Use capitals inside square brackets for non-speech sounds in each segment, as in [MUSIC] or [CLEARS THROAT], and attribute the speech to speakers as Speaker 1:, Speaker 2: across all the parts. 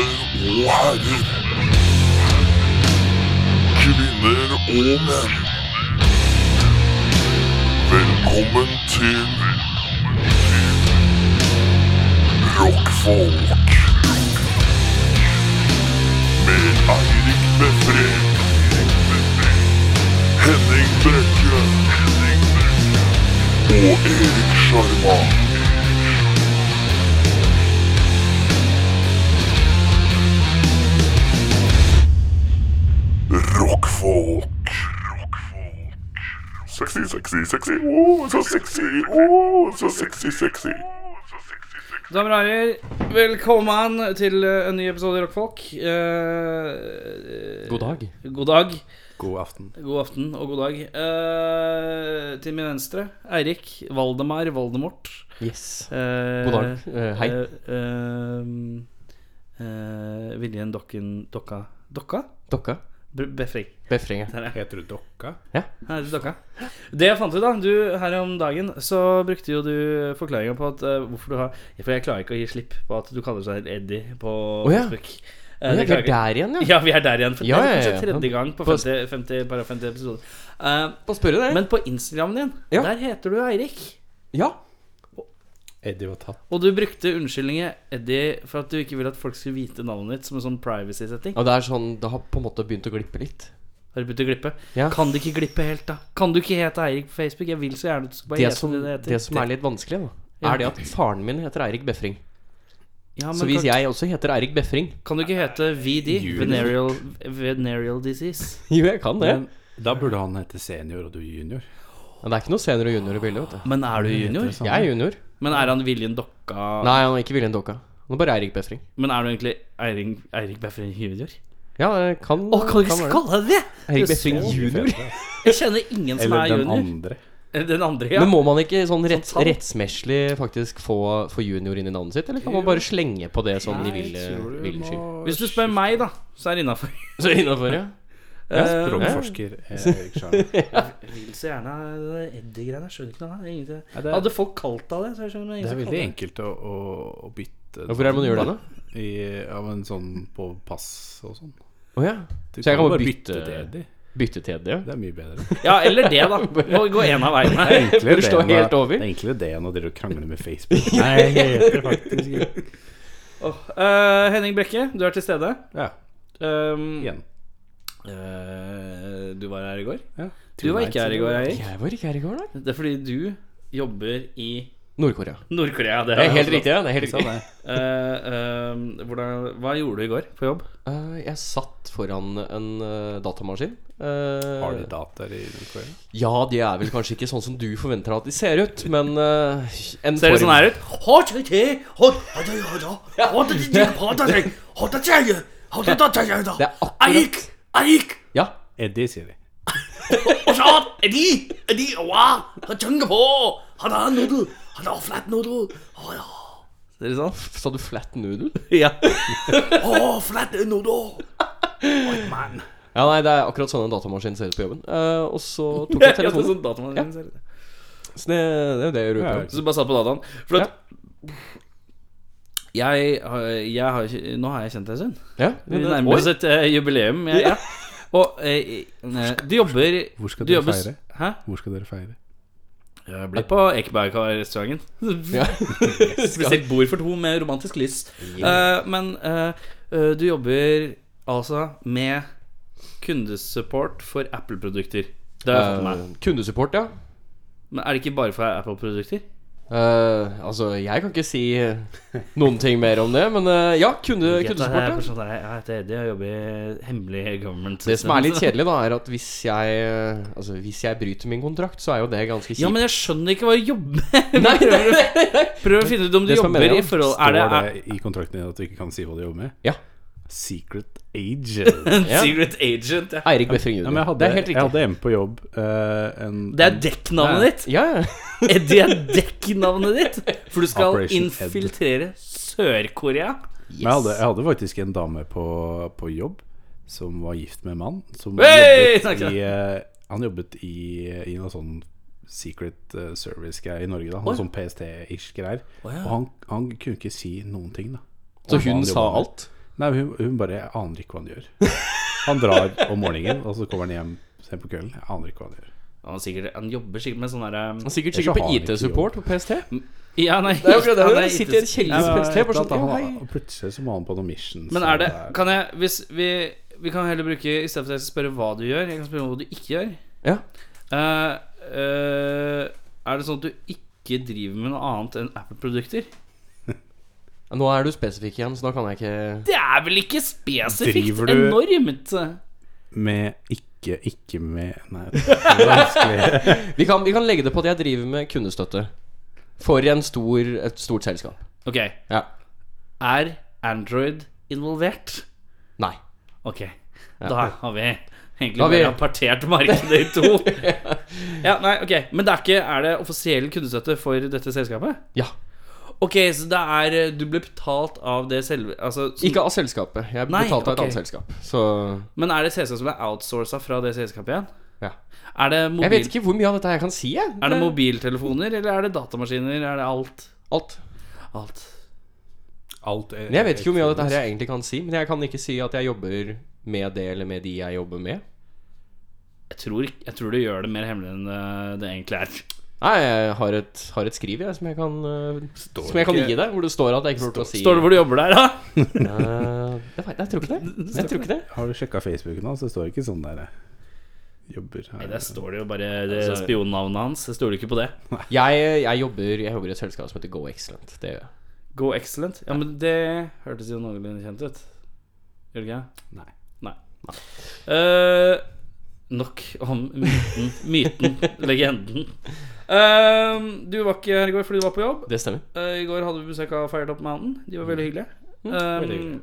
Speaker 1: og herrer. Kvinner og menn. Velkommen til Rockfolk. Med Eirik Befre. Henning Brekke. Og Erik Sjarma. Rockfolk. Sexy, sexy, sexy. Oh, så sexy. Oh, så sexy, sexy.
Speaker 2: Damer og herrer, velkommen til eh, en ny episode i Rockfolk. Eh,
Speaker 3: God dag.
Speaker 2: god dag,
Speaker 3: God aften.
Speaker 2: Eh, god aften og god dag. Eh, til min venstre, Eirik Valdemar Voldemort.
Speaker 3: Yes.
Speaker 2: Eh,
Speaker 3: God dag. Eh, hei.
Speaker 2: eh, eh, eh, Viljen Dokken Dokka Dokka?
Speaker 3: Dokka.
Speaker 2: Br- Befring.
Speaker 3: Befringe.
Speaker 2: Der er jeg.
Speaker 4: Heter du Dokka?
Speaker 2: Her er dokka. Det jeg fant ut, da du, Her om dagen så brukte jo du forklaringa på at eh, hvorfor du har For jeg klarer ikke å gi slipp på at du kaller deg Eddie på
Speaker 3: ja.
Speaker 2: Facebook. Eh,
Speaker 3: Ja,
Speaker 2: det
Speaker 3: vi er
Speaker 2: klarer jeg ikke.
Speaker 3: der igjen, ja.
Speaker 2: Ja, vi er der igjen. For
Speaker 3: Ja,
Speaker 2: det er
Speaker 3: ja, ja,
Speaker 2: kanskje
Speaker 3: ja.
Speaker 2: tredje gang på
Speaker 3: På-
Speaker 2: 50, 50, bare 50 episoder. Eh,
Speaker 3: På spørre det.
Speaker 2: men på Instagramen din,
Speaker 3: Ja.
Speaker 2: der heter du Eirik.
Speaker 3: Ja.
Speaker 4: Eddie var tatt.
Speaker 2: Og du brukte unnskyldningen Eddie for at du ikke ville at folk skulle vite navnet ditt som en sånn privacy-setting.
Speaker 3: Og det er sånn Det har på en måte begynt å glippe litt.
Speaker 2: Har du begynt å glippe?
Speaker 3: Ja.
Speaker 2: Kan du ikke glippe helt, da? Kan du ikke hete Eirik på Facebook? Jeg vil så gjerne at du skal bare
Speaker 3: Det
Speaker 2: hete
Speaker 3: som,
Speaker 2: det det heter.
Speaker 3: det som er litt vanskelig, da,
Speaker 2: Ja.
Speaker 3: er det at faren min heter Eirik Befring.
Speaker 2: Ja, men
Speaker 3: Så hvis
Speaker 2: kan-
Speaker 3: jeg også heter Eirik Befring [LAUGHS]
Speaker 2: Kan du ikke hete VD?
Speaker 4: Jul.
Speaker 2: Venereal, venereal disease.
Speaker 3: Jo, jeg kan det.
Speaker 2: Men,
Speaker 4: Da burde han hete senior og du junior.
Speaker 3: Men det er ikke noe senior og junior i bildet, vet du.
Speaker 2: men er du junior?
Speaker 4: Heter det sånn?
Speaker 3: Jeg er junior.
Speaker 2: Men er han Viljen Dokka?
Speaker 3: Nei, han er ikke Viljen Dokka. Han er bare Eirik Befring.
Speaker 2: Men er du egentlig Eirik, Eirik Befring junior?
Speaker 3: Ja, det kan
Speaker 2: Å, kan du ikke
Speaker 3: være det.
Speaker 2: kalle deg det?!
Speaker 3: Eirik
Speaker 2: Det er så
Speaker 3: Befring junior.
Speaker 2: Jeg kjenner ingen som
Speaker 4: Eller
Speaker 2: er
Speaker 4: den
Speaker 2: junior.
Speaker 4: andre.
Speaker 2: Eller Den andre, ja.
Speaker 3: Men må man ikke sånn retts,
Speaker 2: Sånn tall.
Speaker 3: rettsmessig faktisk få, få junior inn i navnet sitt, eller kan man bare slenge på det sånn i ville ville sky?
Speaker 2: Hvis du spør meg, da, så er det innafor.
Speaker 3: Så innafor, ja.
Speaker 5: Eh,
Speaker 3: Eh,
Speaker 4: Språkforsker eh, Erik Sjarma.
Speaker 2: vil så gjerne det Eddie-greiene. Jeg skjønner ikke noe av det. Ingenting.
Speaker 4: Ja, det er-
Speaker 2: Hadde folk kalt deg det, så jeg skjønner
Speaker 4: Det
Speaker 2: ingen
Speaker 4: er
Speaker 2: som
Speaker 4: veldig
Speaker 2: kaller deg
Speaker 4: enkelt å, å, å bytte
Speaker 3: Hvorfor er det man gjør det, da?
Speaker 4: I, av en sånn på pass og sånn.
Speaker 3: Å ja.
Speaker 4: Du
Speaker 3: Så jeg kan
Speaker 4: jo
Speaker 3: bare bytte,
Speaker 4: til Eddie.
Speaker 3: bytte til det, ja.
Speaker 4: Det er mye
Speaker 3: [LAUGHS]
Speaker 4: bedre.
Speaker 2: Ja, eller det, da. Må gå en av [LAUGHS] veiene.
Speaker 4: Enklere
Speaker 3: slå
Speaker 4: enn å-
Speaker 3: helt over?
Speaker 4: Det er enklere det enn å drive og krangle med Facebook.
Speaker 3: [LAUGHS] Nei, heter faktisk ikke
Speaker 2: Åh, eh, Henning Brekke, du er til stede.
Speaker 4: Ja,
Speaker 2: Um,
Speaker 4: igjen.
Speaker 2: Eh, du var her i går?
Speaker 4: Ja.
Speaker 2: Du var ikke her i går, Eirik.
Speaker 3: Jeg var ikke her i går, da.
Speaker 2: Det er fordi du jobber i
Speaker 3: Nord-Korea.
Speaker 2: Nord-Korea.
Speaker 3: Det er
Speaker 2: har
Speaker 3: helt
Speaker 2: jeg
Speaker 3: riktig. ja, Det er helt
Speaker 4: Sa
Speaker 3: riktig.
Speaker 4: det.
Speaker 2: også. Eh, eh, hvordan, hva gjorde du i går på jobb?
Speaker 3: Eh, jeg satt foran en eh, datamaskin. Eh,
Speaker 4: Har de dataer i Nord-Korea?
Speaker 3: Ja, de er vel kanskje ikke sånn som du forventer at de ser ut, men eh, en
Speaker 2: Ser det
Speaker 3: form-
Speaker 2: sånn her ut?
Speaker 3: Det er akkurat Ja.
Speaker 4: Eddie, sier de.
Speaker 2: Ser det sånn?
Speaker 3: Sa du flat noodle?
Speaker 2: Ja.
Speaker 3: [LAUGHS] Ja, nei, det er akkurat sånn en datamaskin ser ut på jobben. Eh, og så [LAUGHS] tok jeg
Speaker 2: [LAUGHS] Ja,
Speaker 3: telefonen.
Speaker 2: sånn datamaskin
Speaker 3: Ja.
Speaker 2: ser det.
Speaker 3: Så det, det er jo det jeg gjør ute.
Speaker 2: Så du bare satt på dataen? For at jeg, har- jeg har ikke Nå har jeg kjent deg en stund.
Speaker 3: Ja,
Speaker 2: Vi
Speaker 3: men det-
Speaker 2: nærmer oss
Speaker 3: Oi.
Speaker 2: et eh, jubileum. Ja, ja. Og eh, eh, du jobber
Speaker 4: Hvor skal
Speaker 2: du
Speaker 4: dere
Speaker 2: jobber-
Speaker 4: feire?
Speaker 2: Hæ?
Speaker 4: Hvor skal dere feire?
Speaker 2: Jeg ble på Ekebergkar-restauranten.
Speaker 3: Ja.
Speaker 2: [LAUGHS] Bestilt bord for to med romantisk lys. Eh, men eh, eh, du jobber altså med kundesupport for Apple-produkter. Det har jeg fått med meg.
Speaker 3: Eh, kundesupport, ja.
Speaker 2: Men er det ikke bare for Apple-produkter?
Speaker 3: Eh, altså, jeg kan ikke si eh, noen ting mer om det, men eh, ja, kunde,
Speaker 2: Jeg heter- jeg er sånn
Speaker 3: kundesupport. Ja.
Speaker 2: personlig- Jeg heter Eddie og jobber i hemmelig government.
Speaker 3: Det som er litt
Speaker 2: systems.
Speaker 3: kjedelig, da, er at hvis jeg eh, Altså, hvis jeg bryter min kontrakt, så er jo det ganske kjipt.
Speaker 2: Ja, men jeg skjønner ikke hva du jobber med.
Speaker 3: [LAUGHS] Nei, nei, nei, nei, nei.
Speaker 2: Prøv å finne ut om du
Speaker 3: Det som er
Speaker 2: jobber i
Speaker 3: meningen,
Speaker 2: forhold Er
Speaker 4: Står
Speaker 2: det
Speaker 4: det,
Speaker 2: [LAUGHS] er,
Speaker 4: i kontrakten din at du ikke kan si hva du jobber med?
Speaker 3: Ja.
Speaker 4: Secret agent.
Speaker 2: en
Speaker 3: Ja.
Speaker 2: secret agent? Ja.
Speaker 3: Eirik
Speaker 4: [LAUGHS]
Speaker 3: Befring
Speaker 4: Ja,
Speaker 3: Jr.
Speaker 4: men jeg hadde,
Speaker 3: det er helt
Speaker 4: Jeg
Speaker 3: riktig.
Speaker 4: hadde en på jobb eh, en,
Speaker 2: Det er dekknavnet ditt.
Speaker 3: Ja, ja.
Speaker 2: Eddie er dekknavnet ditt. For du skal
Speaker 4: Operation Ed.
Speaker 2: infiltrere Sør-Korea.
Speaker 4: Men jeg hadde, jeg hadde faktisk en dame på, på jobb som var gift med en mann. Som
Speaker 2: Hey,
Speaker 4: jobbet
Speaker 2: snakker
Speaker 4: i, eh, han jobbet i, i noe sånn Secret eh, Service-greier i Norge. da
Speaker 2: Oi.
Speaker 4: Noe sånn PST-ish greier.
Speaker 2: Å, ja.
Speaker 4: Og han, han kunne ikke si noen ting, da.
Speaker 3: Så
Speaker 4: Om hva han
Speaker 3: hun sa
Speaker 4: jobbet med.
Speaker 3: alt?
Speaker 4: Nei, hun, hun bare Jeg aner ikke hva han gjør. Han drar om morgenen, og så kommer han hjem sent på kvelden. Jeg aner ikke hva han gjør.
Speaker 2: Han, er sikkert, han jobber sikkert med sånn derre um,
Speaker 3: Han er sikkert
Speaker 4: Ellers så
Speaker 3: sikkert
Speaker 4: har
Speaker 3: på
Speaker 4: han ikke
Speaker 3: IT-support på PST.
Speaker 2: Ja, nei
Speaker 3: Det er jo akkurat det,
Speaker 2: han er
Speaker 3: han sitter i en kjeller.
Speaker 2: Ja,
Speaker 3: Ja,
Speaker 4: Et eller
Speaker 3: bare sånn,
Speaker 4: annet, han,
Speaker 3: «Ja,
Speaker 4: har-
Speaker 3: hei».
Speaker 4: og plutselig så må han på noen missions.
Speaker 2: Men er det
Speaker 4: og
Speaker 2: Kan jeg Hvis vi Vi kan heller bruke I stedet for at jeg skal spørre hva du gjør Jeg kan spørre hva du ikke gjør
Speaker 3: Ja.
Speaker 2: Eh, eh, Er det sånn at du ikke driver med noe annet enn Apple-produkter?
Speaker 3: Nå er du spesifikk igjen, så da kan jeg ikke
Speaker 2: Det er vel ikke spesifikt
Speaker 4: Driver du-
Speaker 2: enormt?
Speaker 4: Med ikke, ikke med Nei, det er vanskelig.
Speaker 3: vi kan, vi kan legge det på at jeg driver med kundestøtte. For en stor, et stort selskap.
Speaker 2: Ok,
Speaker 3: Ja.
Speaker 2: er Android involvert?
Speaker 3: Nei.
Speaker 2: Ok, da har vi egentlig
Speaker 3: Da har vi-
Speaker 2: bare partert markedet i to. [LAUGHS] ja, nei, ok Men det er ikke Er det offisiell kundestøtte for dette selskapet?
Speaker 3: Ja.
Speaker 2: Ok, så det er eh, Du ble betalt av det selve altså, som,
Speaker 3: Ikke av selskapet. Jeg
Speaker 2: Nei,
Speaker 3: betalte av et
Speaker 2: ok.
Speaker 3: annet selskap. Så
Speaker 2: Men er det et selskap som er outsourca fra det selskapet igjen?
Speaker 3: ja.
Speaker 2: Er det,
Speaker 3: Jeg vet
Speaker 2: mobil,
Speaker 3: ikke hvor mye av dette jeg kan si, jeg.
Speaker 2: er det mobiltelefoner, eller er det datamaskiner? Er det alt?
Speaker 3: Alt.
Speaker 2: Alt.
Speaker 4: Alt er,
Speaker 3: Men jeg vet ikke hvor mye av dette her jeg egentlig kan si. Men jeg kan ikke si at jeg jobber med det eller med de jeg jobber med.
Speaker 2: Jeg tror, ikke- jeg tror du gjør det mer hemmelig enn det, det egentlig er.
Speaker 3: Nei, jeg har et, har et skriv jeg, som jeg kan, eh, som jeg kan
Speaker 4: ikke-
Speaker 3: gi deg, hvor det står at jeg ikke får lov til å si
Speaker 2: Står det hvor du jobber der, da?
Speaker 3: Eh, jeg, vet- jeg tror ikke det. Jeg tror ikke det.
Speaker 4: Har du sjekka Facebooken hans? Det står ikke sånn der. eh, Jobber
Speaker 2: Nei,
Speaker 4: her.
Speaker 2: Der står det jo bare det
Speaker 3: Altså-
Speaker 2: spionnavnet hans. Det står det ikke på det.
Speaker 3: Jeg, jeg, jobber, jeg jobber i et selskap som heter Go Excellent. Det gjør jeg.
Speaker 2: Go excellent. Ja, men det hørtes jo noenlunde kjent ut. Gjør det ikke?
Speaker 4: Nei.
Speaker 2: Nei. Eh, nok om myten. Myten. legenden. Eh, du var ikke her i går fordi du var på jobb.
Speaker 3: Det stemmer.
Speaker 2: Eh, I går hadde vi besøk av Firetop Mountain. De var veldig hyggelige. Eh,
Speaker 3: veldig hyggelige.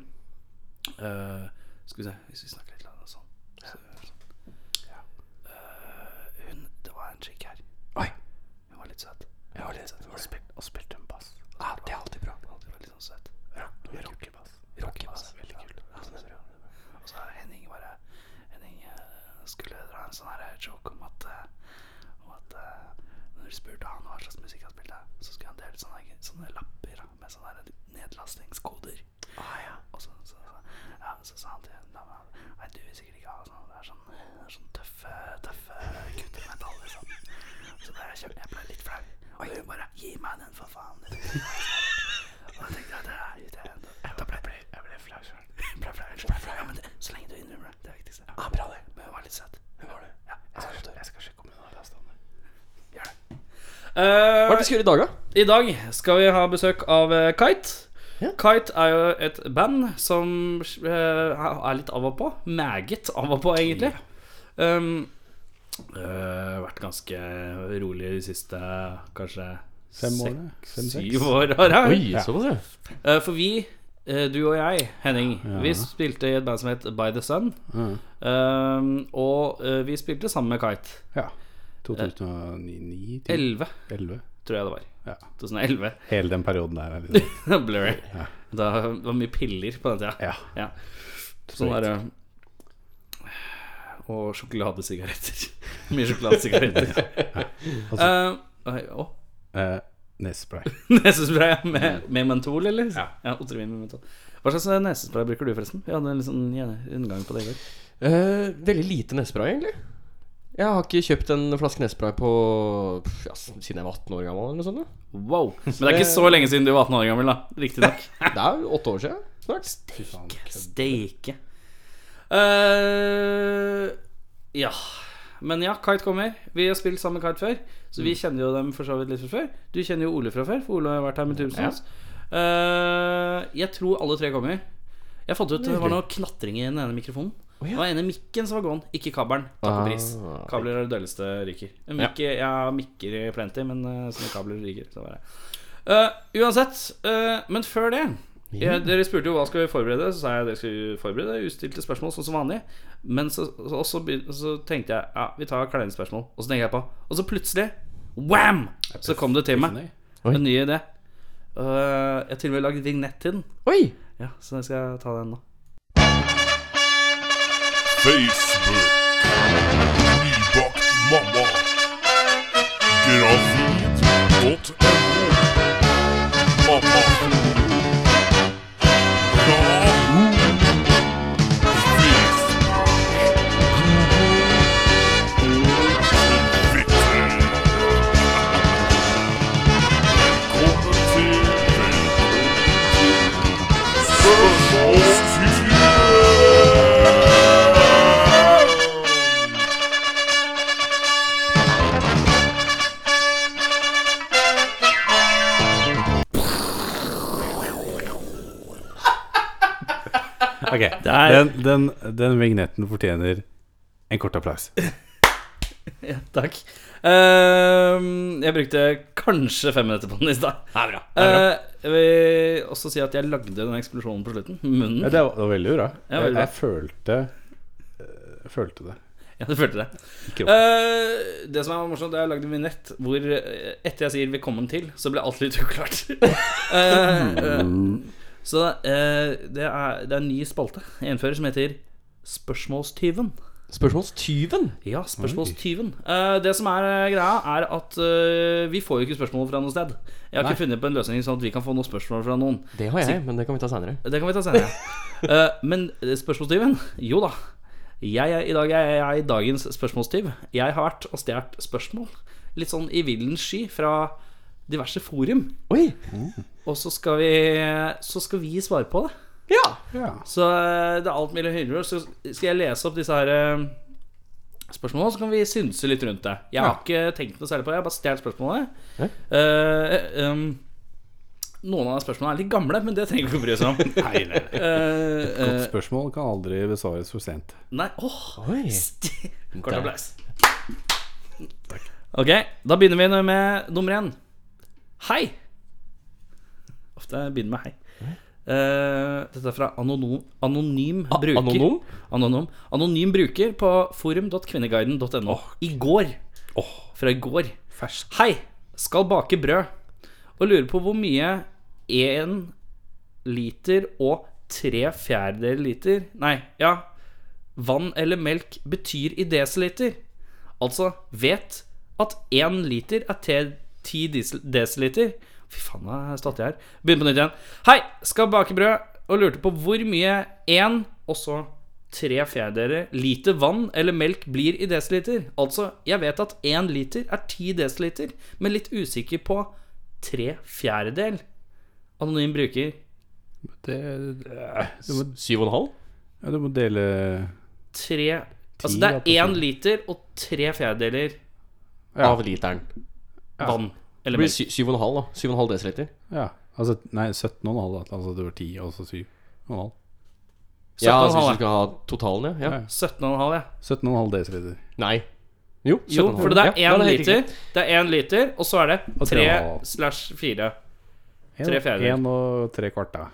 Speaker 2: eh, skal vi se Hvis vi snakker litt annet sånn så, ja. Eh, Hun Det var en chick her.
Speaker 4: Oi.
Speaker 2: Hun var litt søt.
Speaker 4: Jeg har lest og spilt, og spilt en bass.
Speaker 2: Ja, Ah, det er alltid bra. Alltid veldig sånn søt.
Speaker 4: Rock, rockebass.
Speaker 2: Rockebass. Veldig kult. Og så Henning bare Henning eh, skulle dra en sånn her joke om at, eh, om at eh, Når du spurte han hva slags musikk han spilte, så skulle han dele ut sånne, sånne lapper da, med sånne her nedlastingskoder. Og så, så, så, ja, så sa han til en dame Nei, du vil sikkert ikke ha sånn. Det er sånn, det er sånn tøffe, tøffe guttemetall, liksom. Så ble jeg, kjøpt, jeg ble litt flau. Og hun bare Gi meg den, for faen. Og jeg tenkte at det er det, er- Da ble jeg ble- jeg ble flau sjøl. [LAUGHS] Ble flau. jeg Ble flau. Ja, men det, så lenge du innrømmer det. Det er det viktigste. Ja, bra det. Men hun var litt søt. Hun var det. Ja, jeg skal, jeg skal sjekke om hun har lasta den. Gjør det. Eh,
Speaker 3: Hva er det du skal gjøre i dag, da?
Speaker 2: I dag skal vi ha besøk av eh, Kite.
Speaker 3: Ja.
Speaker 2: Kite er jo et band som eh, er litt av og på. Meget av og på, egentlig. Um, eh, vært ganske rolig de siste kanskje
Speaker 4: Fem årene? Fem, seks?
Speaker 2: syv år, har jeg.
Speaker 3: Oi, såpass, ja.
Speaker 2: Eh, for vi, eh, du og jeg, Henning, vi spilte i et band som het By The Sun.
Speaker 4: Mm.
Speaker 2: Um, og eh, vi spilte sammen med Kite.
Speaker 4: Ja. 2009 til
Speaker 2: 11,
Speaker 4: 11.
Speaker 2: tror jeg det var.
Speaker 4: Mm. Ja.
Speaker 2: 2011.
Speaker 4: Hele den perioden der. er Liksom.
Speaker 2: [LAUGHS] Blurry. Da, det var mye piller på den tida.
Speaker 4: Ja.
Speaker 2: Ja. Sånn der eh, Og sjokoladesigaretter. [LAUGHS] Mye sjokoladesigaretter. Eh, nei, Å, [LAUGHS]
Speaker 4: Eh, nesespray.
Speaker 2: nesespray med, med mentol, eller? Mm. Ja. Otrivin med mentol. Hva slags eh, nesespray bruker du, forresten? Vi hadde en litt sånn gjen- inngang på det i går.
Speaker 3: Eh, veldig lite nesespray, egentlig. Jeg har ikke kjøpt en flaske nesespray på pff, ja, siden jeg var 18 år gammel. eller noe [LAUGHS] sånt. da.
Speaker 2: Wow. Men det er ikke så lenge siden du var 18 år gammel, da. [LAUGHS] Riktignok.
Speaker 3: Det er jo åtte år siden snart.
Speaker 2: Steike. Eh, ja. Men ja, Kite kommer. Vi har spilt sammen med Kite før, så
Speaker 3: Mm.
Speaker 2: vi kjenner jo dem for så vidt litt fra før. Du kjenner jo Ole fra før, for Ole har vært her med Tubestones. Eh, jeg tror alle tre kommer. Jeg fant ut det var noe knatring i den ene mikrofonen.
Speaker 3: Å, ja.
Speaker 2: Det var ene mikken som var gåen, ikke kabelen. Takk og pris.
Speaker 3: Ah.
Speaker 2: Kabler er det dølleste ryker. Mikk, Jeg har mikker i plenty, men eh, sånne kabler ryker. Så bare. Eh, uansett, eh, men før det jeg, Dere spurte jo hva skal vi forberede, så sa jeg dere skulle forberede ustilte spørsmål, sånn som vanlig. Men så, så, og så, begyn- så tenkte jeg ja, vi tar kleine spørsmål. Og så tenker jeg på Og så plutselig, wam! Så kom det til meg.
Speaker 4: Funny.
Speaker 3: Oi.
Speaker 2: En ny idé. Eh, jeg har til og med lagd vignett til den.
Speaker 3: Oi!
Speaker 2: Ja, Så jeg skal ta den nå.
Speaker 1: Facebook. Nybakt mamma. Gravid.no. Mamma. Yahoo.
Speaker 4: [LAUGHS] Ok,
Speaker 2: er-
Speaker 4: den, den, den vignetten fortjener en kort applaus.
Speaker 2: Ja, takk. Ehm, jeg brukte kanskje fem minutter på den i stad.
Speaker 3: Det er bra. Det er bra.
Speaker 2: Eh, Jeg vil også si at jeg lagde den eksplosjonen på slutten. Munnen.
Speaker 4: Ja, det var, det var veldig bra.
Speaker 2: Ja,
Speaker 4: jeg,
Speaker 2: veldig bra.
Speaker 4: jeg følte eh, følte det.
Speaker 2: Ja, du følte det.
Speaker 4: Ikke
Speaker 2: Eh, det som er morsomt, er at jeg lagde en vignett hvor eh, etter jeg sier 'velkommen til', så ble alt litt uklart. [LAUGHS] Eh, eh, så eh, det, er, det er en ny spalte jeg innfører som heter Spørsmålstyven.
Speaker 3: Spørsmålstyven.
Speaker 2: Ja, spørsmålstyven. Eh, det som er eh, greia, er at eh, vi får jo ikke spørsmål fra noe sted. Jeg har ikke funnet på en løsning sånn at vi kan få noen spørsmål fra noen.
Speaker 3: Det har jeg, men det kan vi ta seinere.
Speaker 2: Det kan vi ta senere. Eh, men spørsmålstyven? Jo da. Jeg, er- I dag er jeg dagens spørsmålstyv. Jeg har vært og stjålet spørsmål. Litt sånn i villen sky fra diverse forum.
Speaker 3: Oi!
Speaker 2: Og så skal vi, så skal vi svare på det.
Speaker 3: Ja!
Speaker 4: Ja.
Speaker 2: Så eh, det er alt mellom hyller. Så skal jeg lese opp disse her eh, spørsmålene, så kan vi synse litt rundt det. Jeg har ikke tenkt noe særlig på det, jeg har bare stjålet spørsmålet.
Speaker 3: Ja.
Speaker 2: Eh, em, noen av spørsmålene er litt gamle, men det trenger vi ikke å bry oss om.
Speaker 4: Nei, nei, nei.
Speaker 2: Eh, eh,
Speaker 4: Godt spørsmål kan aldri besvares for sent.
Speaker 2: Nei, åh
Speaker 3: Oi.
Speaker 2: sti- Kort
Speaker 3: Der.
Speaker 2: applaus Ok, da begynner vi nå med nummer én Hei Ofte jeg begynner med hei Eh, Dette er fra anonym, anonym
Speaker 3: A-
Speaker 2: bruker
Speaker 3: anonym?
Speaker 2: Anonym Anonym bruker på forum.kvinneguiden.no I går Fra i går
Speaker 4: Ferskt.
Speaker 2: Hei, skal bake brød Og lurer på hvor mye En liter og tre fjerdedel liter Nei, ja Vann eller melk betyr i desiliter Altså vet at én liter er te- ti diesel- desiliter Fy faen, nå har jeg stått i her Begynner på nytt igjen Hei, skal bake brød Og lurte på hvor mye en Og så tre fjerdedeler liter vann eller melk blir i desiliter Altså, jeg vet at én liter er ti desiliter Men litt usikker på tre fjerdedel Anonym bruker
Speaker 4: Det, det, du, må,
Speaker 3: Syv og en halv?
Speaker 4: ja, du må dele
Speaker 2: tre Altså
Speaker 4: Ti,
Speaker 2: det
Speaker 4: ja,
Speaker 2: er
Speaker 4: på
Speaker 2: én liter og tre fjerdedeler
Speaker 4: Ja.
Speaker 3: Av literen.
Speaker 2: vann.
Speaker 3: Det
Speaker 2: Eller
Speaker 3: blir sy
Speaker 2: melk.
Speaker 3: syv og en halv, da. Syv og en halv desiliter.
Speaker 4: Ja. Altså, nei, 17,5. da. Altså det var 10, og så 7,5.
Speaker 3: Ja, altså,
Speaker 2: 17,5,
Speaker 3: hvis du skal ha totalen, ja. ja.
Speaker 4: Ja.
Speaker 2: 17,5, ja.
Speaker 4: 17,5 desiliter.
Speaker 3: Nei. Jo,
Speaker 2: Jo,
Speaker 3: 17,5.
Speaker 2: for det er
Speaker 3: Ja,
Speaker 2: én
Speaker 3: da helt
Speaker 2: liter,
Speaker 3: riktig.
Speaker 2: Det er en liter, og så er det
Speaker 4: Og tre
Speaker 2: tre
Speaker 4: og en halv.
Speaker 2: slash fire.
Speaker 4: En-
Speaker 2: Tre fjerdedeler.
Speaker 4: En og tre kvart, da.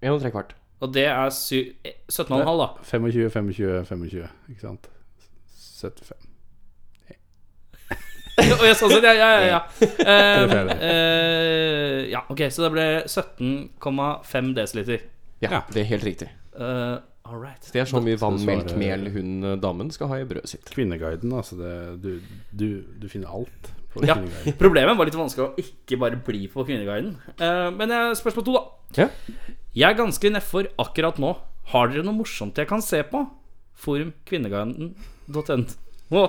Speaker 3: En og tre kvart.
Speaker 2: Og det er sy- eh, 17,5, da.
Speaker 4: 25, 25, 25. Ikke sant? 75.
Speaker 2: [LAUGHS] Og jeg sånn sett, ja, ja, ja. Ja, Ehm,
Speaker 4: Tre fjerdedeler.
Speaker 2: eh, ja ok, så det ble 17,5 desiliter.
Speaker 3: Ja,
Speaker 4: Ja.
Speaker 3: det er helt riktig.
Speaker 2: Uh, All right.
Speaker 3: Det er så mye vann,
Speaker 4: Så
Speaker 3: melk,
Speaker 4: svarer-
Speaker 3: mel hun eh, damen skal ha i brødet
Speaker 4: [LAUGHS]
Speaker 3: sitt.
Speaker 4: Kvinneguiden, altså. Det, du, du, du finner alt på
Speaker 2: Ja.
Speaker 4: Kvinneguiden.
Speaker 2: Problemet var litt vanskelig å ikke bare bli på Kvinneguiden. Eh, men eh, spørsmål to, da.
Speaker 3: Ja.
Speaker 2: Jeg er ganske nedfor akkurat nå. Har dere noe morsomt jeg kan se på? Forum kvinneguiden.no.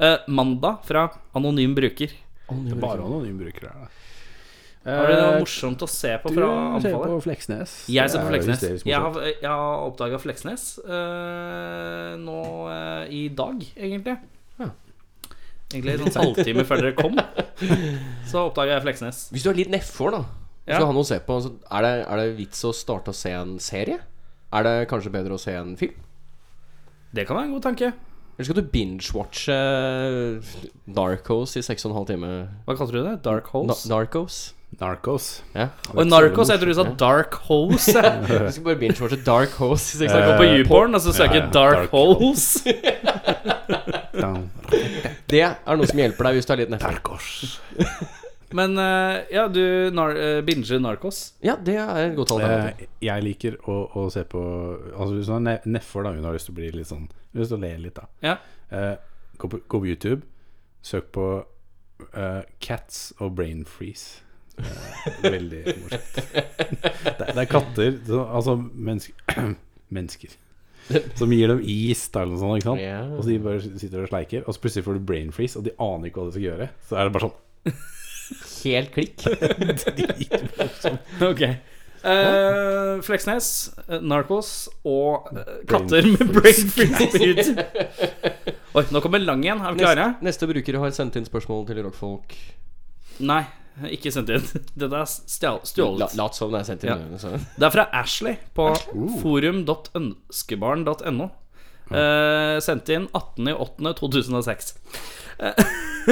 Speaker 2: Eh, mandag fra anonym bruker.
Speaker 4: Bare anonyme brukere. da.
Speaker 2: Har dere noe
Speaker 4: Eh,
Speaker 2: morsomt å se på
Speaker 4: Du
Speaker 2: fra
Speaker 4: ser på
Speaker 2: anfallet?
Speaker 4: Fleksnes.
Speaker 2: Jeg ser på
Speaker 4: Det er jo
Speaker 2: Fleksnes.
Speaker 4: hysterisk
Speaker 2: Jeg
Speaker 4: morsomt.
Speaker 2: har, jeg har oppdaga Fleksnes eh, nå eh, i dag, egentlig.
Speaker 3: Ja.
Speaker 2: Egentlig en sånn halvtime før dere kom, så oppdaga jeg Fleksnes.
Speaker 3: Hvis du er litt nedfor, da, hvis
Speaker 2: Ja.
Speaker 3: du har noe å se på, så er det, er det vits å starte å se en serie? Er det kanskje bedre å se en film?
Speaker 2: Det kan være en god tanke.
Speaker 3: Eller skal du binge-watche eh, Narcos i seks og en halv time?
Speaker 2: Hva kalte du det? Dark
Speaker 3: Na
Speaker 2: Holes?
Speaker 3: Narcos?
Speaker 4: Narcos.
Speaker 3: Ja.
Speaker 2: Og Narcos heter du sa Dark Holes. jeg.
Speaker 3: Du skal bare binge-watche Dark Holes i seks
Speaker 2: Så
Speaker 3: og
Speaker 2: jeg
Speaker 3: en
Speaker 2: går
Speaker 3: halv
Speaker 2: på
Speaker 3: time?
Speaker 2: YouPorn og så søker jeg
Speaker 4: ja,
Speaker 2: Dark
Speaker 4: Dark
Speaker 2: Holes.
Speaker 3: Det er noe som hjelper deg hvis du er litt nedfor.
Speaker 4: Narcos.
Speaker 2: Men eh, ja, du nar eh, binger Narcos.
Speaker 3: Ja, det er et godt alternativ.
Speaker 4: Eh, jeg liker å, å se på Altså Hvis hun er nedfor, da hun har lyst til å bli litt sånn Hun har lyst til å le litt, da.
Speaker 2: Ja.
Speaker 4: Eh, gå, på, gå på YouTube, søk på eh, Cats og Brain Freeze. Eh, veldig morsomt.
Speaker 3: [LAUGHS]
Speaker 4: det, er- det er katter som, Altså mennesker, [CLEARS THROAT] mennesker som gir dem is da, eller noe sånt. Ikke sant?
Speaker 3: Ja.
Speaker 4: Og så de bare sitter og sleiker, og så plutselig får du brain freeze, og de aner ikke hva de skal gjøre. Så er det bare sånn
Speaker 3: Helt klikk.
Speaker 2: Ok. Eh, Fleksnes, eh, Narcos og eh, katter med brain freeze på YouTube. Oi, nå kommer lang igjen. Er vi klare?
Speaker 3: Neste, neste bruker har sendt inn spørsmål til rockfolk.
Speaker 2: Nei. Ikke sendt inn. [LAUGHS] Den er stjal-
Speaker 3: La,
Speaker 2: stjålet.
Speaker 3: lat som det er sendt inn.
Speaker 2: Ja.
Speaker 3: øynene, så-
Speaker 2: Det er fra Ashley på forum.ønskebarn.no. Eh, sendt inn 18.08.2006. Eh,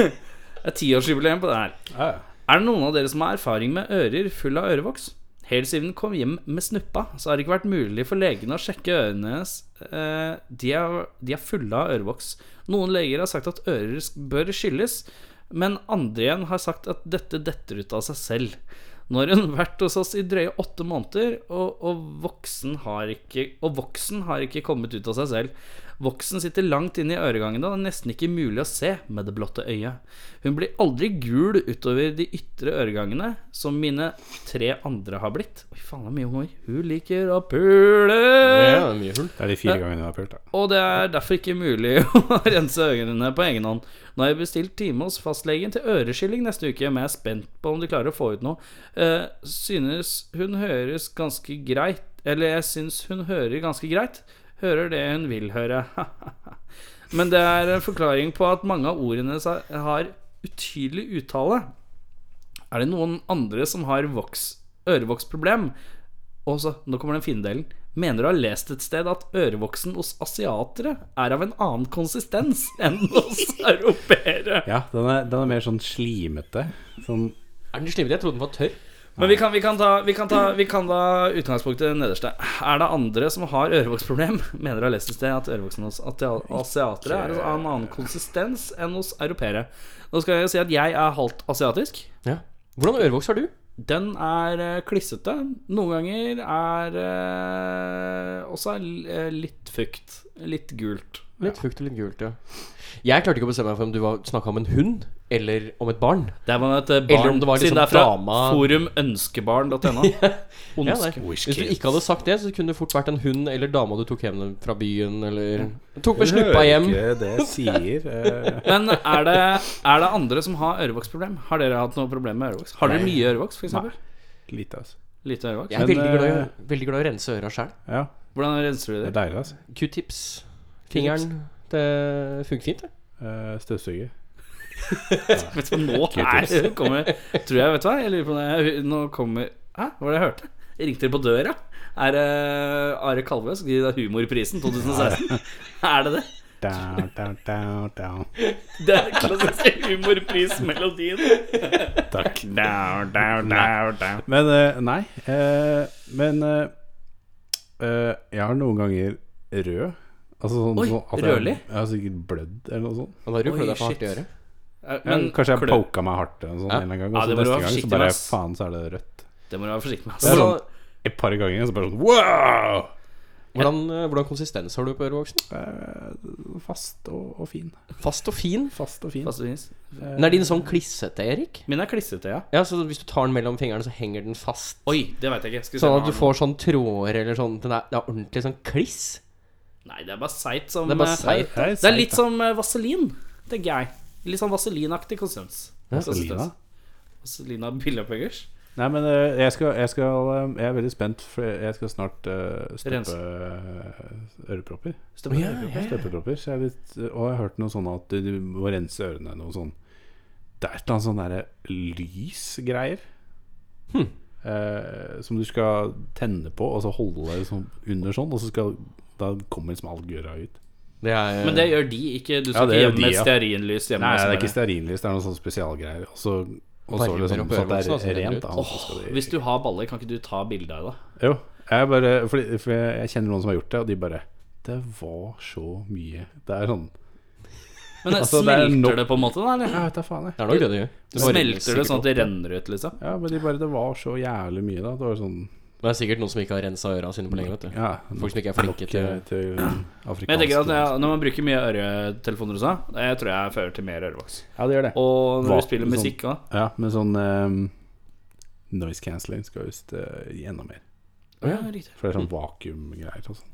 Speaker 2: [LAUGHS] Det er tiårsjubileum på det her.
Speaker 4: Ja, ja.
Speaker 2: Er det noen av dere som har erfaring med ører full av ørevoks? Helt siden den kom hjem med snuppa, så har det ikke vært mulig for legene å sjekke ørene hennes. Eh, De er, de er fulle av ørevoks. Noen leger har sagt at ører sk- bør skylles, men andre igjen har sagt at dette detter ut av seg selv. Nå har hun vært hos oss i drøye åtte måneder, og, og, voksen har ikke, og voksen har ikke kommet ut av seg selv. Voksen sitter langt inne i øregangene, og det er nesten ikke mulig å se med det blotte øyet. Hun blir aldri gul utover de ytre øregangene, som mine tre andre har blitt. Oi, faen, det er mye humor. Hun liker å pule!
Speaker 3: Ja, mye hull.
Speaker 4: Det er de fire gangene jeg har pult, da.
Speaker 2: Og det er derfor ikke mulig [LAUGHS] å rense ørene på egen hånd. Nå har jeg bestilt time hos fastlegen til øreskilling neste uke, men jeg er spent på om de klarer å få ut noe. Eh, synes hun høres ganske greit Eller jeg synes hun hører ganske greit. Hører det hun vil høre. [LAUGHS] men det er en forklaring på at mange av ordene hennes har- har utydelig uttale. Er det noen andre som har voks, ørevoksproblem? Og så, nå kommer den fine delen. Mener du har lest et sted at ørevoksen hos asiatere er av en annen konsistens enn hos europeere?
Speaker 4: Ja, den er, den er mer sånn slimete. Sånn
Speaker 3: Er den slimete? Jeg trodde den var tørr.
Speaker 2: Men vi kan, vi, kan ta, vi, kan ta, vi kan ta utgangspunktet nederste. Er det andre som har ørevoksproblem? Mener du har lest et sted at ørevoksen hos atia- asiatere er av en annen konsistens enn hos europeere? Nå skal jeg jo si at jeg er halvt asiatisk.
Speaker 3: Ja. Hvordan ørevoks har du?
Speaker 2: Den er eh, klissete. Noen ganger er eh, også eh, litt fukt. Litt gult.
Speaker 3: Litt fukt og litt gult, ja. Jeg klarte ikke å bestemme meg for om du snakka om en hund eller om et barn.
Speaker 2: Det var et eh, barn,
Speaker 3: Eller om det var liksom
Speaker 2: siden det er fra
Speaker 3: dama- [LAUGHS]
Speaker 2: forumønskebarn.no.
Speaker 3: Ja, nei.
Speaker 2: [LAUGHS]
Speaker 3: Hvis du ikke hadde sagt det, så kunne det fort vært en hund eller dama du tok hjem fra byen, eller Tok med snuppa hjem.
Speaker 4: Hører ikke det jeg sier. eh.
Speaker 2: Men er det, er det andre som har ørevoksproblem? Har dere hatt noe problem med ørevoks? Har dere mye ørevoks, f.eks.?
Speaker 4: Nei. Lite, altså.
Speaker 2: Lite ørevoks? eh,
Speaker 3: Jeg er
Speaker 4: Men,
Speaker 3: veldig glad, i,
Speaker 4: eh,
Speaker 3: å- veldig glad i å rense øra sjæl.
Speaker 4: Ja,
Speaker 2: Hvordan renser du
Speaker 4: det
Speaker 2: det?
Speaker 4: er deilig, altså.
Speaker 3: Q-tips. Fingeren. Det funker fint, det.
Speaker 4: Eh, Støvsuger.
Speaker 2: Vet du hva,
Speaker 3: [LAUGHS]
Speaker 2: nå er, kommer Tror jeg, vet du hva? Jeg lurer på det. Nå kommer Hæ, hva var det jeg hørte? Jeg ringte på døra. Er det eh, Are Kalvø som gir deg Humorprisen
Speaker 3: [LAUGHS]
Speaker 2: 2016? Er det det?
Speaker 4: Down, down, down, [LAUGHS] down.
Speaker 2: Det er den klassiske humorprismelodien. Takk. Down, down, down, down.
Speaker 4: Men eh, nei. eh, men eh, eh, jeg har noen ganger rød. Altså sånn,
Speaker 2: Oi,
Speaker 4: sånn at
Speaker 2: rødlig?
Speaker 4: Jeg, jeg har sikkert blødd eller noe sånt.
Speaker 3: Og da ruller
Speaker 2: Oi,
Speaker 3: det for hardt i
Speaker 2: shit.
Speaker 3: øret.
Speaker 2: Eh,
Speaker 4: Ja,
Speaker 2: Men
Speaker 4: kanskje jeg
Speaker 2: klø-
Speaker 4: poka meg hardt eller noe sånt
Speaker 2: Ja.
Speaker 4: en eller annen
Speaker 2: Ja,
Speaker 4: gang. Og så
Speaker 2: det må du
Speaker 4: neste
Speaker 2: være
Speaker 4: gang
Speaker 2: forsiktig
Speaker 4: så
Speaker 2: med,
Speaker 4: bare
Speaker 2: ass.
Speaker 4: faen, så er det rødt.
Speaker 2: Det må du være forsiktig med. altså.
Speaker 4: Det er
Speaker 2: ass.
Speaker 4: sånn et par ganger, og så bare sånn wow!
Speaker 3: Hvordan, eh, hvordan konsistens har du på ørevoksen?
Speaker 4: Fast og, og fin.
Speaker 3: Fast og fin.
Speaker 4: Fast og fin.
Speaker 2: Fast og finnes.
Speaker 3: Men er din sånn klissete, Erik?
Speaker 2: Min er klissete, ja.
Speaker 3: Ja, så Hvis du tar den mellom fingrene, så henger den fast.
Speaker 2: Oi, det veit jeg ikke. Skal vi se
Speaker 3: Sånn
Speaker 2: om
Speaker 3: at du
Speaker 2: jeg har
Speaker 3: får sånn tråder eller sånn den er, Det er ordentlig sånn kliss.
Speaker 2: noe. Nei, det er bare seigt som
Speaker 3: Det er bare
Speaker 2: eh,
Speaker 3: seigt.
Speaker 4: Det er
Speaker 2: Det er
Speaker 4: seigt,
Speaker 2: litt
Speaker 4: da.
Speaker 2: som eh, vaselin, tenker jeg. Litt sånn vaselinaktig konsistens.
Speaker 4: Vaselina?
Speaker 2: Vaselina billeopphuggers.
Speaker 4: Nei, men eh, jeg, skal, jeg, skal, eh, jeg er veldig spent, for jeg skal snart eh,
Speaker 2: Rense.
Speaker 4: stoppe eh, ørepropper.
Speaker 2: Stemmer
Speaker 3: Ja,
Speaker 2: det?
Speaker 3: ja, ja.
Speaker 4: Støpepropper. Så jeg er litt, og jeg har hørt noe sånn at du, du må rense ørene noe sånn Det er et eller annet sånn derre lysgreier. Hm. Eh, som du skal tenne på, og så holde det sånn under sånn, og så skal Da kommer liksom all gøra ut.
Speaker 3: Det er,
Speaker 2: Men det gjør de ikke. Du skal
Speaker 4: det
Speaker 2: ikke
Speaker 4: gjør
Speaker 2: hjem
Speaker 4: de,
Speaker 2: med
Speaker 4: ja.
Speaker 2: stearinlys hjemme.
Speaker 4: Nei, det
Speaker 2: altså,
Speaker 4: er
Speaker 2: hos
Speaker 4: ikke
Speaker 2: dere.
Speaker 4: stearinlys, det er noe sånn spesialgreier. Og så og så
Speaker 3: Varmer opp
Speaker 4: liksom sånn at
Speaker 3: øreboksene, og så
Speaker 4: det er
Speaker 3: renner det
Speaker 4: rent,
Speaker 3: ut.
Speaker 4: da. og så skal de-
Speaker 2: Hvis du har baller, kan ikke du ta bilde av det?
Speaker 4: Jo, jeg bare fordi, fordi jeg kjenner noen som har gjort det, og de bare Det var så mye. Det er sånn [LAUGHS] Altså, det
Speaker 2: Men
Speaker 4: er
Speaker 2: smelter det,
Speaker 4: nok-
Speaker 2: på en måte, da? Eller?
Speaker 4: Jeg vet da faen, jeg.
Speaker 3: det er nok det det gjør. Det bare renner
Speaker 2: Smelter det
Speaker 3: sikkert
Speaker 2: sånn at det
Speaker 3: opp.
Speaker 2: renner ut, liksom?
Speaker 4: Ja, men de bare, det var så jævlig mye da. Det var sånn
Speaker 3: Det er sikkert noen som ikke har rensa øra sine på lenge. vet du
Speaker 4: ja, eh.
Speaker 3: Folk som ikke er flinke til
Speaker 4: til, til afrikansk
Speaker 2: [CLEARS THROAT] Men jeg tenker at når-
Speaker 4: altså.
Speaker 2: Når man bruker mye øretelefoner og sånn, jeg tror jeg fører til mer ørevoks.
Speaker 4: Ja, det gjør det.
Speaker 2: Og når
Speaker 4: Hva-
Speaker 2: du spiller
Speaker 4: sånn-
Speaker 2: musikk òg.
Speaker 4: Ja, men sånn ehm, noise cancelling skal visst eh, gi enda mer.
Speaker 2: Ja, riktig.
Speaker 4: For det er sånn vakuumgreier og sånn.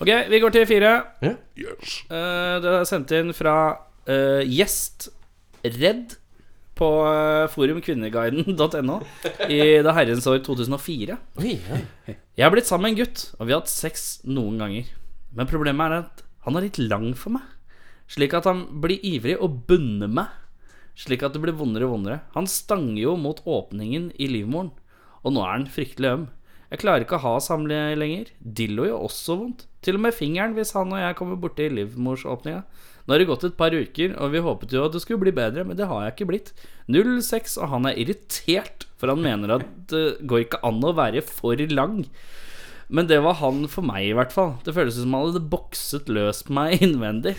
Speaker 2: ok, vi går til fire.
Speaker 1: Yes.
Speaker 2: Eh, det er sendt inn fra eh, gjest redd på eh, forumkvinneguiden.no i det herrens år 2004.
Speaker 3: Oi, ja.
Speaker 2: Jeg har blitt sammen med en gutt, og vi har hatt sex noen ganger. Men problemet er at han er litt lang for meg, slik at han blir ivrig og bunner meg. slik at det ble vondere og vondere. Han stanger jo mot åpningen i livmoren, og nå er han fryktelig øm. Jeg klarer ikke å ha samleie lenger. Dillo gjør også vondt. Til og med fingeren, hvis han og jeg kommer borti livmorsåpninga. Nå har det gått et par uker, og vi håpet jo at det skulle bli bedre, men det har jeg ikke blitt. 06, og han er irritert, for han mener at det går ikke an å være for lang. Men det var han for meg, i hvert fall. Det føles som han hadde bokset løs på meg [LAUGHS] innvendig.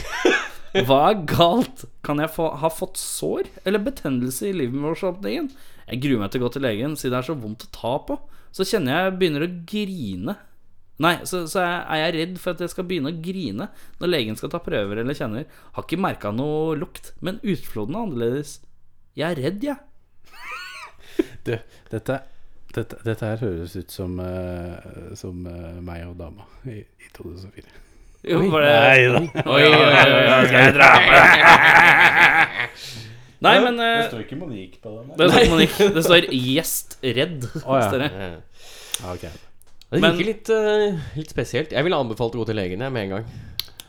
Speaker 2: Hva er galt? Kan jeg få, ha fått sår eller betennelse i livmorsåpningen? Jeg gruer meg til å gå til legen, siden det er så vondt å ta på. Så kjenner jeg begynner å grine. Nei, så, så er er jeg redd for at jeg skal begynne å grine når legen skal ta prøver eller kjenner. Har ikke merka noe lukt, men utfloden er annerledes. Jeg er redd, jeg. Ja.
Speaker 4: Du, dette, dette, dette her høres ut som, eh, som eh, meg og dama i, i 2004.
Speaker 2: Jo, var det... Oi, oi, oi, oi, skal jeg dra på deg? [LAUGHS] Nei, men eh,
Speaker 4: står ikke monik på den.
Speaker 2: det står, Monik, [LAUGHS] det står 'gjestredd'.
Speaker 4: Å, ja.
Speaker 2: står det.
Speaker 3: Eh,
Speaker 4: Ah, ok.
Speaker 3: Det
Speaker 2: Men-
Speaker 3: virker litt, eh, litt spesielt. Jeg ville anbefalt å gå til legen jeg, med en gang.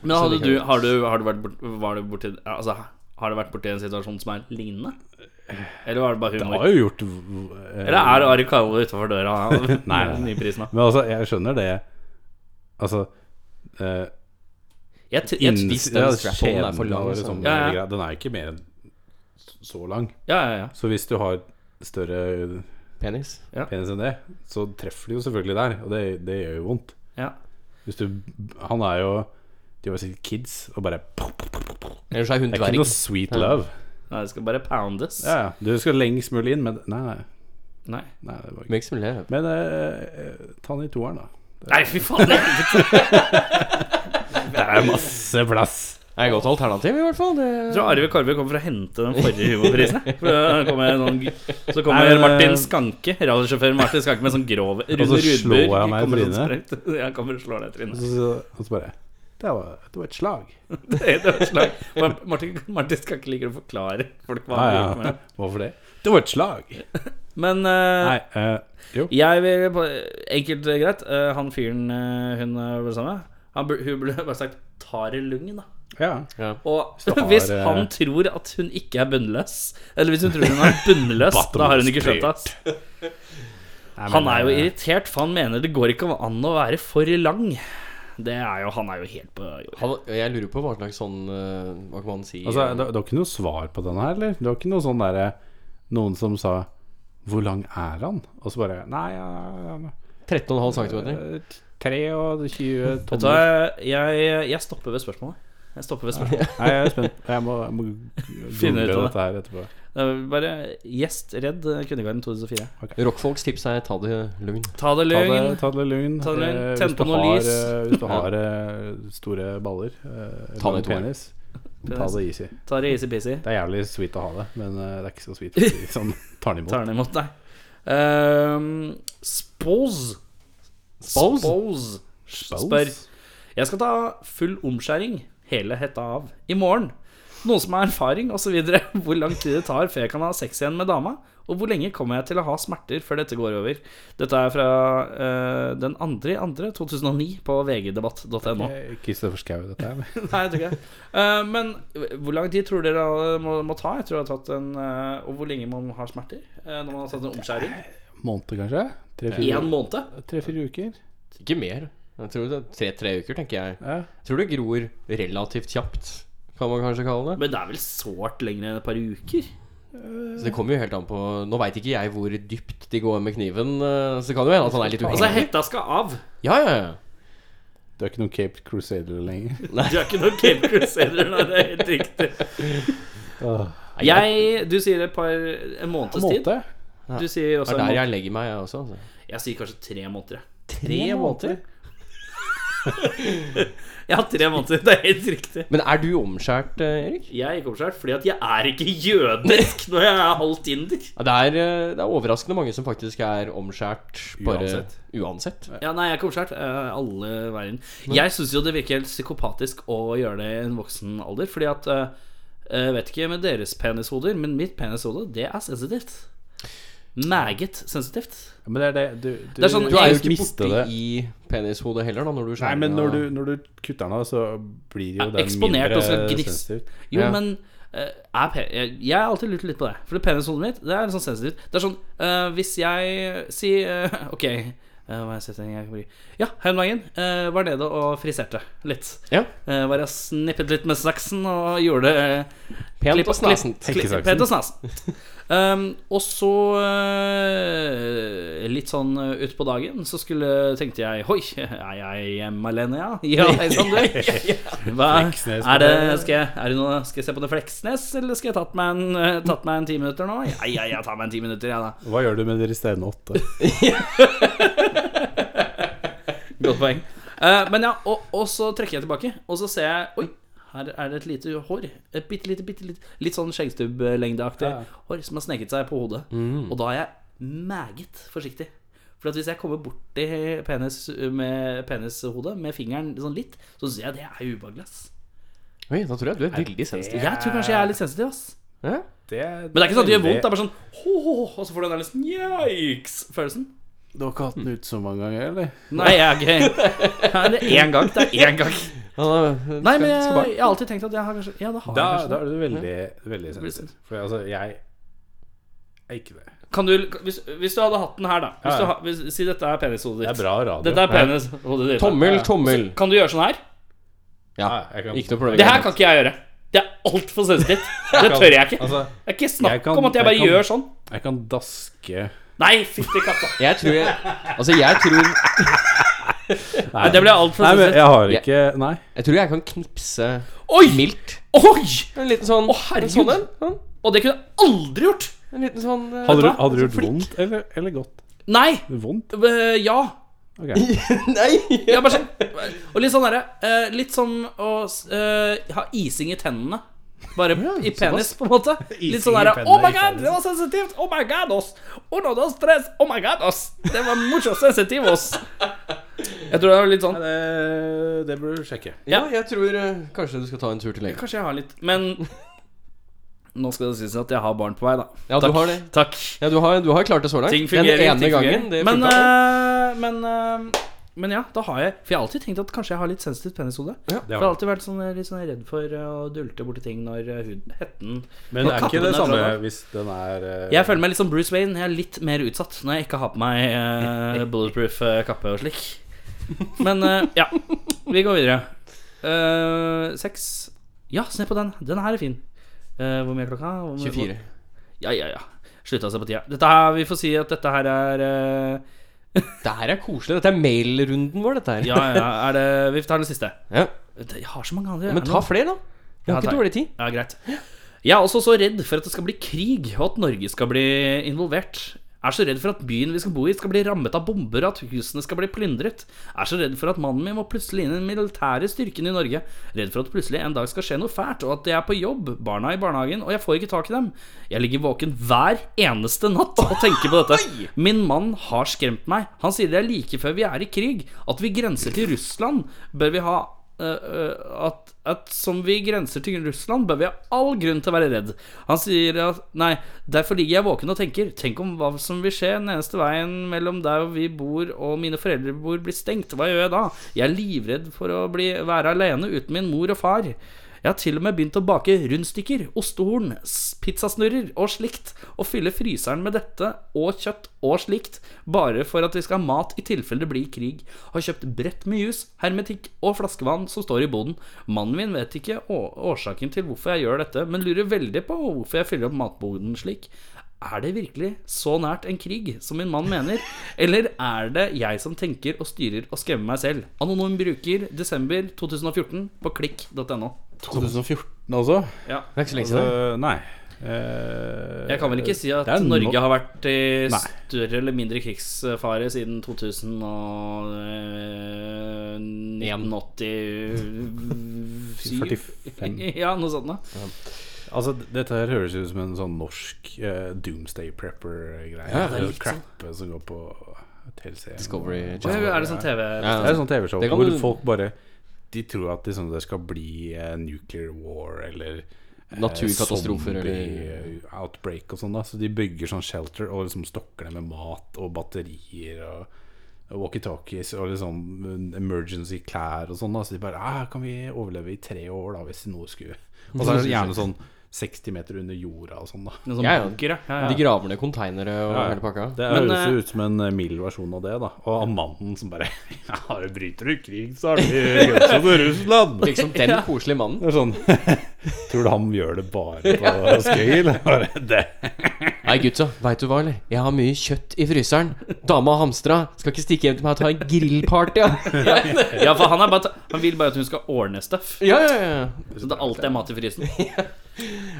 Speaker 2: Men hadde du, har du, har du vært bort, var du borti altså, Har du vært borti en situasjon som er lignende? Eller var det bare
Speaker 4: Det
Speaker 2: humor?
Speaker 4: har jo gjort eh,
Speaker 2: Eller er Ari Kavo utafor [LAUGHS] døra med
Speaker 4: Nei,
Speaker 2: den nye prisen? da?
Speaker 4: Men altså, jeg skjønner det. Altså eh,
Speaker 2: Jeg, t- jeg,
Speaker 4: inn-
Speaker 2: jeg,
Speaker 3: den
Speaker 4: ja,
Speaker 3: strap-on er for
Speaker 4: skjeden
Speaker 3: lang,
Speaker 4: og
Speaker 3: liksom.
Speaker 4: sånne
Speaker 2: Ja, ja.
Speaker 4: greier, Den er jo ikke mer enn så lang.
Speaker 2: ja, ja, ja.
Speaker 4: Så hvis du har større
Speaker 3: Penis.
Speaker 4: penis enn det, så treffer du jo selvfølgelig der, og det, det gjør jo vondt.
Speaker 2: Ja.
Speaker 4: Hvis du Han er jo De var sikkert kids, og bare Det
Speaker 3: Ellers er hun
Speaker 4: er ikke
Speaker 3: dverg.
Speaker 4: noe sweet love.
Speaker 2: Nei, det skal bare poundes.
Speaker 4: Ja, ja. Du skal lengst mulig inn, men Nei, nei.
Speaker 2: Nei.
Speaker 4: nei det var ikke.
Speaker 3: Mix Muller.
Speaker 4: Men eh, eh, ta den i toeren, da.
Speaker 2: Nei, fy faen! det-
Speaker 4: Det er masse plass.
Speaker 3: er et godt alternativ, i hvert fall. Det...
Speaker 2: Jeg tror Arve Karve kom for å hente den forrige humorprisen. jeg. For da kommer noen, gu- så kommer
Speaker 4: Nei, men,
Speaker 2: Martin
Speaker 4: eh,
Speaker 2: Skanke, rallysjåfør Martin Skanke med sånn grov Rune
Speaker 4: så slår
Speaker 2: Rudberg
Speaker 4: jeg meg i
Speaker 2: kommer sånn
Speaker 4: trynet.
Speaker 2: [LAUGHS] sprengt. Jeg kommer og slår deg i
Speaker 4: Og
Speaker 2: trynet.
Speaker 4: så, så, og så bare det var, det var et slag.
Speaker 2: Det er et slag. Mar- Martin, Martin Skanke liker å forklare folk hva han
Speaker 4: Ja,
Speaker 2: driver
Speaker 4: ja.
Speaker 2: med.
Speaker 4: Hvorfor det? Det var et slag.
Speaker 2: Men eh,
Speaker 4: Nei, eh, jo.
Speaker 2: jeg vil på- Enkelt og greit, eh, han fyren eh, hun eh, ble sammen med, han, bur- hun burde bare sagt Tare Lungen, da.
Speaker 4: Ja.
Speaker 3: Ja.
Speaker 2: Og
Speaker 4: Så har,
Speaker 2: [LAUGHS] hvis
Speaker 4: eh,
Speaker 2: han tror at hun ikke er bunnløs, eller hvis hun tror hun
Speaker 4: [LAUGHS]
Speaker 2: er bunnløs, da har hun ikke skjønt det. ass.
Speaker 4: Nei, men,
Speaker 2: Han er jo
Speaker 4: eh,
Speaker 2: irritert, for han mener det går ikke an å være for lang. Det er jo, Han er jo helt på jordet.
Speaker 3: Han, jeg lurer på hva slags sånn eh, Hva kan man si?
Speaker 4: Altså, det, det var ikke noe svar på den her, eller? Det var ikke noe sånn derre Noen som sa 'Hvor lang er han?' Og så bare Nei, ja, ja, ja,
Speaker 3: 13,5 cm.
Speaker 4: eh, 23
Speaker 2: Vet du hva,
Speaker 4: tonner.
Speaker 2: jeg, jeg stopper ved spørsmålet. Jeg stopper ved
Speaker 4: [LAUGHS]
Speaker 2: spørsmålet.
Speaker 4: Nei, jeg er spent. Jeg må, jeg må
Speaker 2: [LAUGHS] Finne
Speaker 4: google
Speaker 2: ut av det.
Speaker 4: dette her etterpå.
Speaker 2: Det er Bare gjest redd eh, Kundegarden 2004.
Speaker 3: Rockfolks tips er ta det lugn.
Speaker 2: Ta
Speaker 4: Ta det,
Speaker 2: det løgn.
Speaker 4: ta det lugn.
Speaker 2: Ta det lugn.
Speaker 4: Eh, hvis
Speaker 2: Tenn på
Speaker 4: du
Speaker 2: noe
Speaker 4: har,
Speaker 2: lys.
Speaker 4: eh, Hvis du har eh, store baller, eh,
Speaker 3: Ta
Speaker 4: lang
Speaker 3: det i toeren.
Speaker 4: penis, ta det easy.
Speaker 2: Ta det easy-peasy.
Speaker 4: Det er jævlig sweet å ha det, men eh, det er ikke så sweet å si sånn. Tar den imot.
Speaker 2: Tar den imot deg. Ehm, Spose.
Speaker 3: Spose?
Speaker 2: Spose. Spør.
Speaker 4: Balls?
Speaker 2: Jeg skal ta full omskjæring, hele hetta av, i morgen. Noe som er erfaring osv. [LAUGHS] Hvor lang tid det tar før jeg kan ha sex igjen med dama? Og hvor lenge kommer jeg til å ha smerter før dette går over? Dette er fra eh, den andre i andre 2009 på vgdebatt.no.
Speaker 4: Eh, Kristoffer Schou, dette her. eller?
Speaker 2: [LAUGHS] Nei, jeg tror ikke det. Eh, men hvor lang tid tror dere det må, må ta? Jeg tror det har tatt en eh, Og hvor lenge man har smerter eh, når man har tatt en omskjæring?
Speaker 4: Måned, kanskje?
Speaker 2: Én
Speaker 4: Tre-fire
Speaker 2: måned?
Speaker 4: tre-fire uker?
Speaker 3: Ikke mer. Jeg tror det er tre, tre uker, tenker jeg.
Speaker 4: Ja.
Speaker 3: Jeg tror det gror relativt kjapt, kan man kanskje kalle det.
Speaker 2: Men det er vel sårt lenger enn et par uker?
Speaker 3: Så det kommer jo helt an på Nå veit ikke jeg hvor dypt de går med kniven, eh, så det kan jo hende at han er litt
Speaker 2: Altså,
Speaker 3: uheldig.
Speaker 2: hetta skal av.
Speaker 3: Ja, ja, ja.
Speaker 4: Du er ikke noen Cape Crusader lenger.
Speaker 2: Du er ikke noen Cape Crusader, nei, det er helt riktig. Jeg, du sier et par en måneds tid.
Speaker 4: Måte?
Speaker 2: Du sier
Speaker 3: Det er
Speaker 2: også
Speaker 3: der
Speaker 2: en måned.
Speaker 3: jeg legger meg, jeg også. Altså.
Speaker 2: Jeg sier kanskje tre måneder. jeg.
Speaker 3: Tre
Speaker 2: Ja, tre måneder. Det er helt riktig.
Speaker 3: Men er du omskjært, eh, Erik?
Speaker 2: Jeg gikk omskjært fordi at jeg er ikke jødisk når jeg er halvt inder.
Speaker 3: Ja, det, er, eh, det er overraskende mange som faktisk er omskjært bare uansett.
Speaker 4: Uansett.
Speaker 2: Ja, nei, jeg er ikke omskjært. eh, Alle verden. Jeg syns jo det virker helt psykopatisk å gjøre det i en voksen alder, fordi at eh, jeg vet ikke med deres penishoder, men mitt penishode, det er sensitivt. Meget sensitivt.
Speaker 4: Men det er det Du, du,
Speaker 2: Det er sånn-
Speaker 3: Du er
Speaker 2: Jeg
Speaker 3: jo ikke
Speaker 4: mister
Speaker 3: borti
Speaker 4: det.
Speaker 3: i penishodet heller, da, når du
Speaker 4: Nei,
Speaker 3: skjærer
Speaker 4: men
Speaker 3: den
Speaker 4: når
Speaker 3: av-
Speaker 4: du, når du kutter den av, så blir jo
Speaker 2: Ja,
Speaker 4: den
Speaker 2: eksponert
Speaker 4: mindre
Speaker 2: og så gniss-
Speaker 4: sensitiv.
Speaker 2: Jo,
Speaker 3: Ja.
Speaker 2: men eh, er pen. Jeg, jeg har alltid lurt litt på det. For det penishåndet mitt Det er litt sånn sensitivt. Det er sånn eh, Hvis jeg sier eh, [LAUGHS] Ok, eh, hva er setningen jeg kan bruke? Ja, her om dagen eh, var nede og friserte litt.
Speaker 3: Ja.
Speaker 2: Eh, var jeg snippet litt med saksen og gjorde eh,
Speaker 3: Pent
Speaker 2: Klipp-
Speaker 3: og snasen.
Speaker 2: klipp- klipp-
Speaker 4: Tenkesaksen.
Speaker 2: Pent og snasen. Um, og så eh, litt sånn eh, utpå dagen så skulle, tenkte jeg Hoi, er jeg hjemme alene, ja? [LAUGHS] Ja, hei sann,
Speaker 4: [LAUGHS]
Speaker 2: du. Hva,
Speaker 4: Fleksnes på
Speaker 2: er, det,
Speaker 4: det.
Speaker 2: skal, jeg, er det noe, skal jeg se på det Fleksnes, eller skal jeg tatt meg en, eh, tatt meg en ti minutter nå? Ja, ja, jeg tar meg en ti minutter, jeg, da.
Speaker 4: Hva gjør du med de resterende [LAUGHS] åtte?
Speaker 2: Godt poeng. Eh, men ja, og, og så trekker jeg tilbake, og så ser jeg Oi, her er det et lite hår. Et bitte lite, bitte lite Litt sånn skjeggstubblengdeaktig
Speaker 4: Ja. Mm.
Speaker 2: hår som har sneket seg på hodet. Og da er jeg meget forsiktig. For at hvis jeg kommer borti penis med penishodet med fingeren sånn litt, så syns jeg det er ubehagelig. ass.
Speaker 3: [LAUGHS] Oi, da tror jeg du er veldig sensitiv.
Speaker 2: Jeg tror kanskje jeg er litt sensitiv, ass.
Speaker 3: Ja.
Speaker 4: Det,
Speaker 2: Men det er ikke sånn at det gjør vondt. Det er bare sånn ho, ho, ho, Og så får du den der liksom yikes-følelsen.
Speaker 4: Du har ikke hatt den ut så mange ganger, eller?
Speaker 2: Nei, jeg er ikke Nei, Det er én gang. Det er én gang.
Speaker 3: Ja,
Speaker 2: Nei, men jeg,
Speaker 3: skal bare-
Speaker 2: jeg har alltid tenkt at jeg har kanskje Ja, det har
Speaker 4: Da,
Speaker 2: jeg kanskje.
Speaker 4: da er du veldig, veldig
Speaker 2: blir
Speaker 4: sensitiv. For altså, jeg er ikke det.
Speaker 2: Kan du, hvis, hvis du hadde hatt den her, da. Hvis
Speaker 4: Ja, ja.
Speaker 2: du ha, hvis, si dette er penishodet
Speaker 4: Det
Speaker 2: ditt.
Speaker 4: er bra radio.
Speaker 2: Dette er penishodet ditt.
Speaker 3: Tommel, tommel.
Speaker 2: Kan du gjøre sånn her?
Speaker 3: Ja.
Speaker 4: Ja, jeg kan-
Speaker 3: Ikke noe problem.
Speaker 2: Det her kan ikke jeg gjøre. Det er altfor
Speaker 4: [LAUGHS]
Speaker 2: sensitivt. Det
Speaker 4: kan-
Speaker 2: tør jeg ikke.
Speaker 4: Altså,
Speaker 2: Det er ikke
Speaker 4: jeg
Speaker 2: snakk
Speaker 4: kan-
Speaker 2: om at jeg
Speaker 4: jeg
Speaker 2: bare
Speaker 4: kan-
Speaker 2: gjør sånn.
Speaker 4: jeg kan daske
Speaker 2: Nei, fytti katta.
Speaker 3: Jeg tror jeg Altså, jeg tror
Speaker 2: Nei, det ble altfor
Speaker 4: Nei, men
Speaker 2: sensitivt.
Speaker 4: jeg har ikke Nei.
Speaker 3: Jeg tror jeg kan knipse
Speaker 2: Oi!
Speaker 3: mildt.
Speaker 2: Oi!
Speaker 3: En liten sånn
Speaker 2: Å, herregud.
Speaker 3: En sånn en. Sånn.
Speaker 2: Og det kunne jeg aldri gjort.
Speaker 3: En liten sånn eh,
Speaker 4: Hadde du,
Speaker 3: da.
Speaker 4: hadde du gjort vondt eller, eller godt?
Speaker 2: Nei.
Speaker 4: Vondt?
Speaker 2: Øh, ja.
Speaker 4: Ok.
Speaker 3: Nei!
Speaker 2: Jeg bare sånn. Og litt sånn derre øh, Litt som å øh, ha ising i tennene. Bare i penis, på en
Speaker 4: [LAUGHS]
Speaker 2: måte. Litt sånn
Speaker 4: i
Speaker 2: derre
Speaker 4: tennene,
Speaker 2: Oh my
Speaker 4: i
Speaker 2: god,
Speaker 4: penis.
Speaker 2: det var sensitivt! Oh my god, oss! Oh no, det var stress! Oh my god, oss! Det var morsomt sensitivt, oss! Jeg tror det var litt sånn.
Speaker 4: Eh, Det, det burde du sjekke.
Speaker 3: [LAUGHS] Ja, jeg tror eh, kanskje du skal ta en tur til legen.
Speaker 2: Kanskje jeg har litt Men nå skal det sies at jeg har barn på vei, da.
Speaker 3: Ja, du har det.
Speaker 2: Takk.
Speaker 3: Ja, du har, du har klart det så langt.
Speaker 2: Ting fungerer.
Speaker 3: Den ene
Speaker 2: ting fungerer.
Speaker 3: gangen. Det
Speaker 2: men,
Speaker 3: funka.
Speaker 2: eh, men, eh, men ja, da har jeg For jeg har alltid tenkt at kanskje jeg har litt sensitivt penishode.
Speaker 3: Ja,
Speaker 2: for jeg har alltid vært sånn, litt sånn redd for eh, å dulte borti ting når eh, huden hetten
Speaker 4: Men det er ikke det
Speaker 2: katten er
Speaker 4: samme
Speaker 2: fra-
Speaker 4: hvis den er eh,
Speaker 2: Jeg føler meg litt som Bruce Wayne. Jeg er litt mer utsatt når jeg ikke har på meg
Speaker 3: [LAUGHS]
Speaker 2: eh, bulletproof eh, kappe og slik. Men eh, ja, vi går videre. Uh, Seks. Ja, se på den. Den her er fin. Eh, hvor mye er klokka? Hvor mye-
Speaker 3: 24.
Speaker 2: Ja, ja, ja. Slutta seg på tida. Dette her, Vi får si at dette her er eh,
Speaker 3: Det her er koselig. Dette er mailrunden vår, dette her.
Speaker 2: Ja, ja, er det Vi tar den siste.
Speaker 3: Ja.
Speaker 2: Det- Jeg har så mange andre.
Speaker 3: Men
Speaker 2: Er det
Speaker 3: ta
Speaker 2: noe?
Speaker 3: flere, da. Vi
Speaker 2: Ja,
Speaker 3: har ikke
Speaker 2: takk.
Speaker 3: dårlig tid.
Speaker 2: Ja, greit. Jeg er også så redd for at det skal bli krig, og at Norge skal bli involvert. Er så redd for at byen vi skal bo i, skal bli rammet av bomber, og at husene skal bli plyndret. Er så redd for at mannen min må plutselig inn i den militære styrken i Norge. Redd for at plutselig en dag skal skje noe fælt, og at jeg er på jobb, barna i barnehagen, og jeg får ikke tak i dem. Jeg ligger våken hver eneste natt og tenker på dette. Min mann har skremt meg. Han sier det er like før vi er i krig, at vi grenser til Russland, bør vi ha Eh, eh, at, at som vi grenser til Russland, bør vi ha all grunn til å være redd. Han sier at Nei, derfor ligger jeg våken og tenker. Tenk om hva som vil skje. Den eneste veien mellom der vi bor og mine foreldre bor, blir stengt. Hva gjør jeg da? Jeg er livredd for å bli, være alene uten min mor og far. Jeg har til og med begynt å bake rundstykker, ostehorn, s- pizzasnurrer og slikt, og fylle fryseren med dette og kjøtt og slikt, bare for at vi skal ha mat i tilfelle det blir krig. Har kjøpt brett med jus, hermetikk og flaskevann som står i boden. Mannen min vet ikke å- årsaken til hvorfor jeg gjør dette, men lurer veldig på hvorfor jeg fyller opp matboden slik. Er det virkelig så nært en krig som min mann mener? Eller er det jeg som tenker og styrer og skremmer meg selv? Anonym bruker desember 2014 på klikk.no.
Speaker 4: 2014 også?
Speaker 2: Ja.
Speaker 3: Det er ikke så lenge
Speaker 4: Så,
Speaker 3: siden.
Speaker 4: nei. Eh,
Speaker 2: Jeg kan vel ikke si at
Speaker 4: det er no-
Speaker 2: Norge har vært i
Speaker 4: Nei.
Speaker 2: større eller mindre krigsfare siden eh, 2087
Speaker 4: 45.
Speaker 2: [LAUGHS] Ja, noe sånt noe.
Speaker 4: Altså, dette her høres ut som en sånn norsk eh, doomsday prepper-greie.
Speaker 3: Ja, det er
Speaker 4: Sånn
Speaker 2: litt sånn.
Speaker 4: Crappe som går på TLC.
Speaker 3: Discovery
Speaker 2: Hva
Speaker 3: Channel.
Speaker 2: Er det sånn TV?
Speaker 3: Ja.
Speaker 4: Det er et sånt TV-show
Speaker 3: Det kan
Speaker 4: hvor
Speaker 3: du-
Speaker 4: folk bare De tror at liksom, det skal bli eh, nuclear war eller eh,
Speaker 3: Naturkatastrofer
Speaker 4: zombie,
Speaker 3: eller-
Speaker 4: eh, Outbreak og sånn, da. Så de bygger sånn shelter og liksom stokker det med mat og batterier og og walkietalkies og liksom eh, emergency [LAUGHS] klær og sånn. da Så de bare ah, 'Kan vi overleve i tre år, da, hvis noe skulle Og så er det gjerne sånn 60 meter under jorda og sånn, da.
Speaker 2: Noe sånn
Speaker 3: Ja, ja.
Speaker 2: bunker, ja.
Speaker 3: [LAUGHS]
Speaker 2: ja,
Speaker 3: De
Speaker 2: ja.
Speaker 3: graver ned konteinere og
Speaker 4: Ja, ja.
Speaker 3: hele pakka.
Speaker 4: Det
Speaker 2: Men,
Speaker 4: høres
Speaker 2: eh,
Speaker 4: jo ut som en eh, mild versjon av det, da. Og av mannen som bare [LAUGHS] Ja, det bryter du krig, så
Speaker 3: [LAUGHS]
Speaker 4: har vi grensa til Russland!
Speaker 3: Liksom
Speaker 2: [LAUGHS]
Speaker 3: den koselige mannen.
Speaker 4: Det er sånn [LAUGHS] Tror du han gjør det bare på skøy, eller? [LAUGHS] Bare det.
Speaker 3: Nei, gutta, veit du hva, eller? Jeg har mye kjøtt i fryseren. Dama har hamstra. Skal ikke stikke hjem til meg og ta en grillparty, ja.
Speaker 2: [LAUGHS] ja, for han, er bare, han vil bare at hun skal ordne stuff.
Speaker 3: Ja, ja, ja.
Speaker 2: Så det alltid er mat
Speaker 3: [LAUGHS]
Speaker 2: i frysen.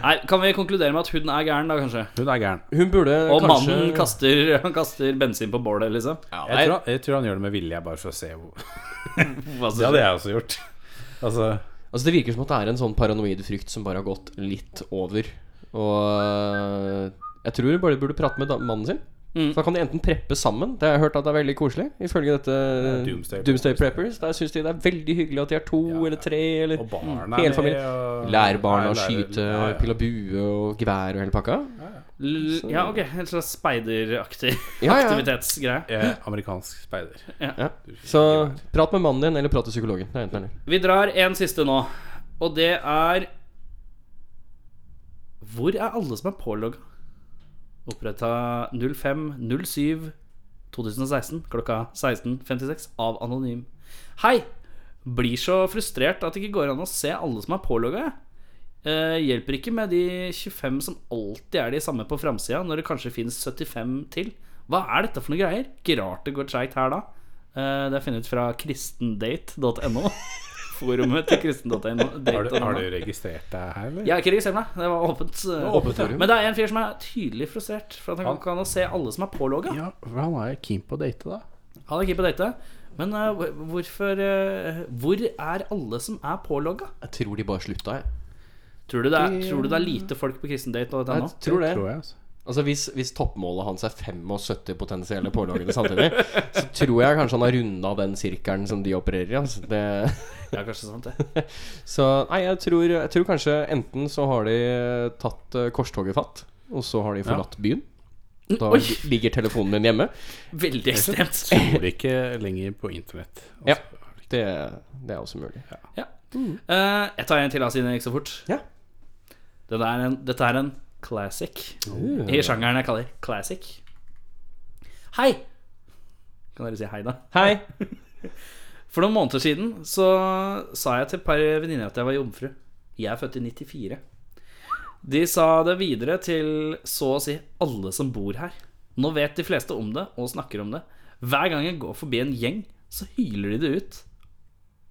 Speaker 2: Nei, kan vi konkludere med at hun er gæren, da, kanskje?
Speaker 4: Hun er gæren.
Speaker 3: Hun burde
Speaker 2: Og
Speaker 3: kanskje
Speaker 2: mannen kaster, [LAUGHS] han kaster bensin på bålet, liksom?
Speaker 3: ja,
Speaker 4: Jeg tror,
Speaker 3: nei,
Speaker 4: han- jeg tror han gjør det med vilje, bare for å se hvor
Speaker 2: Hva
Speaker 4: Det
Speaker 2: så-
Speaker 4: hadde jeg også gjort. Altså
Speaker 3: Altså Det virker som at det er en sånn paranoid frykt som bare har gått litt over. Og øh, jeg tror du bare burde prate med da- mannen sin.
Speaker 2: Mm.
Speaker 3: Så da kan de enten preppe sammen. Det har jeg hørt at det er veldig koselig. Ifølge dette
Speaker 4: Doomsday
Speaker 3: Doomsday Preppers. Der syns de det er veldig hyggelig at de er to
Speaker 4: Ja, ja.
Speaker 3: eller tre eller
Speaker 4: Og barna
Speaker 3: Hele
Speaker 4: er
Speaker 3: familien.
Speaker 4: og-
Speaker 3: Lærer barna
Speaker 4: Ja,
Speaker 3: å
Speaker 4: lærer-
Speaker 3: skyte,
Speaker 4: ja, ja.
Speaker 3: pil og bue og gevær og hele pakka.
Speaker 2: L- Ja, ok. En slags speideraktig
Speaker 3: Ja, ja.
Speaker 2: aktivitetsgreie.
Speaker 4: Jeg er Amerikansk speider.
Speaker 3: Så prat med mannen din, eller prat til psykologen. Det er enten eller.
Speaker 2: Vi drar en siste nå, og det er Hvor er alle som er pålogga? Oppretta 05.07.2016 klokka 16.56 av Anonym. Hei! Blir så frustrert at det ikke går an å se alle som er pålogga. jeg. Eh, hjelper ikke med de 25 som alltid er de samme på framsida, når det kanskje finnes 75 til. Hva er dette for noe greier? Ikke rart det går treigt her, da. Eh, det er funnet fra
Speaker 4: [LAUGHS]
Speaker 2: kristendate.no. Forumet til kristen.no.
Speaker 4: Har du, har du registrert deg her, eller?
Speaker 2: Jeg er ikke registrert meg. Det var åpent. eh,
Speaker 4: åpent forum.
Speaker 2: Men det er en fyr som er tydelig frustrert for at han ikke kan se alle som er pålogga.
Speaker 4: Ja, for han er keen på å date, da.
Speaker 2: Han er ikke på date. Men eh, hvor- hvorfor eh, Hvor er alle som er pålogga?
Speaker 3: Jeg tror de bare slutta, jeg.
Speaker 2: Tror du det er, tror du det er lite folk på kristendate.no?
Speaker 3: Jeg tror det.
Speaker 4: Tror jeg, altså.
Speaker 3: Altså hvis, hvis toppmålet hans er 75 potensielle påloggede samtidig, så tror jeg kanskje han har runda den sirkelen som de opererer i. Altså. Det,
Speaker 2: Ja, kanskje sant det.
Speaker 3: så nei, jeg tror, jeg tror kanskje enten så har de tatt eh, korstoget fatt, og så har de forlatt byen.
Speaker 4: Mm,
Speaker 3: Da
Speaker 2: Oi!
Speaker 3: ligger telefonen min hjemme.
Speaker 2: Veldig ekstremt.
Speaker 4: Bor ikke lenger på internett.
Speaker 3: Ja. Det, det er også mulig.
Speaker 2: Ja. Eh, jeg tar en til, da, siden det gikk så fort.
Speaker 3: Ja.
Speaker 2: Den er en, dette er en classic. I sjangeren jeg kaller classic. Hei! Kan dere si hei, da?
Speaker 3: Hei!
Speaker 2: [LAUGHS] For noen måneder siden så sa jeg til et par venninner at jeg var jomfru. Jeg er født i 94. De sa det videre til så å si alle som bor her. Nå vet de fleste om det og snakker om det. Hver gang jeg går forbi en gjeng, så hyler de det ut.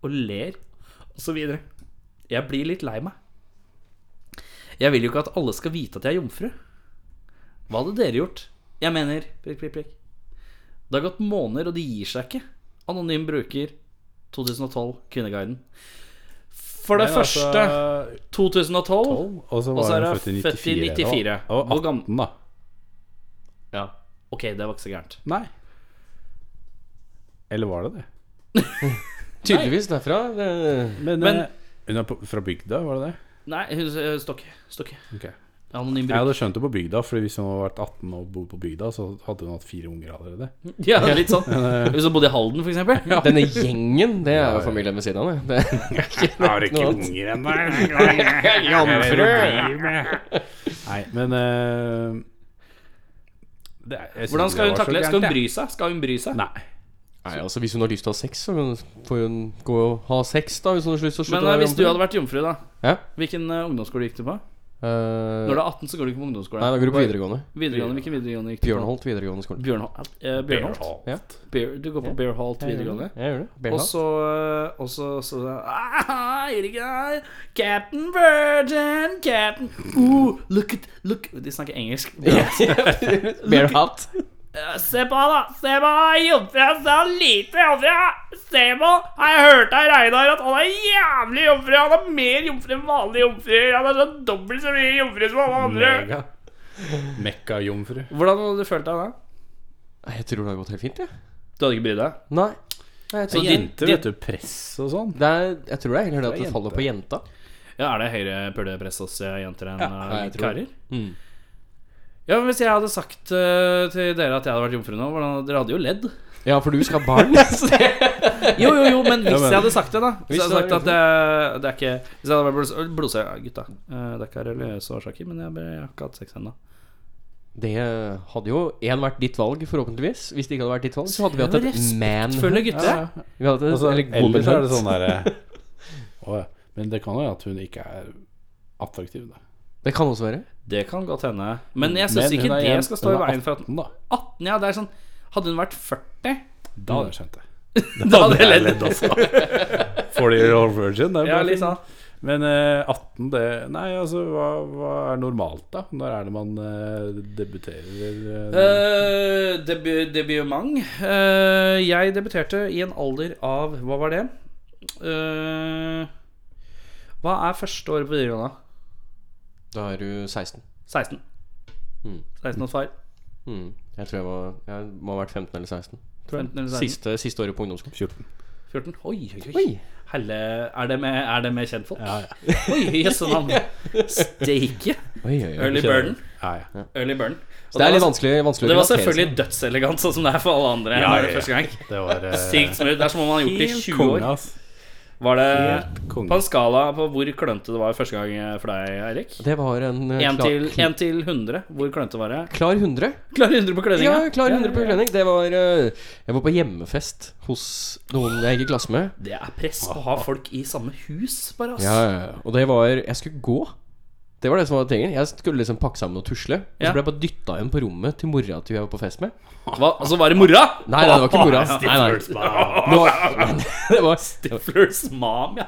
Speaker 2: Og ler, og så videre. Jeg blir litt lei meg. Jeg vil jo ikke at alle skal vite at jeg er jomfru. Hva hadde dere gjort? Jeg mener prikk, prikk, prikk. Det har gått måneder, og de gir seg ikke. Anonym bruker 2012 Kvinneguiden. For det første
Speaker 4: altså-
Speaker 2: 2012
Speaker 4: Og så
Speaker 2: Og så
Speaker 4: var
Speaker 2: er
Speaker 4: hun
Speaker 2: det
Speaker 4: født i
Speaker 2: født i
Speaker 4: 94.
Speaker 2: 94.
Speaker 4: da. Og
Speaker 2: Hvor gammel-
Speaker 4: 18, da.
Speaker 2: Ja, ok, det var ikke så gærent.
Speaker 4: Nei. Eller var det det?
Speaker 3: Tydeligvis derfra. Det,
Speaker 4: Men,
Speaker 2: Men-
Speaker 4: eh, hun er på, fra bygda, var det det?
Speaker 2: Nei, hun eh, Stokke. Stokke.
Speaker 4: Ok.
Speaker 2: Anonym
Speaker 4: Jeg
Speaker 2: bruk.
Speaker 4: hadde skjønt det på bygda, Fordi hvis hun hadde vært 18 og bodd på bygda, så hadde hun hatt fire unger allerede.
Speaker 2: [LAUGHS] Ja, litt sånn. Hvis hun bodde i Halden, for eksempel.
Speaker 3: denne gjengen, det er jo familien ved siden av. det. [LAUGHS] Det.
Speaker 4: Har
Speaker 3: ikke Noe annet.
Speaker 4: unger ennå.
Speaker 3: Jomfru!
Speaker 4: Nei, men eh, det er- jeg synes
Speaker 2: Hvordan
Speaker 4: det var
Speaker 2: skal hun
Speaker 4: så
Speaker 2: takle?
Speaker 4: gærent,
Speaker 2: Skal hun
Speaker 4: jeg.
Speaker 2: bry seg? Skal hun bry seg?
Speaker 4: Nei.
Speaker 3: Nei, altså Hvis hun har lyst til å ha sex, så får hun gå og ha sex. da Hvis hun har lyst til å slutte
Speaker 2: Men eh, hvis du hadde vært jomfru, da,
Speaker 3: ja?
Speaker 2: hvilken eh, ungdomsskole gikk du på?
Speaker 3: Eh,
Speaker 2: Når du er 18, så går du ikke på ungdomsskole.
Speaker 3: Nei, da går du på videregående.
Speaker 2: Videregående, Hvilken videregående gikk du på?
Speaker 3: Bjørnholt videregående skole.
Speaker 2: Bjørnholt. Eh, Bjørnholt.
Speaker 4: Bearhall.
Speaker 3: Ja.
Speaker 2: Bear, du går på
Speaker 3: Jeg gjør
Speaker 2: Bearholt
Speaker 3: det.
Speaker 2: videregående.
Speaker 3: Jeg gjør det.
Speaker 2: Og
Speaker 3: Bjørnholt.
Speaker 2: så Og så så ah, Erik her. Captain Virgin, Captain Ooh, look at Look De snakker engelsk. [LAUGHS]
Speaker 3: Bjørnholt.
Speaker 2: Se på han, da. Se på han jomfra. Så lite jomfra. Se på han. Har jeg hørt av Reinar at han er jævlig jomfru? Han er mer jomfru enn vanlige jomfruer. Han er sånn dobbelt så mye jomfru som alle andre.
Speaker 4: Mega. Mekka-jomfru.
Speaker 2: Hvordan hadde du følt deg da?
Speaker 3: [LAUGHS] Nei, Jeg tror det har gått helt fint, jeg.
Speaker 2: Du hadde ikke brydd deg?
Speaker 3: Nei. Nei, jeg,
Speaker 2: Så
Speaker 3: tror,
Speaker 2: din-
Speaker 4: Jenter, vet du. Press og sånn.
Speaker 3: det er, jeg tror det er heller det
Speaker 4: Det
Speaker 3: at
Speaker 4: er
Speaker 3: det faller på jenta.
Speaker 2: Ja, er det høyere pulepress hos eh, jenter enn eh,
Speaker 3: jeg tror det.
Speaker 2: karer? Ja, men Hvis jeg hadde sagt eh, til dere at jeg hadde vært jomfru nå, hvordan, dere hadde jo ledd.
Speaker 3: Ja, for du skal ha [LAUGHS] barn. så det-
Speaker 2: Jo, jo, jo, men hvis jeg hadde sagt det, da. Hvis
Speaker 3: Hvis
Speaker 2: jeg hadde
Speaker 3: du
Speaker 2: sagt
Speaker 3: hadde
Speaker 2: at det, det er ikke Hvis jeg hadde vært blods- blodsø... ja, Gutta, eh, det er ikke av religiøse årsaker, men jeg, jeg har ikke hatt sex ennå.
Speaker 3: det hadde jo én vært ditt valg, forhåpentligvis. Hvis det ikke hadde vært ditt valg, så hadde vi hatt
Speaker 2: Det er
Speaker 3: et
Speaker 2: Følger
Speaker 3: manhunt.
Speaker 2: gutter.
Speaker 3: Vi hadde et,
Speaker 4: Altså,
Speaker 3: eller
Speaker 4: ellers er det
Speaker 3: womanhunt.
Speaker 4: sånn derre Å ja. Men det kan jo være at hun ikke er attraktiv, da.
Speaker 3: Det kan også være.
Speaker 2: Det kan godt hende. Men jeg syns
Speaker 4: Men
Speaker 2: ikke
Speaker 4: hun er
Speaker 2: det
Speaker 4: igjen-
Speaker 2: skal stå
Speaker 4: hun
Speaker 2: i
Speaker 4: er
Speaker 2: veien for at
Speaker 4: 18 da.
Speaker 2: 18, ja, det er sånn Hadde hun vært 40,
Speaker 4: Da hadde jeg skjønt det.
Speaker 2: [LAUGHS] da hadde jeg ledd.
Speaker 4: altså. 40 year old virgin. Det er
Speaker 2: Ja,
Speaker 4: bra
Speaker 2: litt
Speaker 4: film.
Speaker 2: sånn.
Speaker 4: Men eh, 18, det Nei, altså, hva, hva er normalt, da? Når er det man eh, debuterer? eh,
Speaker 2: Eh, debu debutement. Eh, jeg debuterte i en alder av Hva var det? Eh, hva er første året på videregående?
Speaker 3: Da er du 16.
Speaker 2: 16.
Speaker 4: Hmm.
Speaker 3: Mm.
Speaker 2: 16 hos far.
Speaker 3: Mm. Jeg tror jeg, var, jeg må ha vært 15 eller 16. tror jeg.
Speaker 2: 15 eller 16.
Speaker 3: Siste, siste året på ungdomsskolen.
Speaker 4: 14.
Speaker 2: 14. Oi, oi, oi.
Speaker 3: Oi!
Speaker 2: Helle, er det med, er det med kjentfolk?
Speaker 4: Ja, ja.
Speaker 2: [LAUGHS] Oi, jøsse navn. Steike.
Speaker 3: oi, oi, oi.
Speaker 2: Early burden.
Speaker 4: Ja, ja.
Speaker 2: Early burden.
Speaker 3: Så det er litt vanskelig, vanskelig
Speaker 2: Det var
Speaker 3: relatere seg.
Speaker 2: selvfølgelig dødselegant, sånn som det er for alle andre.
Speaker 4: Ja,
Speaker 2: når
Speaker 4: ja,
Speaker 2: det
Speaker 4: ja.
Speaker 2: Første gang
Speaker 4: Det var eh,
Speaker 2: Sykt smooth. Det er som om man har gjort det i 20
Speaker 4: konge,
Speaker 2: år.
Speaker 4: ass.
Speaker 2: Var det
Speaker 4: Helt konge.
Speaker 2: på en skala på hvor klønete det var første gang for deg, Eirik?
Speaker 3: Det var en eh,
Speaker 2: 1
Speaker 3: klar,
Speaker 2: til, en til 100. Hvor klønete var det?
Speaker 3: klar 100.
Speaker 2: Klar 100 på
Speaker 3: Ja,
Speaker 2: kledninga?
Speaker 3: klar 100 på utlending. Det var eh, Jeg var på hjemmefest hos noen jeg gikk i klasse med.
Speaker 2: Det er press å ha folk i samme hus, bare. ass
Speaker 3: Ja, ja, ja. Og det var Jeg skulle gå. Det var det som var tingen. Jeg skulle liksom pakke sammen og tusle. Og
Speaker 2: Ja.
Speaker 3: så ble jeg bare dytta hjem på rommet til mora til jeg var på fest med.
Speaker 2: Hva, altså, var det mora?
Speaker 3: Nei, nei, det var ikke mora. Nei, nei. Det
Speaker 2: [LAUGHS]
Speaker 3: var, [LAUGHS] det var
Speaker 2: Stiflers mam, ja.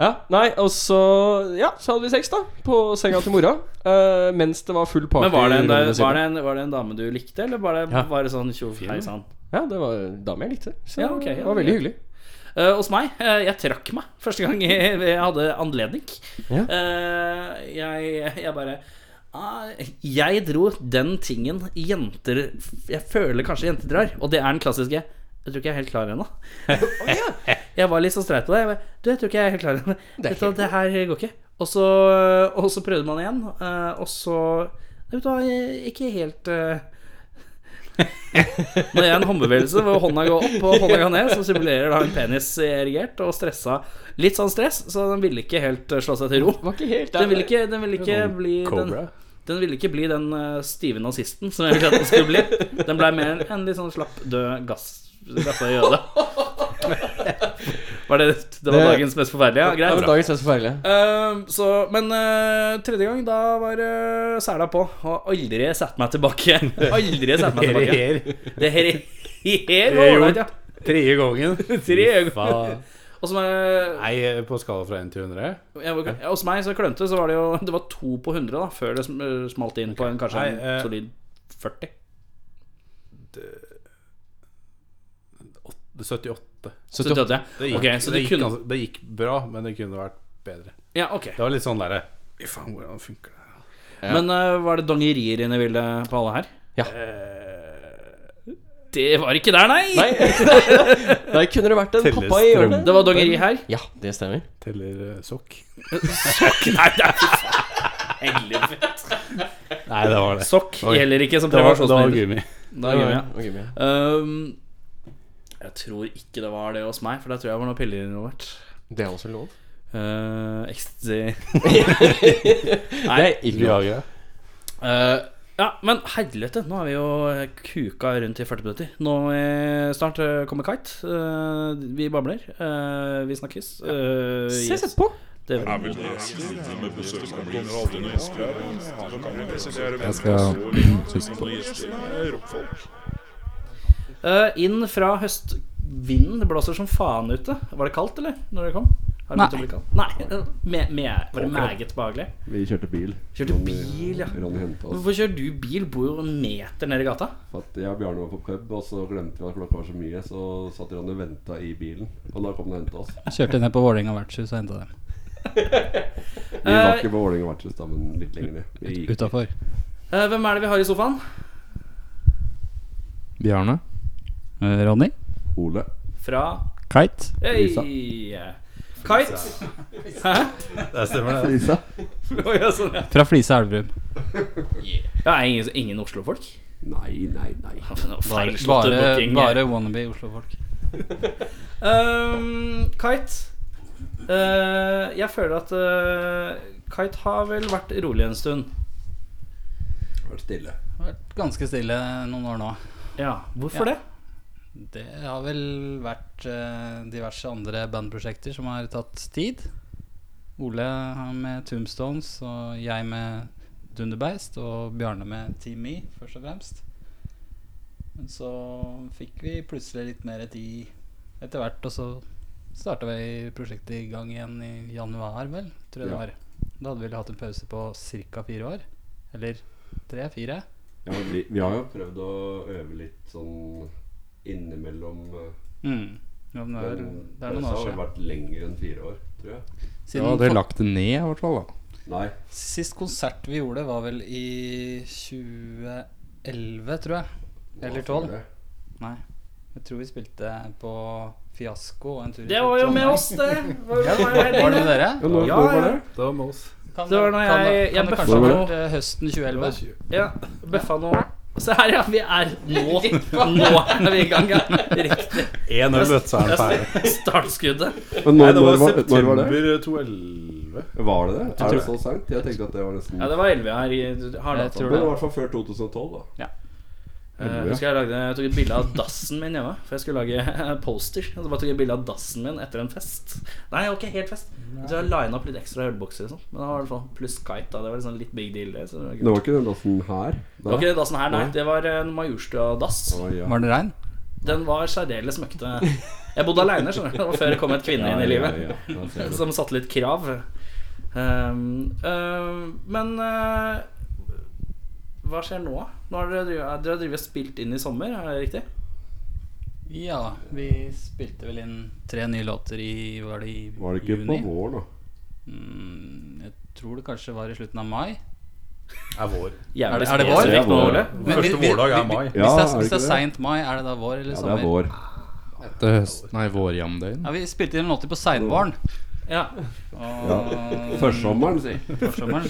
Speaker 3: Ja, nei, og så Ja, så hadde vi sex, da. På senga til mora. eh, mens det var full party.
Speaker 2: Men var det, en, eh,
Speaker 3: i rommet ved siden
Speaker 2: var, det en, var det en dame du likte, eller var det,
Speaker 3: Ja.
Speaker 2: var det sånn tjo hei sann?
Speaker 3: av. Ja, det var en dame jeg likte. Så
Speaker 2: Ja, ok, ja,
Speaker 3: det var
Speaker 2: det-
Speaker 3: veldig hyggelig.
Speaker 2: Eh, hos meg, eh, jeg trakk meg første gang jeg, jeg hadde anledning.
Speaker 3: Ja.
Speaker 2: Eh, jeg, jeg bare ah, Jeg dro den tingen jenter Jeg føler kanskje jenter drar, og det er den klassiske Jeg tror ikke jeg er helt klar ennå. Å, ja. Jeg var litt så streit på det. Jeg bare, du, jeg tror ikke jeg er helt klar ennå. Vet du hva, Det her går ikke. Og så, og så prøvde man igjen, eh, og så Nei, Vet du hva, jeg- ikke helt eh, Når jeg er en håndbevegelse hvor hånda går opp og hånda går ned, så simulerer da en penis erigert og stressa. Litt sånn stress, så den ville ikke helt eh, slå seg til ro.
Speaker 3: Var ikke helt
Speaker 2: Den ville ikke, den ville ikke bli den,
Speaker 4: Cobra.
Speaker 2: den ville ikke bli den eh, stive nazisten som jeg ville at den skulle bli. Den blei mer en litt sånn slapp, død gass, gassa jøde. Var det, det var
Speaker 3: Det-
Speaker 2: dagens mest forferdelige?
Speaker 3: [LAUGHS]
Speaker 2: Ja,
Speaker 3: Det
Speaker 2: greit.
Speaker 3: var dagens mest forferdelige.
Speaker 2: Eh, så, men eh, tredje gang, da var uh, sela på. Og aldri satt meg tilbake.
Speaker 4: [LAUGHS]
Speaker 2: Aldri satt meg
Speaker 4: Her,
Speaker 2: tilbake.
Speaker 4: her.
Speaker 2: Det her er her
Speaker 4: er
Speaker 2: var ålreit, ja.
Speaker 4: Tredje gangen.
Speaker 2: [LAUGHS] Tre ganger.
Speaker 4: Faen.
Speaker 2: Og som jeg,
Speaker 4: Nei, eh, på skala fra 1 til 100?
Speaker 2: jeg, var- ja, hos meg som klønete, så var det jo Det var to på 100 da før det sm- eh, smalt inn på en kanskje en
Speaker 4: Nei, eh,
Speaker 2: solid 40.
Speaker 4: 78.
Speaker 2: Så døde
Speaker 4: Det
Speaker 2: jeg.
Speaker 4: gikk,
Speaker 2: Ok, så
Speaker 4: det,
Speaker 2: det
Speaker 4: gikk altså.
Speaker 2: kunne
Speaker 4: ganske- det gikk bra, men det kunne vært bedre.
Speaker 2: Ja, ok.
Speaker 4: Det var litt sånn derre Fy faen, hvordan funker det?
Speaker 2: Men eh, var det dongerier inne i bildet på alle her?
Speaker 3: Ja.
Speaker 2: Eh, Det var ikke der, nei!
Speaker 3: [LAUGHS] Nei, der kunne det vært en
Speaker 4: Telles
Speaker 3: pappa i hjørnet.
Speaker 2: Det var dongeri her.
Speaker 3: Ja, det stemmer.
Speaker 4: Teller eh, sokk?
Speaker 2: Nei, det er helvete.
Speaker 4: Nei, det var det.
Speaker 2: Sokk
Speaker 4: Oi.
Speaker 2: gjelder ikke som
Speaker 4: Det var, det var
Speaker 2: prevensjonsmiddel.
Speaker 4: gummi.
Speaker 2: Da gjør vi det.
Speaker 3: Og gummi, ja.
Speaker 2: Ehm, jeg tror ikke det var det hos meg, for der tror jeg var noen piller involvert.
Speaker 3: Det er også lov.
Speaker 2: Uh, ecstasy
Speaker 3: Nei, det er ikke lov.
Speaker 4: Viagra.
Speaker 2: Eh, Ja, men helvete, nå er vi jo kuka rundt i 40 minutter. Nå eh, snart eh, kommer Kite. Eh, vi babler. Eh, vi snakkes. Uh,
Speaker 3: Ses etterpå.
Speaker 2: Det er vel
Speaker 4: Jeg skal
Speaker 5: [CLEARS THROAT]
Speaker 2: Eh, inn fra høstvinden. Det blåser som faen ute. Var det kaldt, eller? Når dere kom? Har det begynt å bli kaldt? Nei. [LAUGHS] eh, Me, me, var det meget behagelig?
Speaker 5: Vi kjørte bil.
Speaker 2: Kjørte bil, ja.
Speaker 5: Ronny hentet oss.
Speaker 2: Hvorfor kjører du bil? Bor jo en meter nede i gata.
Speaker 5: For at jeg og Bjarne var på pub, og så glemte vi at klokka var så mye. Så satt Ronny og venta i bilen, og da kom han og henta oss.
Speaker 6: Kjørte ned på Vålerenga vertshus og henta dem
Speaker 5: Vi var ikke på Vålerenga vertshus, da, men litt lenger ned. Vi gikk
Speaker 6: utafor.
Speaker 2: Eh, hvem er det vi har i sofaen?
Speaker 6: Bjarne. Eh, Ronny.
Speaker 5: Ole.
Speaker 2: Fra
Speaker 6: Kite.
Speaker 2: Hei! Kite. Hæ?
Speaker 4: Det stemmer, det.
Speaker 5: Lisa.
Speaker 2: Oi, ja, sånn, ja.
Speaker 6: Fra Flisa Elverum.
Speaker 2: Ja, er ingen, ingen Oslo-folk? [LAUGHS]
Speaker 5: Nei, nei, nei.
Speaker 2: Ja, men det var
Speaker 6: Bare,
Speaker 2: feilslått
Speaker 6: bare,
Speaker 2: booking.
Speaker 6: bare wannabe Oslo-folk.
Speaker 2: Ehm, Kite. Eh, jeg føler at eh, Kite har vel vært rolig en stund.
Speaker 5: Vær stille.
Speaker 6: Det har vært Ganske stille noen år nå.
Speaker 2: Ja, Hvorfor
Speaker 6: Ja.
Speaker 2: det?
Speaker 6: Det har vel vært eh, diverse andre bandprosjekter som har tatt tid. Ole med Tombstones, og jeg med Dunderbeist, og Bjarne med Team Me, først og fremst. Men så fikk vi plutselig litt mer tid etter hvert, og så starta vi prosjektet i gang igjen i januar, vel, tror jeg
Speaker 5: Ja.
Speaker 6: det var. Da hadde vi vel hatt en pause på ca. fire år. Eller tre-fire.
Speaker 5: Ja, vi, vi har jo prøvd å øve litt sånn innimellom. eh,
Speaker 6: Mm. Ja, men det er,
Speaker 5: men
Speaker 6: det er noen
Speaker 5: pausa
Speaker 6: år
Speaker 5: har vel
Speaker 6: siden.
Speaker 5: vært lenger enn fire år, tror jeg.
Speaker 6: Siden
Speaker 4: Ja, dere
Speaker 6: fa-
Speaker 4: lagt det ned, i hvert fall. da
Speaker 5: Nei.
Speaker 6: Sist konsert vi gjorde, var vel i 2011, tror jeg.
Speaker 5: hva
Speaker 6: Eller
Speaker 5: var
Speaker 6: 12.
Speaker 5: det?
Speaker 6: Nei. Jeg tror vi spilte på Fiasko og en tur
Speaker 2: Det var jo med oss, det! Var det, var det,
Speaker 6: Var det med dere?
Speaker 5: Ja, når,
Speaker 2: Ja,
Speaker 5: når var
Speaker 2: ja.
Speaker 5: det?
Speaker 4: Det var med oss.
Speaker 6: Kan
Speaker 2: Det var når
Speaker 6: kan
Speaker 2: jeg-
Speaker 6: det,
Speaker 2: jeg
Speaker 6: kan det kanskje
Speaker 5: bøffa
Speaker 6: ha
Speaker 5: noe.
Speaker 6: vært eh, høsten 2011?
Speaker 2: Ja, bøffa nå. Se her, ja. Vi er nå [LAUGHS] Nå er vi i gang, ja. Riktig.
Speaker 4: Én øl, vet du, så er den ferdig.
Speaker 2: Startskuddet.
Speaker 5: Men når, når, var, når var det?
Speaker 4: 2011.
Speaker 5: Var det det? Er det så seint? Jeg tenkte at det var nesten
Speaker 2: Ja, det var 11 her. i- Har
Speaker 6: Jeg
Speaker 2: datoen.
Speaker 6: tror
Speaker 5: Men det
Speaker 6: det.
Speaker 5: var i hvert fall før 2012, da.
Speaker 2: Eh, husker jeg, lagde, jeg tok et bilde av dassen min hjemme, for jeg skulle lage eh, poster. Og så bare tok jeg et bilde av dassen min etter en fest. Nei, ok, helt fest. Så jeg lina opp litt ekstra ølbokser og sånn. Men det var i hvert fall pluss kite. da Det var liksom litt big deal. Det, så det, var
Speaker 5: Det
Speaker 2: kult.
Speaker 5: var ikke den dassen her?
Speaker 2: det var ikke den dassen her, nei. Det var en Majorstua-dass.
Speaker 5: Å, ja.
Speaker 6: Var det regn?
Speaker 2: Den var særdeles møkkete. Jeg bodde aleine, skjønner du. [LAUGHS] Det var før det kom et kvinne inn i livet.
Speaker 5: Ja, ja, ja. Da ser du.
Speaker 2: Som satte litt krav. Ehm, ehm, men eh, hva skjer nå? Nå har dere drevet- dere har drevet og spilt inn i sommer, er det riktig?
Speaker 6: Ja, vi spilte vel inn tre nye låter i Var det i
Speaker 5: Var det ikke
Speaker 6: juni?
Speaker 5: på våren, da?
Speaker 6: Mm, jeg tror det kanskje var i slutten av mai.
Speaker 4: Er vår.
Speaker 2: Jævlig
Speaker 6: Er det- er det vår?
Speaker 2: spesifikt
Speaker 5: Det er
Speaker 2: nå,
Speaker 5: vår.
Speaker 2: Ole.
Speaker 6: Men vi-
Speaker 4: Første
Speaker 6: vi-
Speaker 4: vårdag er
Speaker 6: vi-
Speaker 4: mai.
Speaker 6: vi-
Speaker 5: Ja,
Speaker 6: Hvis det er,
Speaker 5: er det
Speaker 6: hvis det er
Speaker 5: ikke det?
Speaker 6: seint mai, er det da vår eller
Speaker 5: Ja, det
Speaker 6: sommer?
Speaker 5: er vår.
Speaker 4: Etter høst, nei, vårjamdøgn.
Speaker 6: Ja, Vi spilte inn låter på seinvåren.
Speaker 2: [LAUGHS] Ja.
Speaker 5: Ja.
Speaker 6: Og
Speaker 5: Førsommeren, si.
Speaker 6: Førsommeren.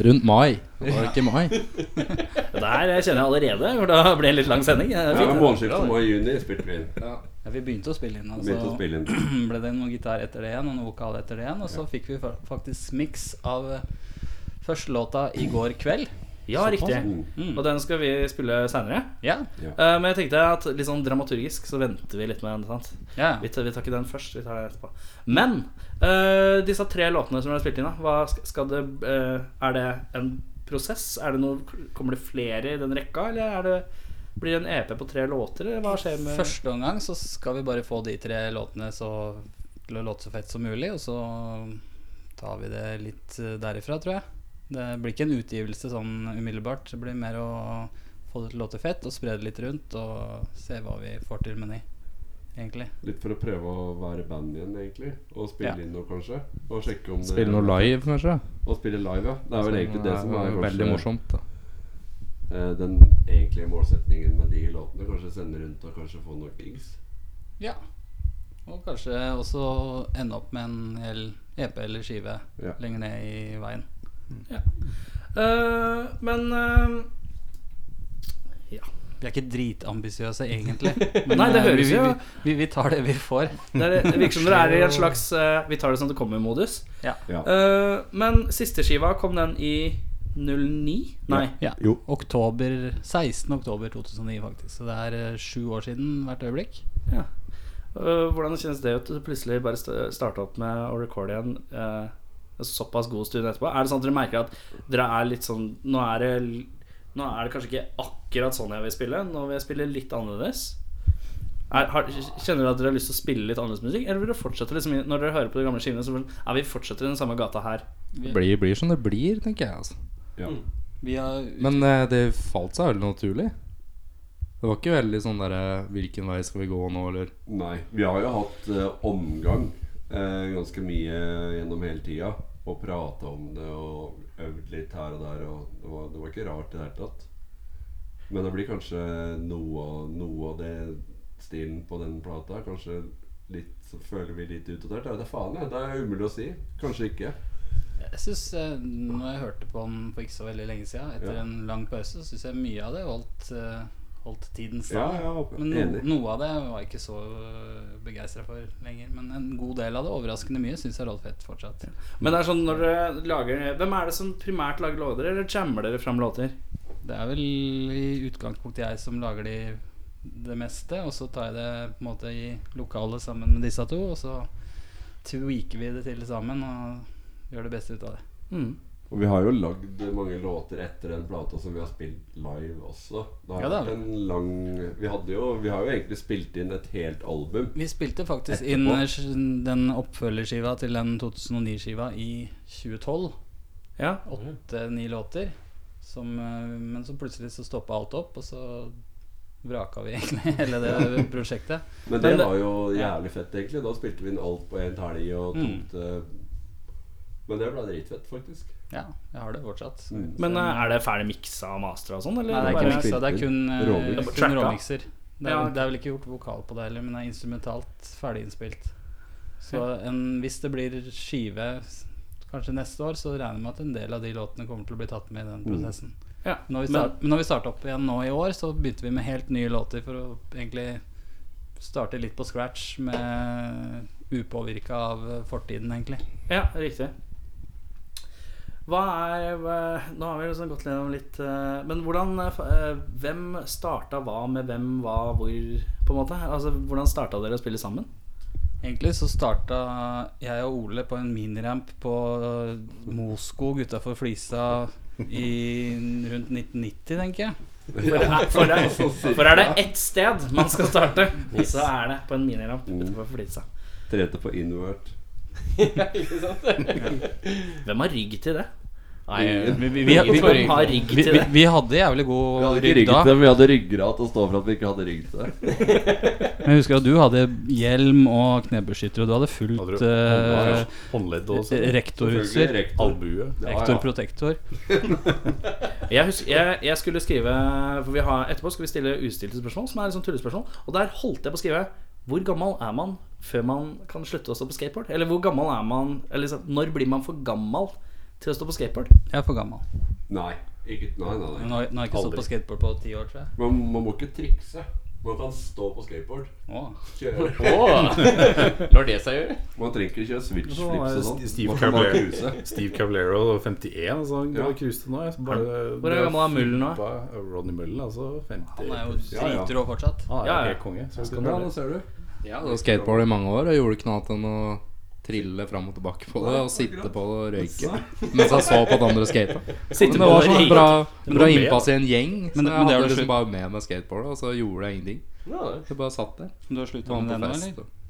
Speaker 4: Rundt mai. Det var ikke mai.
Speaker 2: Det her kjenner jeg allerede, for da ble det en litt lang sending. Det er
Speaker 5: Ja,
Speaker 2: fint, det.
Speaker 5: Månedsskiftet mai-juni spilte vi inn.
Speaker 6: Ja, vi begynte å spille inn, og
Speaker 5: Begynte å
Speaker 6: så
Speaker 5: spille
Speaker 6: [CLEARS THROAT]
Speaker 5: inn.
Speaker 6: ble det noe gitar etter det igjen, og noe vokal etter det igjen. Og så fikk vi fa- faktisk miks av eh, første låta i går kveld.
Speaker 2: Ja, riktig.
Speaker 5: Mm.
Speaker 2: Og den skal vi spille seinere.
Speaker 6: Ja,
Speaker 2: Eh, men jeg tenkte at litt sånn dramaturgisk så venter vi litt med den. sant?
Speaker 6: ja.
Speaker 2: Vi tar, vi tar ikke den først. vi tar den etterpå Men eh, disse tre låtene som dere har spilt inn, da hva sk- skal det, eh, er det en prosess? Er det noe, kommer det flere i den rekka, eller er det, blir det en EP på tre låter? Eller hva skjer med
Speaker 6: Første omgang så skal vi bare få de tre låtene så, til å låte så fett som mulig, og så tar vi det litt eh, derifra, tror jeg. Det blir ikke en utgivelse sånn umiddelbart. Det blir mer å få det til å låte fett og spre det litt rundt og se hva vi får til med de, egentlig.
Speaker 5: Litt for å prøve å være i band igjen, egentlig. Og spille
Speaker 6: Ja.
Speaker 5: inn noe, kanskje. Og sjekke om det-
Speaker 4: Spille noe live, kanskje.
Speaker 5: Og spille live, ja. Det er vel egentlig det som er kanskje,
Speaker 4: veldig morsomt. da
Speaker 5: eh, Den egentlige målsetningen med de låtene. Kanskje sende rundt og kanskje få noen gigs.
Speaker 6: Ja. Og kanskje også ende opp med en hel EP eller skive
Speaker 5: Ja.
Speaker 6: lenger ned i veien.
Speaker 2: Eh, Men eh,
Speaker 6: Vi er ikke dritambisiøse, egentlig.
Speaker 5: [LAUGHS]
Speaker 2: Nei, det
Speaker 6: eh, vi,
Speaker 2: høres
Speaker 6: vi, vi,
Speaker 2: jo-
Speaker 6: vi, vi tar det vi får.
Speaker 2: det, er, det virker som dere er i en slags eh, vi tar det som det kommer-modus.
Speaker 5: Ja.
Speaker 2: Eh, men siste skiva, kom den i 09? Nei.
Speaker 6: Ja.
Speaker 5: Jo.
Speaker 6: Oktober, 16. oktober 2009, faktisk. Så det er eh, sju år siden hvert øyeblikk.
Speaker 2: Eh, hvordan kjennes det ut? Plutselig bare st- starte opp med å recorde igjen eh, en såpass god stund etterpå. Er det sånn at dere merker at dere er litt sånn Nå er det, l- nå er det kanskje ikke akkurat sånn jeg vil spille. Nå vil jeg spille litt annerledes. Er, har, kjenner dere at dere har lyst til å spille litt annerledes musikk? Eller vil dere fortsette liksom, i- når dere hører på de gamle skivene, så vil- ja, vi fortsetter i den samme gata her?
Speaker 4: Det blir, blir som det blir, tenker jeg. altså
Speaker 5: ja.
Speaker 6: Vi har
Speaker 4: Men eh, det falt seg veldig naturlig. Det var ikke veldig sånn derre Hvilken vei skal vi gå nå, eller
Speaker 5: Nei. Vi har jo hatt eh, omgang eh, ganske mye gjennom hele tida. Og prata om det og øvd litt her og der. Og det var, det var ikke rart i det hele tatt. Men det blir kanskje noe, av- noe av det stilen på den plata. Kanskje litt så føler vi litt utdatert. Jeg vet da faen, jeg. Det er umulig å si. Kanskje ikke.
Speaker 6: Jeg synes, eh, Når jeg hørte på den for ikke så veldig lenge siden, etter
Speaker 5: Ja.
Speaker 6: en lang pause, syns jeg mye av det holdt, eh, holdt tiden
Speaker 5: Ja,
Speaker 6: stand.
Speaker 5: ja, opp-
Speaker 6: Men no,
Speaker 5: enig.
Speaker 6: noe av det var jeg ikke så begeistra for lenger. Men en god del av det, overraskende mye, syns jeg Rolf Fett fortsatt.
Speaker 2: Men det er sånn når dere lager Hvem er det som primært lager låter, eller jammer dere fram låter?
Speaker 6: Det er vel i utgangspunktet jeg som lager de det meste, og så tar jeg det på en måte i lokalet sammen med disse to, og så tweaker vi det til sammen og gjør det beste ut av det.
Speaker 2: Mm.
Speaker 5: Og vi har jo lagd mange låter etter den plata som vi har spilt live også. Det har
Speaker 6: Ja, det har
Speaker 5: vært en lang vi, hadde jo, vi har jo egentlig spilt inn et helt album.
Speaker 6: Vi spilte faktisk inn
Speaker 5: Etterpå.
Speaker 6: eh, den oppfølgerskiva til den 2009-skiva i 2012.
Speaker 2: Ja.
Speaker 6: Åtte-ni låter. Som, eh, men så plutselig så stoppa alt opp, og så vraka vi [LAUGHS] egentlig hele det
Speaker 2: [LAUGHS]
Speaker 6: prosjektet.
Speaker 5: Men det
Speaker 2: Men det-
Speaker 5: var jo jævlig fett, egentlig. Da spilte vi inn alt på en helg og
Speaker 6: Mm.
Speaker 5: tok det Men det ble dritfett, faktisk.
Speaker 6: Ja, jeg har det fortsatt.
Speaker 5: Mm.
Speaker 2: Men eh, er det ferdig miksa og mastra og sånn, eller?
Speaker 6: Nei, det er
Speaker 2: bare-
Speaker 6: ikke miksa, det er kun, eh,
Speaker 5: Råmix.
Speaker 2: Tracka.
Speaker 6: kun råmikser. Det er,
Speaker 2: Ja,
Speaker 6: vel- det er vel ikke gjort vokal på det heller, men det er instrumentalt ferdiginnspilt. Så en, hvis det blir skive s- kanskje neste år, så regner jeg med at en del av de låtene kommer til å bli tatt med i den prosessen.
Speaker 2: Ja,
Speaker 6: Når vi,
Speaker 2: men-
Speaker 6: start, men når vi starta opp igjen nå i år, så begynte vi med helt nye låter for å egentlig starte litt på scratch med upåvirka av eh, fortiden, egentlig.
Speaker 2: Ja, riktig. Hva er hva- Nå har vi liksom gått gjennom litt eh, Men hvordan eh, f- eh, Hvem starta hva med hvem, hva, hvor, på en måte? Altså, Hvordan starta dere å spille sammen?
Speaker 6: Egentlig så starta jeg og Ole på en miniramp på Moskog utafor Flisa i rundt 1990, tenker jeg.
Speaker 2: For
Speaker 6: [LAUGHS]
Speaker 2: er, for er det ett sted man skal starte, så er det på en miniramp
Speaker 5: Mm.
Speaker 2: utenfor Flisa.
Speaker 5: Trente på invert.
Speaker 3: Ikke sant?
Speaker 2: Hvem har rygg til det?
Speaker 3: Nei, vi, vi,
Speaker 6: Mm. vi- vi-
Speaker 2: Hvem har rygg til det?
Speaker 6: hadde jævlig
Speaker 5: Vi
Speaker 6: god
Speaker 5: hadde ikke rygg til det, men vi hadde ryggrad til å stå for at vi ikke hadde rygg til det. [LAUGHS]
Speaker 6: Men jeg husker at du hadde hjelm og knebeskytter, og du hadde
Speaker 4: Hadde
Speaker 6: fullt
Speaker 4: du
Speaker 6: eh,
Speaker 4: håndledd- håndledd også?
Speaker 5: Selvfølgelig,
Speaker 6: rektorutstyr.
Speaker 5: rektor.
Speaker 4: Albue?
Speaker 5: Ja, ja.
Speaker 6: Rektor protektor.
Speaker 2: Jeg, husker, jeg, jeg skulle skrive For vi har, Etterpå skal vi stille ustilte spørsmål, som er liksom tullespørsmål. Og der holdt jeg på å skrive Hvor gammel er man før man kan slutte å stå på skateboard? Eller hvor gammel er man eller liksom, Når blir man for gammel til å stå på skateboard?
Speaker 6: Jeg er for gammel.
Speaker 5: Nei. Ikke, nei, nei,
Speaker 6: Men
Speaker 5: nei.
Speaker 6: Nå, har- nå har jeg ikke stått på skateboard på ti år, tror jeg.
Speaker 5: Man, man må ikke trikse. Man kan stå på skateboard.
Speaker 6: Åh.
Speaker 5: Kjøre.
Speaker 3: Åh, Lar det seg gjøre?
Speaker 5: Man trenger ikke kjøre switch flips og sånn.
Speaker 4: Steve
Speaker 5: Man kan bare
Speaker 4: Cavalero,
Speaker 5: cruise.
Speaker 4: [LAUGHS] Steve Cavalero 51, altså. Han går
Speaker 5: Ja.
Speaker 4: og cruiser nå. jeg, så Bare,
Speaker 2: Hvor er gammel er Mullen nå?
Speaker 4: Ronny Mullen, altså. 50
Speaker 6: Han er jo
Speaker 4: pluss.
Speaker 5: Ja, ja.
Speaker 6: dritrå fortsatt.
Speaker 4: Han er
Speaker 2: Ja, ja.
Speaker 4: helt konge. Så
Speaker 5: Skal du ha, nå ser du.
Speaker 7: Ja, det var skateboard i mange år og gjorde ikke noe annet enn å trille fram og tilbake på det og sitte på det og røyke mens jeg så på at andre skata. Men det var sånn bra, bra innpass i en gjeng, så
Speaker 6: Men- men
Speaker 7: jeg
Speaker 6: det er
Speaker 7: hadde
Speaker 6: jo
Speaker 7: liksom
Speaker 6: slutt.
Speaker 7: bare med meg skateboardet, og så gjorde jeg ingenting.
Speaker 3: Ja,
Speaker 7: Jeg bare satt der.
Speaker 6: Du har slutta
Speaker 7: Var
Speaker 6: med
Speaker 7: med
Speaker 6: den nå,
Speaker 7: på fest.
Speaker 6: eller?
Speaker 7: og-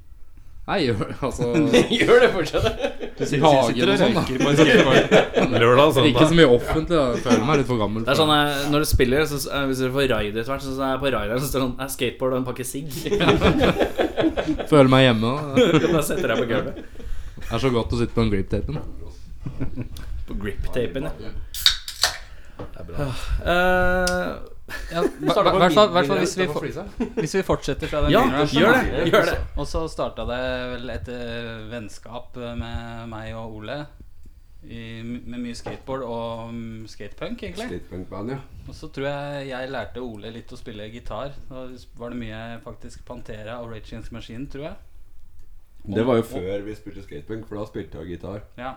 Speaker 7: Nei, gjør altså
Speaker 3: [LAUGHS] Gjør det [LAUGHS] fortsatt.
Speaker 7: Hagen og sånn, da.
Speaker 4: Lørdag altså. og
Speaker 7: Ikke
Speaker 4: søndag.
Speaker 7: så mye offentlig, da. Jeg føler meg litt for gammel.
Speaker 2: Det er sånn eh, Når du spiller, så, eh, hvis du får raid etter hvert, så er jeg på raideren så står det sånn «Eh, Skateboard og en pakke sigg. [LAUGHS]
Speaker 7: Føler meg hjemme. da.
Speaker 2: Da setter jeg på [LAUGHS] gulvet.
Speaker 7: Det er så godt å sitte på den grip-tapen.
Speaker 2: På grip-tapen, ja. Eh,
Speaker 6: Ja, hver- hver- hvert fall- hvert fall hvis vi får Hvis vi fortsetter fra den
Speaker 2: ja,
Speaker 6: linjen her, så-
Speaker 2: gjør det! Gjør det.
Speaker 6: Og så starta det vel et eh, vennskap med meg og Ole. I, med mye skateboard og mm, skatepunk, egentlig.
Speaker 5: Skatepunkband, ja.
Speaker 6: Og så tror jeg jeg lærte Ole litt å spille gitar. Da var det mye faktisk Pantera og Rage Against the Machine, tror jeg.
Speaker 5: Det var jo før vi spilte skatepunk, for da spilte jeg gitar.
Speaker 6: Ja,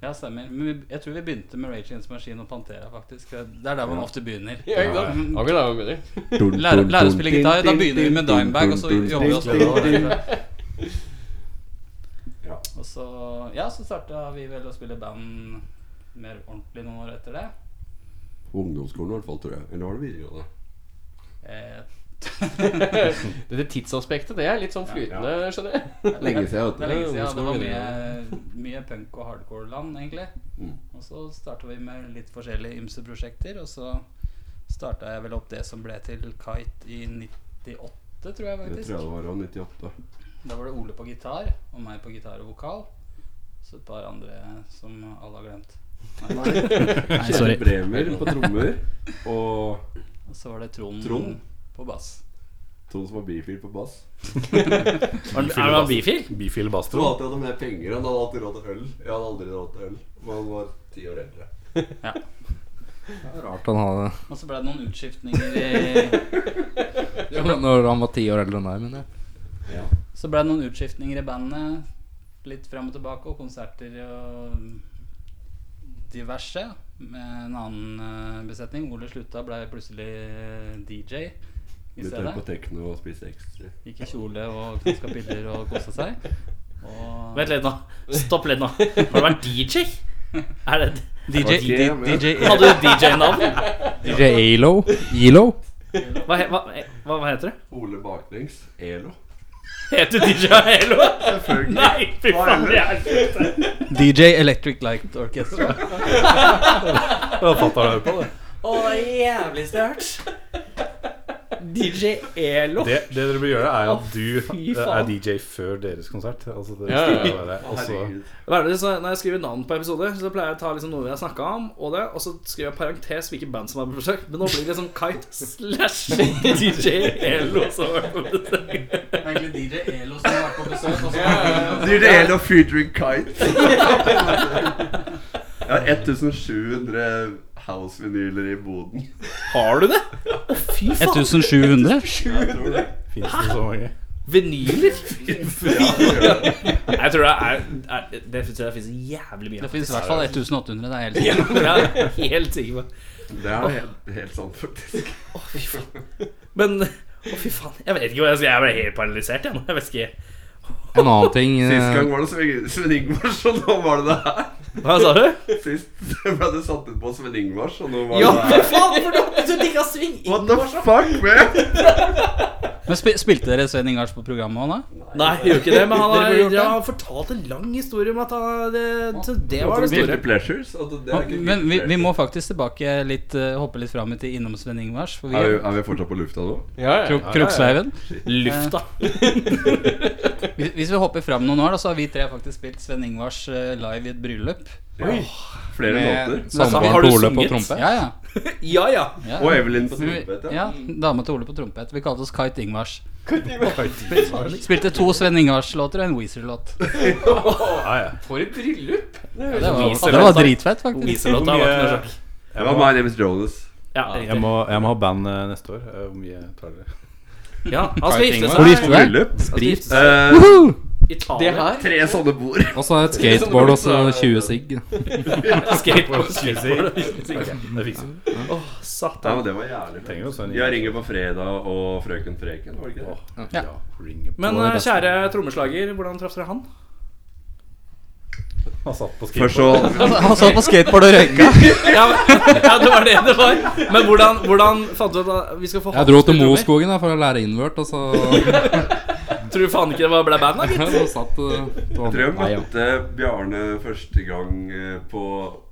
Speaker 6: ja stemmer. Men vi, jeg tror vi begynte med Rage Against the Machine og Pantera, faktisk. Det er der man ofte begynner.
Speaker 3: Ja, ikke sant? Akkurat der var det bedre.
Speaker 6: Lære, lære å spille gitar. Da begynner vi med Dimebag, og så jobber vi oss nedover.
Speaker 5: Ja.
Speaker 6: Og så, ja, så starta vi vel å spille band mer ordentlig noen år etter det.
Speaker 5: På ungdomsskolen i hvert fall, tror jeg. Eller var det videregående?
Speaker 6: Eh,
Speaker 3: [LAUGHS] Dette tidsaspektet, det er litt sånn flytende, skjønner jeg.
Speaker 5: Lenge siden,
Speaker 6: Det er
Speaker 5: vet du.
Speaker 6: lenge siden. ja. Det
Speaker 3: ungdomsskolen,
Speaker 6: var mye, mye punk og hardcore-land, egentlig.
Speaker 5: Mm.
Speaker 6: Og så starta vi med litt forskjellige ymse prosjekter, og så starta jeg vel opp det som ble til Kite i 98, tror jeg
Speaker 5: Det tror jeg
Speaker 6: faktisk.
Speaker 5: det var av 98.
Speaker 6: Da var det Ole på gitar, og meg på gitar og vokal. Så et par andre som alle har glemt.
Speaker 5: [LAUGHS] Kjell Bremer på trommer og
Speaker 6: Og så var det Trond,
Speaker 5: Trond?
Speaker 6: på bass.
Speaker 5: Tom som var bifil på bass.
Speaker 2: Er det- Er det bifil?
Speaker 4: Bifil
Speaker 5: Tror
Speaker 4: Bastro.
Speaker 5: alltid hadde mer penger enn han hadde alltid råd til øl. Jeg hadde aldri råd til øl. Men han var ti år eldre.
Speaker 7: Rart han hadde
Speaker 6: Og så ble det noen utskiftninger i
Speaker 7: [LAUGHS] ja, men Når han var ti år eldre enn deg, mener jeg.
Speaker 6: Så ble det noen utskiftninger i bandet. Litt frem og tilbake, og konserter og diverse. Med en annen eh, besetning. Ole slutta, ble plutselig eh, DJ i
Speaker 5: Begynte
Speaker 6: stedet.
Speaker 5: på tekno og spiste ekstra.
Speaker 6: Gikk i kjole og knaska piller og kosa seg. Og
Speaker 2: Vent litt nå. Stopp litt nå. Har du vært DJ? Er det
Speaker 6: DJ,
Speaker 5: Ok, D- men- DJ
Speaker 6: E.
Speaker 2: Hadde du DJ-navn?
Speaker 7: DJ Alo? Elo?
Speaker 2: Hva, he- hva, hva, hva heter du?
Speaker 5: Ole baklengs. [LAUGHS] Elo.
Speaker 2: Heter du DJ Hello? Nei, fy faen. Det er
Speaker 6: DJ Electric Light Orchestra.
Speaker 4: Ja, fatter'n hører på det.
Speaker 2: Å, det er jævligste jeg har hørt. DJ Elo.
Speaker 4: [LAUGHS] det. Det dere bør gjøre, er at du eh,
Speaker 2: fy
Speaker 4: er
Speaker 2: faen.
Speaker 4: DJ før deres konsert. Altså, det,
Speaker 3: Ja, ja, ja.
Speaker 4: skal være-
Speaker 5: Å,
Speaker 4: og så-
Speaker 5: herregud.
Speaker 2: Hva er det, så når jeg skriver navn på episoder, så pleier jeg å ta liksom noe vi har snakka om, og det, og så skriver jeg parentes hvilke band som er besøkt. Men nå blir det sånn Kite slash [LAUGHS] DJ Elo. som har vært på besøk.
Speaker 6: Egentlig DJ Elo som har vært på besøk. Og
Speaker 5: Dyr del og featuring kite. [LAUGHS] Jeg har 1700 house-vinyler i boden.
Speaker 2: Har du det? Å, fy faen.
Speaker 6: 1700?
Speaker 5: Jeg tror det.
Speaker 4: Finnes det så mange?
Speaker 2: Vinyler?
Speaker 5: [LAUGHS] Ja, jeg tror det.
Speaker 2: Jeg tror det er, er Det tror jeg det finnes [LAUGHS] jævlig mye
Speaker 6: Det
Speaker 2: av.
Speaker 6: fins i hvert fall 1800. Det er helt
Speaker 2: Ja, det er jeg helt sikker på.
Speaker 5: Det er helt, helt sant, faktisk.
Speaker 2: Å, fy faen. Men Å, fy faen. Jeg vet ikke hva jeg skal Jeg ble helt paralysert, jeg nå. Jeg vet ikke.
Speaker 7: En annen ting eh,
Speaker 5: [LAUGHS] Sist gang var det Sven- Sven Ingvars, og nå var det det her.
Speaker 2: Hva sa du?
Speaker 5: Sist [LAUGHS] ble det satt ut på Sven Ingvars, og nå var
Speaker 2: Ja,
Speaker 5: det
Speaker 2: fy
Speaker 5: her.
Speaker 2: faen! For du har så digga sving
Speaker 5: What the fuck, man?
Speaker 6: Men spi- Spilte dere Svein Ingars på programmet òg, da?
Speaker 2: Nei, jeg gjorde ikke det, men han
Speaker 6: Dere
Speaker 2: har,
Speaker 6: burde gjort
Speaker 2: ja, han fortalt en lang historie om at han det, så det var det store.
Speaker 5: Guilty pleasures? Altså, det er ikke
Speaker 6: Men vi,
Speaker 5: guilty
Speaker 6: vi må faktisk tilbake litt eh, hoppe litt fram i tid innom Svein Ingvars. For
Speaker 5: pleasures. er, vi,
Speaker 6: vi
Speaker 5: er vi fortsatt på lufta nå?
Speaker 3: Ja, ja.
Speaker 6: Krok- Kroksveiven.
Speaker 2: Lufta.
Speaker 6: Hvis hvis Eh, vi hopper fram noen år, da, så har vi tre faktisk spilt Svein Ingvars eh, live i et bryllup.
Speaker 5: Ja. Flere låter.
Speaker 2: Altså, Har
Speaker 7: Sandvaren
Speaker 2: du
Speaker 7: Ole på
Speaker 2: sunget?
Speaker 7: trompe.
Speaker 6: Ja, ja.
Speaker 2: Ja, ja.
Speaker 6: ja.
Speaker 5: Og Evelyn på
Speaker 6: Vi-
Speaker 5: trompet, ja.
Speaker 6: Ja, Dama til Ole på trompet. Vi kalte oss Kite Ingvars. Spilte to Sven Ingvars-låter og en Weezer-låt.
Speaker 4: Ah, Ja, ja.
Speaker 3: For et bryllup!
Speaker 6: Ja, det, var-
Speaker 2: Weezer-
Speaker 6: det var dritfett, faktisk.
Speaker 2: Iselåta var ikke noe sjokk.
Speaker 5: Det var My Name Is Jonas.
Speaker 2: Ja,
Speaker 4: Jeg
Speaker 2: riktig.
Speaker 4: må, jeg må ha band eh, neste år. Eh, Hvor mye tar dere?
Speaker 2: ja, han skal gifte
Speaker 6: Hvor
Speaker 2: seg.
Speaker 6: gifte deg?
Speaker 5: Bryllup.
Speaker 2: Han skal gifte seg
Speaker 5: Eh,
Speaker 2: i
Speaker 3: Det
Speaker 2: Italia.
Speaker 3: her
Speaker 5: tre sånne bord.
Speaker 7: Og så eh, et skateboard og så 20 sigg.
Speaker 2: Skateboard.
Speaker 4: Det fikser vi.
Speaker 2: Åh,
Speaker 5: Ja,
Speaker 2: satan.
Speaker 5: men det var jævlig
Speaker 4: Trenger
Speaker 5: fett.
Speaker 4: også en-
Speaker 5: Jeg ringer på fredag og Frøken Freken, var det ikke det?
Speaker 4: Ja. Ring på
Speaker 2: Men eh,
Speaker 4: resten.
Speaker 2: kjære trommeslager, hvordan traff dere han?
Speaker 4: Han satt på
Speaker 5: Først
Speaker 4: skateboard.
Speaker 5: så
Speaker 6: Han satt på skateboard og røyka.
Speaker 2: Ja, men- ja, det var det det var. Men hvordan, hvordan fant du ut at vi skal få
Speaker 7: Jeg dro til
Speaker 2: Hans til
Speaker 7: Moskogen da, for å lære invert, og så [LAUGHS] ja,
Speaker 2: trommer? Tror du faen ikke det var ble band, da, gitt?
Speaker 7: så satt eh, på
Speaker 5: Jeg tror jeg
Speaker 7: Nei, ja.
Speaker 5: møtte Bjarne første gang eh, på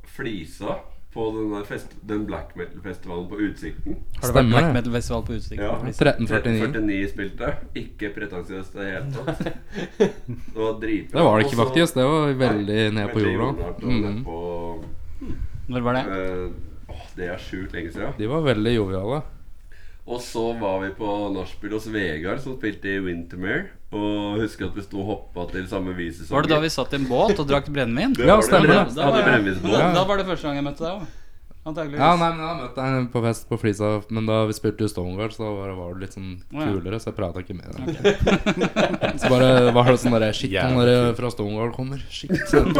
Speaker 5: Flisa. På den, der fest, den black metal-festivalen på Utsikten.
Speaker 6: Har det vært Black
Speaker 7: Stemmer det.
Speaker 6: Metal Festival på liksom? Utsikten?
Speaker 5: Ja.
Speaker 7: 1349.
Speaker 5: 49 spilte. Ikke pretensiøst i det hele
Speaker 7: [LAUGHS]
Speaker 5: tatt. Det var dritbra.
Speaker 7: Det var det ikke,
Speaker 5: Og så-
Speaker 7: faktisk. Det var veldig ned på
Speaker 5: Veldig
Speaker 7: jorda.
Speaker 5: jordnært og ned
Speaker 7: Mm.
Speaker 5: på-
Speaker 6: Når var det?
Speaker 5: eh, åh, Det er sjukt lenge siden.
Speaker 7: De var veldig joviale.
Speaker 5: Og så var vi på nachspiel hos Vegard, som spilte i Wintermere. Og husker at vi sto og hoppa til samme visesang.
Speaker 6: Var det da vi satt i en båt og drakk brennevin?
Speaker 5: Det var det.
Speaker 7: stemmer det.
Speaker 6: Da var,
Speaker 5: Hadde brennevinsbåt.
Speaker 6: da var det første gang jeg møtte deg òg. Antakeligvis.
Speaker 7: Ja, nei, men Jeg har møtt deg på fest på Flisa, men da vi spilte jo Stonewall, så var det, var det litt sånn
Speaker 6: Å, ja.
Speaker 7: kulere, så jeg prata ikke med deg. [LAUGHS] så bare var det sånn derre Shit, han der fra Stonewall kommer. Shit. Så det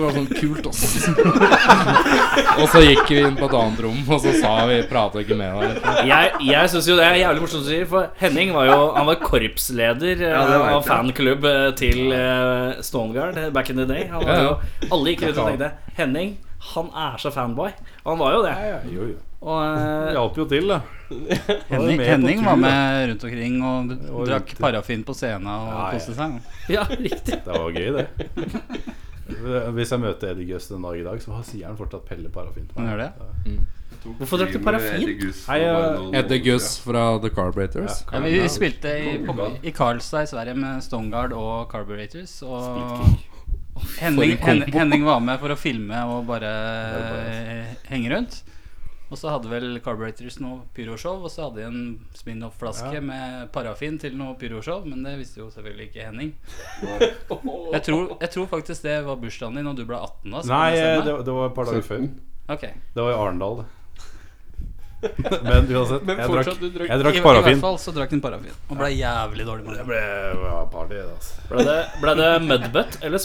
Speaker 7: var sånn kult, ass. og så gikk vi inn på et annet rom, og så sa vi 'prata ikke med deg'.
Speaker 2: Jeg, jeg syns jo det er jævlig morsomt å si, for Henning var jo Han var korpsleder eh,
Speaker 5: Ja, det vet
Speaker 2: av
Speaker 5: jeg.
Speaker 2: fanklubb eh, til eh, Stoneguard eh, back in the day. Han var
Speaker 7: Ja,
Speaker 2: jo, alle gikk rundt og tenkte Henning, han er så fanboy. Og han var jo det.
Speaker 4: Ja, jo, jo.
Speaker 2: Og
Speaker 4: Det
Speaker 2: eh,
Speaker 4: hjalp jo til, da.
Speaker 6: Henning,
Speaker 4: med på
Speaker 6: Henning
Speaker 4: tur,
Speaker 6: var
Speaker 4: da.
Speaker 6: med rundt omkring og d-
Speaker 4: Og
Speaker 6: drakk
Speaker 4: rundt.
Speaker 6: parafin på scenen og
Speaker 4: Ja, ja.
Speaker 6: koste seg.
Speaker 2: ja, riktig.
Speaker 4: Det var gøy, det. [LAUGHS] Hvis jeg møter Eddie Gust en dag i dag, så har- sier han fortsatt Pelle parafin til
Speaker 6: Han
Speaker 4: meg.
Speaker 6: gjør det?
Speaker 2: Hvorfor drakk du parafin?
Speaker 4: Hei, eh,
Speaker 7: Etter Gus fra The Carburetors.
Speaker 6: Ja, vi, vi spilte i, på, i Karlstad i Sverige med Stonegard og Carburetors. Og
Speaker 4: altså.
Speaker 6: Henning, Hen- Henning var med for å filme og bare eh, henge rundt. Og så hadde vel Carburetors noe pyroshow, og så hadde de en Spin-off-flaske med parafin til noe pyroshow, men det visste jo selvfølgelig ikke Henning.
Speaker 4: [LAUGHS]
Speaker 6: Jeg tror, jeg tror faktisk det var bursdagen din, og du ble 18 da. så kan
Speaker 4: Nei,
Speaker 6: jeg
Speaker 4: eh,
Speaker 6: stemme.
Speaker 4: det, var- det var et par dager før.
Speaker 6: Ok.
Speaker 4: Det var i Arendal, det. [LAUGHS] Men uansett,
Speaker 6: Men
Speaker 4: jeg
Speaker 6: fortsatt,
Speaker 4: drakk,
Speaker 6: du drakk,
Speaker 4: jeg
Speaker 6: i,
Speaker 4: drakk
Speaker 6: I
Speaker 4: parafin.
Speaker 6: hvert fall så drakk den parafin, og ble jævlig dårlig med det.
Speaker 4: ble ja, party, det, altså.
Speaker 2: Ble det, ble det mudbutt eller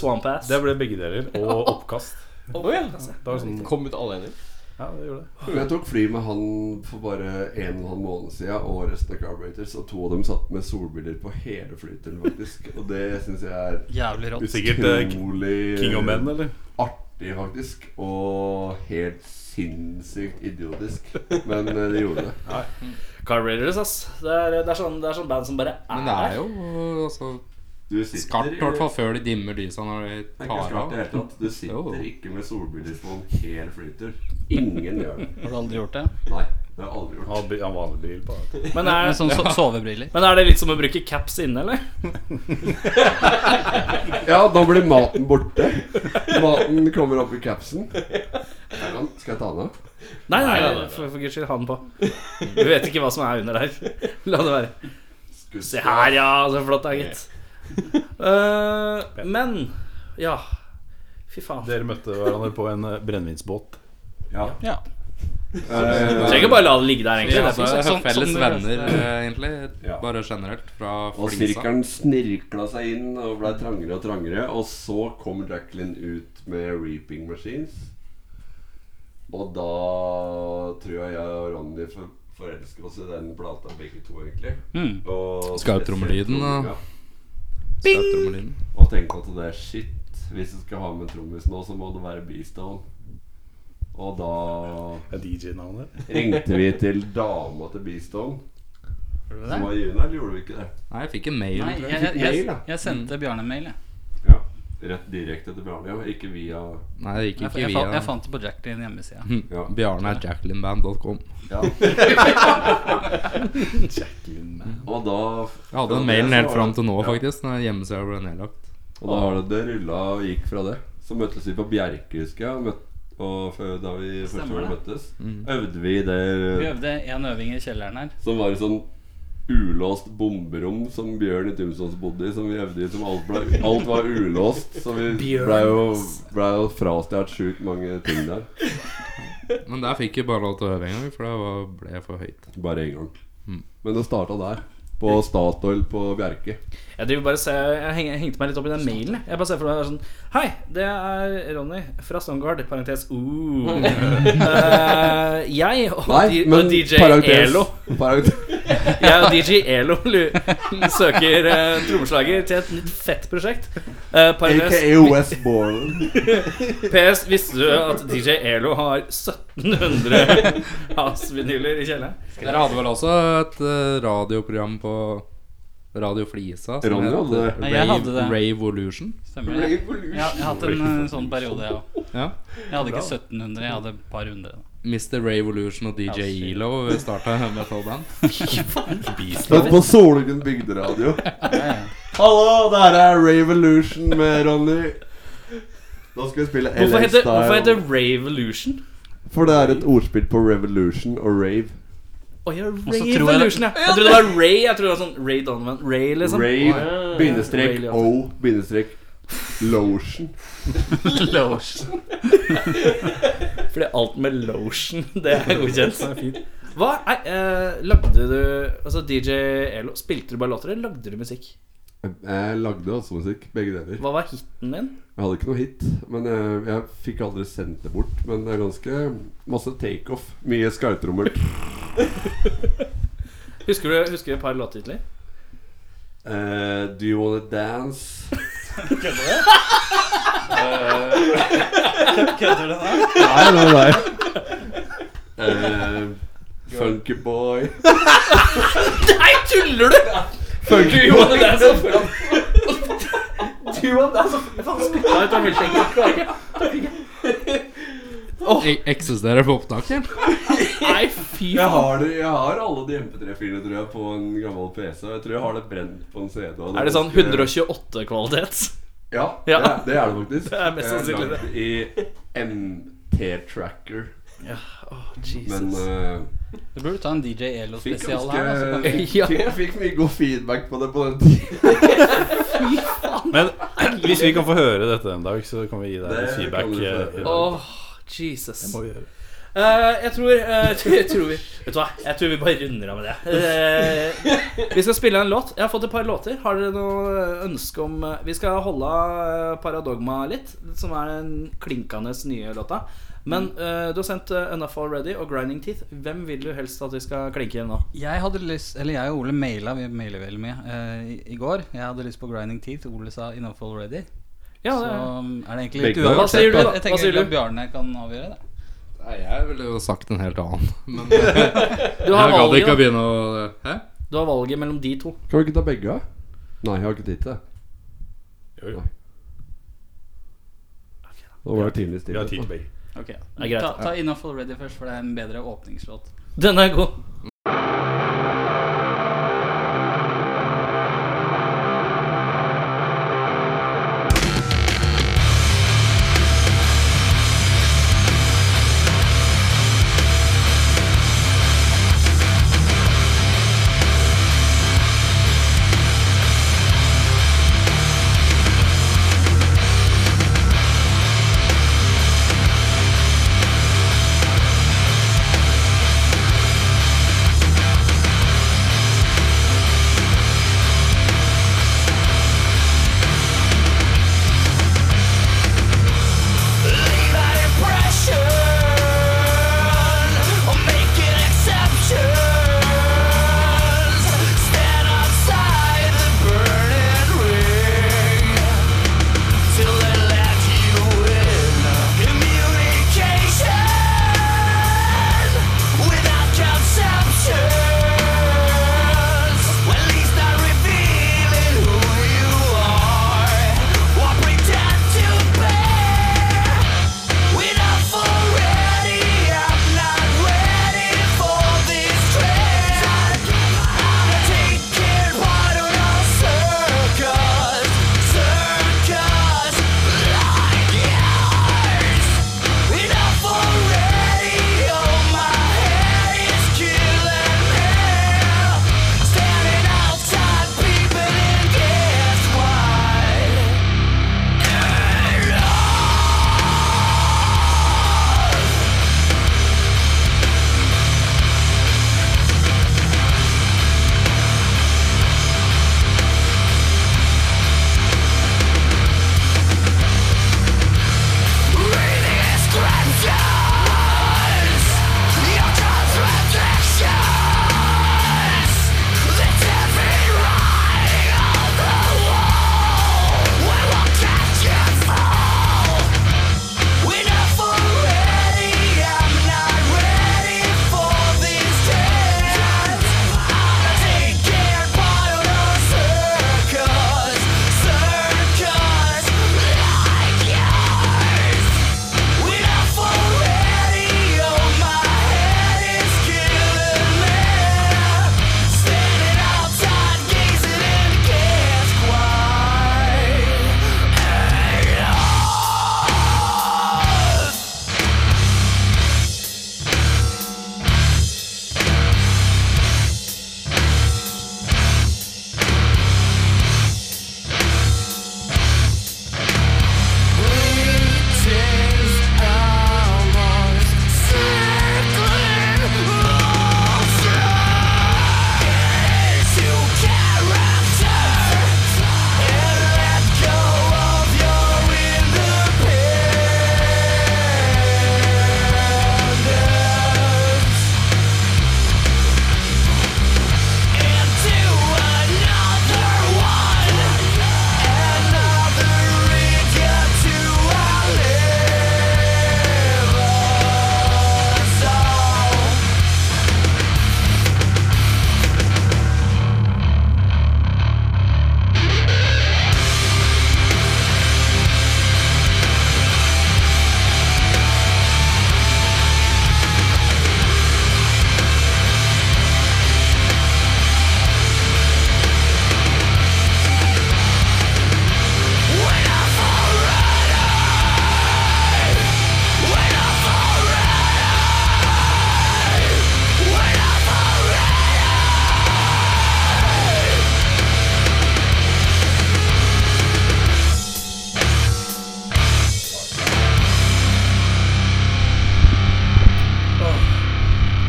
Speaker 4: [LAUGHS]
Speaker 2: swampass?
Speaker 4: Det ble begge deler. Og oppkast. Det var sånn
Speaker 3: Kom ut alle ender.
Speaker 4: Ja, det gjorde det.
Speaker 5: Jeg tok fly med han for bare en og en halv måned siden, og resten av Carburetors, og to av dem satt med solbriller på hele flyturen, faktisk. Og det syns jeg er
Speaker 6: Jævlig rått.
Speaker 4: Usikkert eh,
Speaker 5: utrolig
Speaker 4: King of Men, eller?
Speaker 5: artig, faktisk. Og helt sinnssykt idiotisk. Men eh, det gjorde det.
Speaker 2: Car Raiders, ass. Det er, det, er sånn, det er sånn band som bare er,
Speaker 7: Men det er jo øh, altså,
Speaker 5: Du sitter
Speaker 7: skarpt, i hvert fall før de dimmer lysa når de
Speaker 5: Det er ikke
Speaker 7: tar
Speaker 5: skarpt i
Speaker 7: av.
Speaker 5: det hele tatt. Du
Speaker 7: Jo.
Speaker 5: sitter ikke med solbriller på en hel flytur. Ingen gjør det.
Speaker 6: Har du aldri gjort det?
Speaker 5: Nei, det har jeg aldri gjort.
Speaker 4: Han hadde- han var bril på. da.
Speaker 2: Men er,
Speaker 6: Med sånn so sovebriller.
Speaker 2: men er det litt som å bruke caps inne, eller?
Speaker 5: Ja, da blir maten borte. Maten kommer opp i capsen. Er han- Skal jeg ta den av?
Speaker 2: Nei, nei, nei, for, for guds skyld, ha den på. Vi vet ikke hva som er under der. [LAUGHS] La det være. Se her, ja. Så flott det er, gitt. Eh, men Ja. Fy faen.
Speaker 4: Dere møtte hverandre på en eh, brennevinsbåt.
Speaker 5: Ja. Eh,
Speaker 6: Ja.
Speaker 2: Du trenger ikke bare la det ligge der, egentlig. Det
Speaker 7: Ja,
Speaker 2: er
Speaker 7: altså,
Speaker 2: fint.
Speaker 7: jeg har
Speaker 6: sånn-
Speaker 7: felles
Speaker 6: sånn du
Speaker 7: venner,
Speaker 6: leste-
Speaker 7: eh, egentlig.
Speaker 5: Ja.
Speaker 7: Bare generelt. Fra
Speaker 5: Og
Speaker 7: flisa.
Speaker 5: sirkelen snirkla seg inn og blei trangere og trangere. Og så kom Jacqueline ut med reaping machines. Og da tror jeg jeg og Ronny for- forelsker oss i den plata, begge to, egentlig.
Speaker 6: Mm.
Speaker 5: Og
Speaker 7: Skarptrommelyden, da.
Speaker 5: Ja.
Speaker 7: Skarptrommelyden.
Speaker 5: Og tenkte at det er shit. Hvis jeg skal ha med trommis nå, så må det være Beastone. Og da
Speaker 4: Er DJ-navnet der?
Speaker 5: ringte vi til dama til Beastone, som var junior, eller gjorde vi ikke det?
Speaker 7: Nei, jeg fikk en mail.
Speaker 6: Nei,
Speaker 7: tror
Speaker 6: jeg,
Speaker 7: jeg.
Speaker 6: jeg, jeg, jeg sendte
Speaker 2: Mm.
Speaker 6: Bjarne en mail, jeg.
Speaker 5: Ja. Rett direkte til Bjarne, ja. Ikke via
Speaker 7: Nei, det gikk
Speaker 6: Jeg,
Speaker 7: ikke
Speaker 6: jeg, fant, jeg
Speaker 7: via
Speaker 6: fant det på Jack din hjemmeside.
Speaker 2: Mm.
Speaker 5: Ja.
Speaker 7: [LAUGHS] Bjarne er jacklinband.com.
Speaker 5: ja. Og da
Speaker 7: Jeg hadde den mailen helt fram til nå, faktisk. Når hjemmesida ble nedlagt.
Speaker 5: Og da har det, det rulla og gikk fra det. Så møttes vi på Bjerke, husker jeg. Og, møtt, og før, da vi første
Speaker 6: Stemmer
Speaker 5: gang
Speaker 6: det.
Speaker 5: møttes,
Speaker 7: Mm.
Speaker 5: øvde vi
Speaker 6: Vi
Speaker 5: der
Speaker 6: øvde en øving i kjelleren her.
Speaker 5: som var et sånn ulåst bomberom som Bjørn i Tumsons bodde i, som vi øvde i som alt, ble, alt var ulåst. Så vi blei jo, ble jo frastjålet sjukt mange ting der.
Speaker 7: Men der fikk vi bare lov til å øve en gang, for det var, ble for høyt.
Speaker 5: Bare én gang.
Speaker 2: Mm.
Speaker 5: Men det starta der. På Statoil på Bjerke.
Speaker 2: Jeg driver bare og ser- jeg, heng, jeg hengte meg litt opp i den mailen. jeg. Jeg bare ser for meg det er sånn Hei, det er Ronny fra Stongard. Parentes uh. [LAUGHS] Eh, jeg og, di- og DJ Elo
Speaker 5: parentes-
Speaker 2: Jeg og DJ Elo lu- søker eh, trommeslager til et nytt fett prosjekt. Eh, parentes
Speaker 5: AKA Westbourne.
Speaker 2: PS, visste du at DJ Elo har 1700 Hass-vinyler i kjelleren?
Speaker 7: Dere hadde vel også et eh, radioprogram på Radio Flisa eh,
Speaker 5: Ronny hadde det.
Speaker 7: Rave,
Speaker 6: Nei, jeg hadde det.
Speaker 7: Ravevolution.
Speaker 6: Stemmer det? Jeg, jeg har hatt en eh, sånn periode, jeg òg.
Speaker 7: Ja.
Speaker 6: Jeg hadde ikke 1700, jeg hadde et par hundre.
Speaker 7: Mr. Ravevolution og DJ
Speaker 6: shit.
Speaker 7: Elo starta [LAUGHS] metalband.
Speaker 5: Hørt på Solungen bygderadio. Hallo, det her er Ravolution med Ronny. Da skal vi spille LA
Speaker 2: Hvorfor heter, hvorfor heter
Speaker 5: Style.
Speaker 2: det Ravelution?
Speaker 5: For det er et ordspill på revolution og rave.
Speaker 2: Å ja,
Speaker 6: så tror jeg det-
Speaker 2: Ravelution, ja. Jeg trodde det var Ray. Jeg trodde det var sånn Ray Donovan. Ray, liksom.
Speaker 5: Rave, bindestrek,
Speaker 2: Rave, ja.
Speaker 5: O, bindestrek, lotion.
Speaker 2: [LAUGHS]
Speaker 6: da.
Speaker 2: Fordi alt med lotion, det er godkjent. Hva Nei, eh, lagde du Altså DJ Elo, spilte du bare låter, eller lagde du musikk?
Speaker 5: Jeg lagde også musikk, begge deler.
Speaker 2: Hva var hiten din?
Speaker 5: Jeg hadde ikke noe hit, men eh, jeg, jeg fikk aldri sendt det bort. Men det er ganske masse takeoff. Mye skarptrommer.
Speaker 2: Husker du, husker du et par låttitler?
Speaker 5: Eh, do you wanna dance? Kødder du? Kødder du nå? Nei, nei, nei. Eh, funky boy.
Speaker 2: Nei, tuller du?!
Speaker 5: Funky
Speaker 2: Du gjorde det så bra. Du gjorde det så Faen, spytta ut av milkshake.
Speaker 7: E- Eksisterer på opptak, eller?
Speaker 2: Nei, fy
Speaker 5: Jeg
Speaker 2: faen.
Speaker 5: har, det, jeg har alle de MP3-filene tror jeg på en gammel PC. Jeg tror jeg har det brent på en CD. og
Speaker 2: Er det sånn
Speaker 5: ganske-
Speaker 2: 128-kvalitet?
Speaker 5: Ja,
Speaker 2: Ja. [LAUGHS]
Speaker 5: Det, er, det er det faktisk.
Speaker 2: Det er mest
Speaker 5: Jeg
Speaker 2: sannsynlig det.
Speaker 5: lagd I MT-tracker. Men eh,
Speaker 6: Du burde ta en DJ
Speaker 5: fikk
Speaker 6: Elo-spesial
Speaker 5: ganske
Speaker 6: her. da,
Speaker 2: altså.
Speaker 6: så kan
Speaker 2: Eh.
Speaker 6: vi-
Speaker 2: [LAUGHS]
Speaker 5: fikk, jeg fikk mye god feedback på det på den tiden.
Speaker 4: Men [CLEARS THROAT] hvis vi kan få høre dette en dag, så kan vi gi deg
Speaker 5: Det
Speaker 4: litt feedback.
Speaker 5: kan du få.
Speaker 4: eh,
Speaker 2: Åh, Jesus.
Speaker 4: må vi gjøre.
Speaker 2: Eh, jeg tror, eh, [LAUGHS] jeg tror vi Vet du hva, jeg tror vi bare runder av med det. Eh, vi skal spille en låt. Jeg har fått et par låter. Har dere noe ønske om eh, Vi skal holde av Paradogma litt, som er den klinkende nye låta.
Speaker 5: Mm.
Speaker 2: Men eh, du har sendt eh, Enough Already og Grinding Teeth. Hvem vil du helst at vi skal klinke igjen nå?
Speaker 6: Jeg hadde lyst, eller jeg og Ole maila, vi mailer veldig mye, eh, i, i går. Jeg hadde lyst på Grinding Teeth, Ole sa Enough Already.
Speaker 2: Ja,
Speaker 6: Så um,
Speaker 2: det er.
Speaker 6: er det egentlig litt
Speaker 5: Begge. Hva
Speaker 2: sier du da?
Speaker 6: Jeg
Speaker 2: Hva
Speaker 6: tenker
Speaker 2: sier
Speaker 6: egentlig
Speaker 2: du?
Speaker 6: at Bjarne kan avgjøre det.
Speaker 7: Nei, jeg ville jo sagt en helt annen. Men
Speaker 2: Du har
Speaker 7: jeg gadd ikke å
Speaker 2: valget,
Speaker 7: begynne å Hæ?
Speaker 2: da. du har valget mellom de to.
Speaker 5: Kan vi ikke ta begge? da? Nei, jeg har ikke tid til det.
Speaker 4: Jo, jo.
Speaker 5: Nå var det tidlig
Speaker 4: Vi
Speaker 5: stille. altså.
Speaker 4: har tid til begge.
Speaker 6: Ok,
Speaker 2: er greit.
Speaker 6: Ta, ta Enough Already først, for det er en bedre åpningslåt.
Speaker 2: Den er god.
Speaker 8: Thank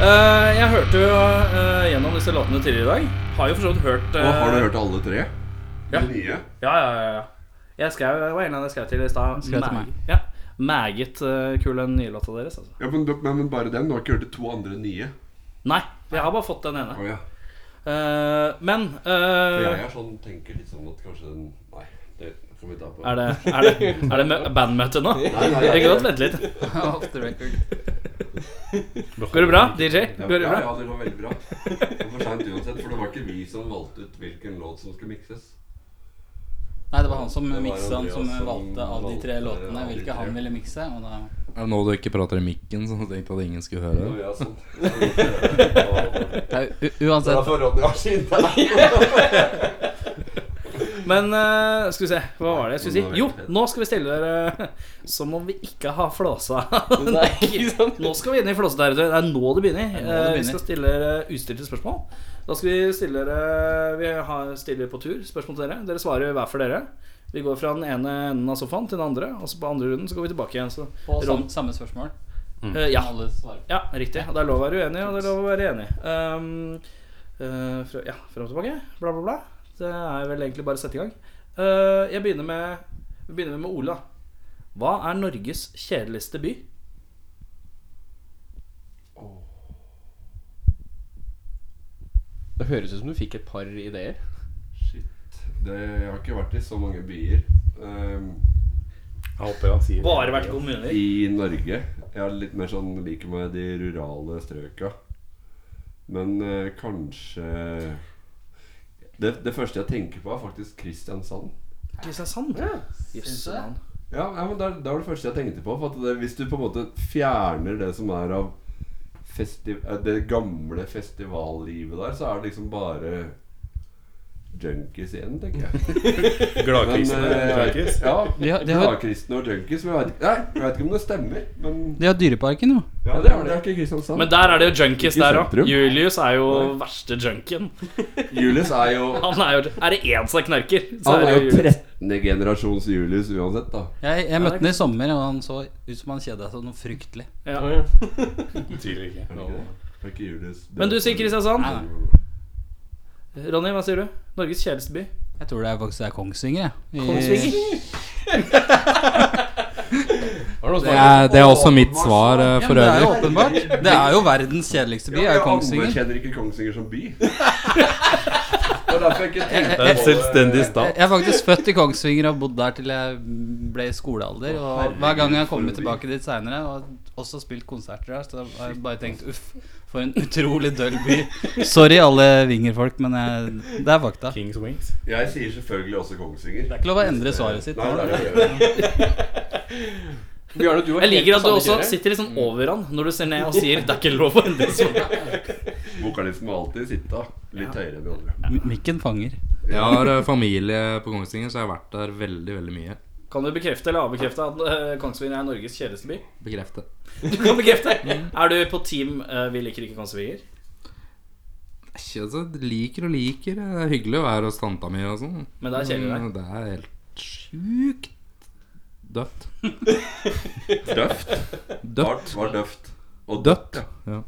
Speaker 2: Eh, jeg hørte jo eh, gjennom disse låtene tidligere i dag. Har jo for så vidt hørt eh,
Speaker 5: Og har du hørt alle tre?
Speaker 2: Ja.
Speaker 5: De nye?
Speaker 2: Ja, ja, ja, ja. Jeg skrev, det var en av de jeg skrev til i stad.
Speaker 6: Skrev til
Speaker 2: Mag-
Speaker 6: meg.
Speaker 2: Ja. Meget eh, kul, den nye låta deres. Altså.
Speaker 5: Ja, men, men, men bare den? Du har ikke hørt de to andre nye?
Speaker 2: Nei, jeg har bare fått den ene.
Speaker 5: Å ja.
Speaker 2: Eh, men
Speaker 5: For
Speaker 2: eh,
Speaker 5: jeg er sånn, tenker litt sånn at kanskje den Nei, det får vi ta på.
Speaker 2: er det, er det, er det mø- bandmøte nå?
Speaker 5: Nei, nei,
Speaker 2: Jeg
Speaker 5: jeg-
Speaker 2: kan godt vente litt.
Speaker 6: Off the record.
Speaker 2: Går det bra, DJ?
Speaker 5: Ja,
Speaker 2: Går det
Speaker 5: ja,
Speaker 2: bra?
Speaker 5: ja, det går veldig bra. Det var for sent uansett, for det var ikke vi som valgte ut hvilken låt som skulle mikses.
Speaker 6: Nei, det var han som
Speaker 5: Det var
Speaker 6: miksa, han som
Speaker 5: Andreas som
Speaker 6: valgte av de tre
Speaker 5: valgte
Speaker 6: låtene
Speaker 5: av de
Speaker 6: hvilke
Speaker 5: tre.
Speaker 6: han ville mikse. Og da
Speaker 7: Er det nå du ikke prater i mikken, så jeg tenkte at ingen skulle høre
Speaker 5: Å,
Speaker 7: det?
Speaker 5: ja,
Speaker 2: [LAUGHS]
Speaker 5: sånn. Det
Speaker 6: Nei, u-
Speaker 5: er
Speaker 6: Uansett,
Speaker 5: for Ronny har sin
Speaker 2: Men eh, skal vi se, hva var det jeg skulle si? Jo, nå skal vi stille dere som om vi ikke har flåsa.
Speaker 6: [LAUGHS]
Speaker 2: Nå skal vi inn i flåseterritoriet. Det er nå det begynner.
Speaker 6: Det er nå det
Speaker 2: Eh, Vi
Speaker 6: begynner.
Speaker 2: skal stille dere ustilte spørsmål. Da skal vi stille dere Vi har, stiller på tur spørsmål til dere. Dere svarer hver for dere. Vi går fra den ene enden av sofaen til den andre, og så på andre runden så går vi tilbake igjen. Så,
Speaker 6: på
Speaker 2: Ron-
Speaker 6: sam, samme spørsmål.
Speaker 2: eh, ja.
Speaker 6: Alle svarer.
Speaker 2: Ja, riktig. Og Det er lov å være uenig, og det er lov å være enig. Um, eh, fra, ja, fram og tilbake. Bla, bla, bla. Det er vel egentlig bare å sette i gang. Eh, jeg begynner med, vi begynner med Ola. Hva er Norges kjedeligste by?
Speaker 3: Det høres ut som du fikk et par ideer.
Speaker 5: [LAUGHS]
Speaker 2: Eh,
Speaker 5: Shit. Det, jeg har ikke vært i så mange byer ehm,
Speaker 4: Jeg håper han sier
Speaker 2: Bare vært kommuner.
Speaker 5: i Norge. Jeg er litt mer sånn liker meg de rurale strøka. Men eh, kanskje det, det første jeg tenker på, er faktisk Kristiansand.
Speaker 2: Kristiansand? Jøsse
Speaker 6: du det?
Speaker 2: navn.
Speaker 5: Ja, ja men det, er- det var det første jeg tenkte på. For at det, hvis du på en måte fjerner det som er av festi eh, det gamle festivallivet der, så er det liksom bare junkies igjen, tenker jeg.
Speaker 2: [LAUGHS]
Speaker 4: Gladkristen.
Speaker 5: Men, eh,
Speaker 4: gladkrist.
Speaker 5: Ja,
Speaker 6: De har- de har-
Speaker 5: gladkristne og junkies. Men jeg vet, ikke- nei, jeg vet ikke om det stemmer. Men
Speaker 6: De har Dyreparken, jo.
Speaker 5: ja, det er det er ikke Kristiansand.
Speaker 2: Men der er det jo junkies
Speaker 5: Sånn. Ikke
Speaker 2: der òg.
Speaker 5: sentrum.
Speaker 2: Julius er jo
Speaker 5: Nei.
Speaker 2: verste junkien.
Speaker 5: Julius er jo
Speaker 2: Han er jo Er det én som knerker, så
Speaker 5: Han
Speaker 2: er
Speaker 5: er
Speaker 2: det
Speaker 5: jo
Speaker 2: Julius.
Speaker 5: 13. generasjons Julius uansett, da.
Speaker 6: Jeg, jeg møtte han i sommer, og han så ut som han kjeda seg noe fryktelig.
Speaker 2: Ja.
Speaker 4: Tydelig ikke.
Speaker 5: Er det ikke det? Er det ikke Julius
Speaker 2: Men du sier Kristiansand.
Speaker 6: Nei, nei.
Speaker 2: Ronny, hva sier du? Norges kjedeligste by?
Speaker 6: Jeg tror det er faktisk det er Kongsvinger, jeg. I-
Speaker 2: Kongsvinger?
Speaker 7: Det er, det er også mitt svar eh,
Speaker 6: Ja, men
Speaker 7: for
Speaker 6: det er jo
Speaker 7: øvrig.
Speaker 6: åpenbart. Det er jo verdens kjedeligste by,
Speaker 5: Ja,
Speaker 6: er jo
Speaker 5: jeg
Speaker 6: Kongsvinger.
Speaker 5: anerkjenner ikke Kongsvinger som
Speaker 6: [LAUGHS]
Speaker 5: by. Det er derfor jeg ikke tenkte
Speaker 4: Det er en selvstendig stat.
Speaker 6: Jeg er faktisk født i Kongsvinger og har bodd der til jeg ble i skolealder. Og hver gang jeg har kommet tilbake dit seinere, og også spilt konserter der, så har jeg bare tenkt uff, for en utrolig døll by. Sorry alle Vinger-folk, men jeg, det er fakta. Det
Speaker 4: Kings Wings.
Speaker 5: Jeg sier selvfølgelig også Kongsvinger.
Speaker 6: er ikke lov å endre svaret sitt.
Speaker 5: Nei,
Speaker 6: nå.
Speaker 5: det er det jeg gjør.
Speaker 3: Bjarne, du har
Speaker 2: Jeg liker
Speaker 3: helt
Speaker 2: at du
Speaker 3: samme
Speaker 2: også
Speaker 3: kjøre.
Speaker 2: sitter litt sånn over han når du ser ned og sier 'det er ikke lov å endre svar'.
Speaker 5: Vokalisten må alltid sitte litt høyere enn de andre.
Speaker 6: Mikken fanger.
Speaker 7: Jeg har eh, familie på Kongsvinger, så jeg har vært der veldig, veldig mye.
Speaker 2: Kan du bekrefte eller avbekrefte at eh, Kongsvinger er Norges kjedeligste by?
Speaker 7: Bekrefte.
Speaker 2: Du kan bekrefte! Er du på team eh, 'vi liker ikke Kongsvinger'?
Speaker 7: Ikke, altså, liker og liker. Det er hyggelig å være hos tanta mi og sånn.
Speaker 2: Men det er kjedelig der.
Speaker 7: Men Det er helt sjukt dødt.
Speaker 5: Døft.
Speaker 7: Dødt.
Speaker 5: Hardt var døft. Og
Speaker 7: Dødt.
Speaker 5: ja.
Speaker 7: Ja.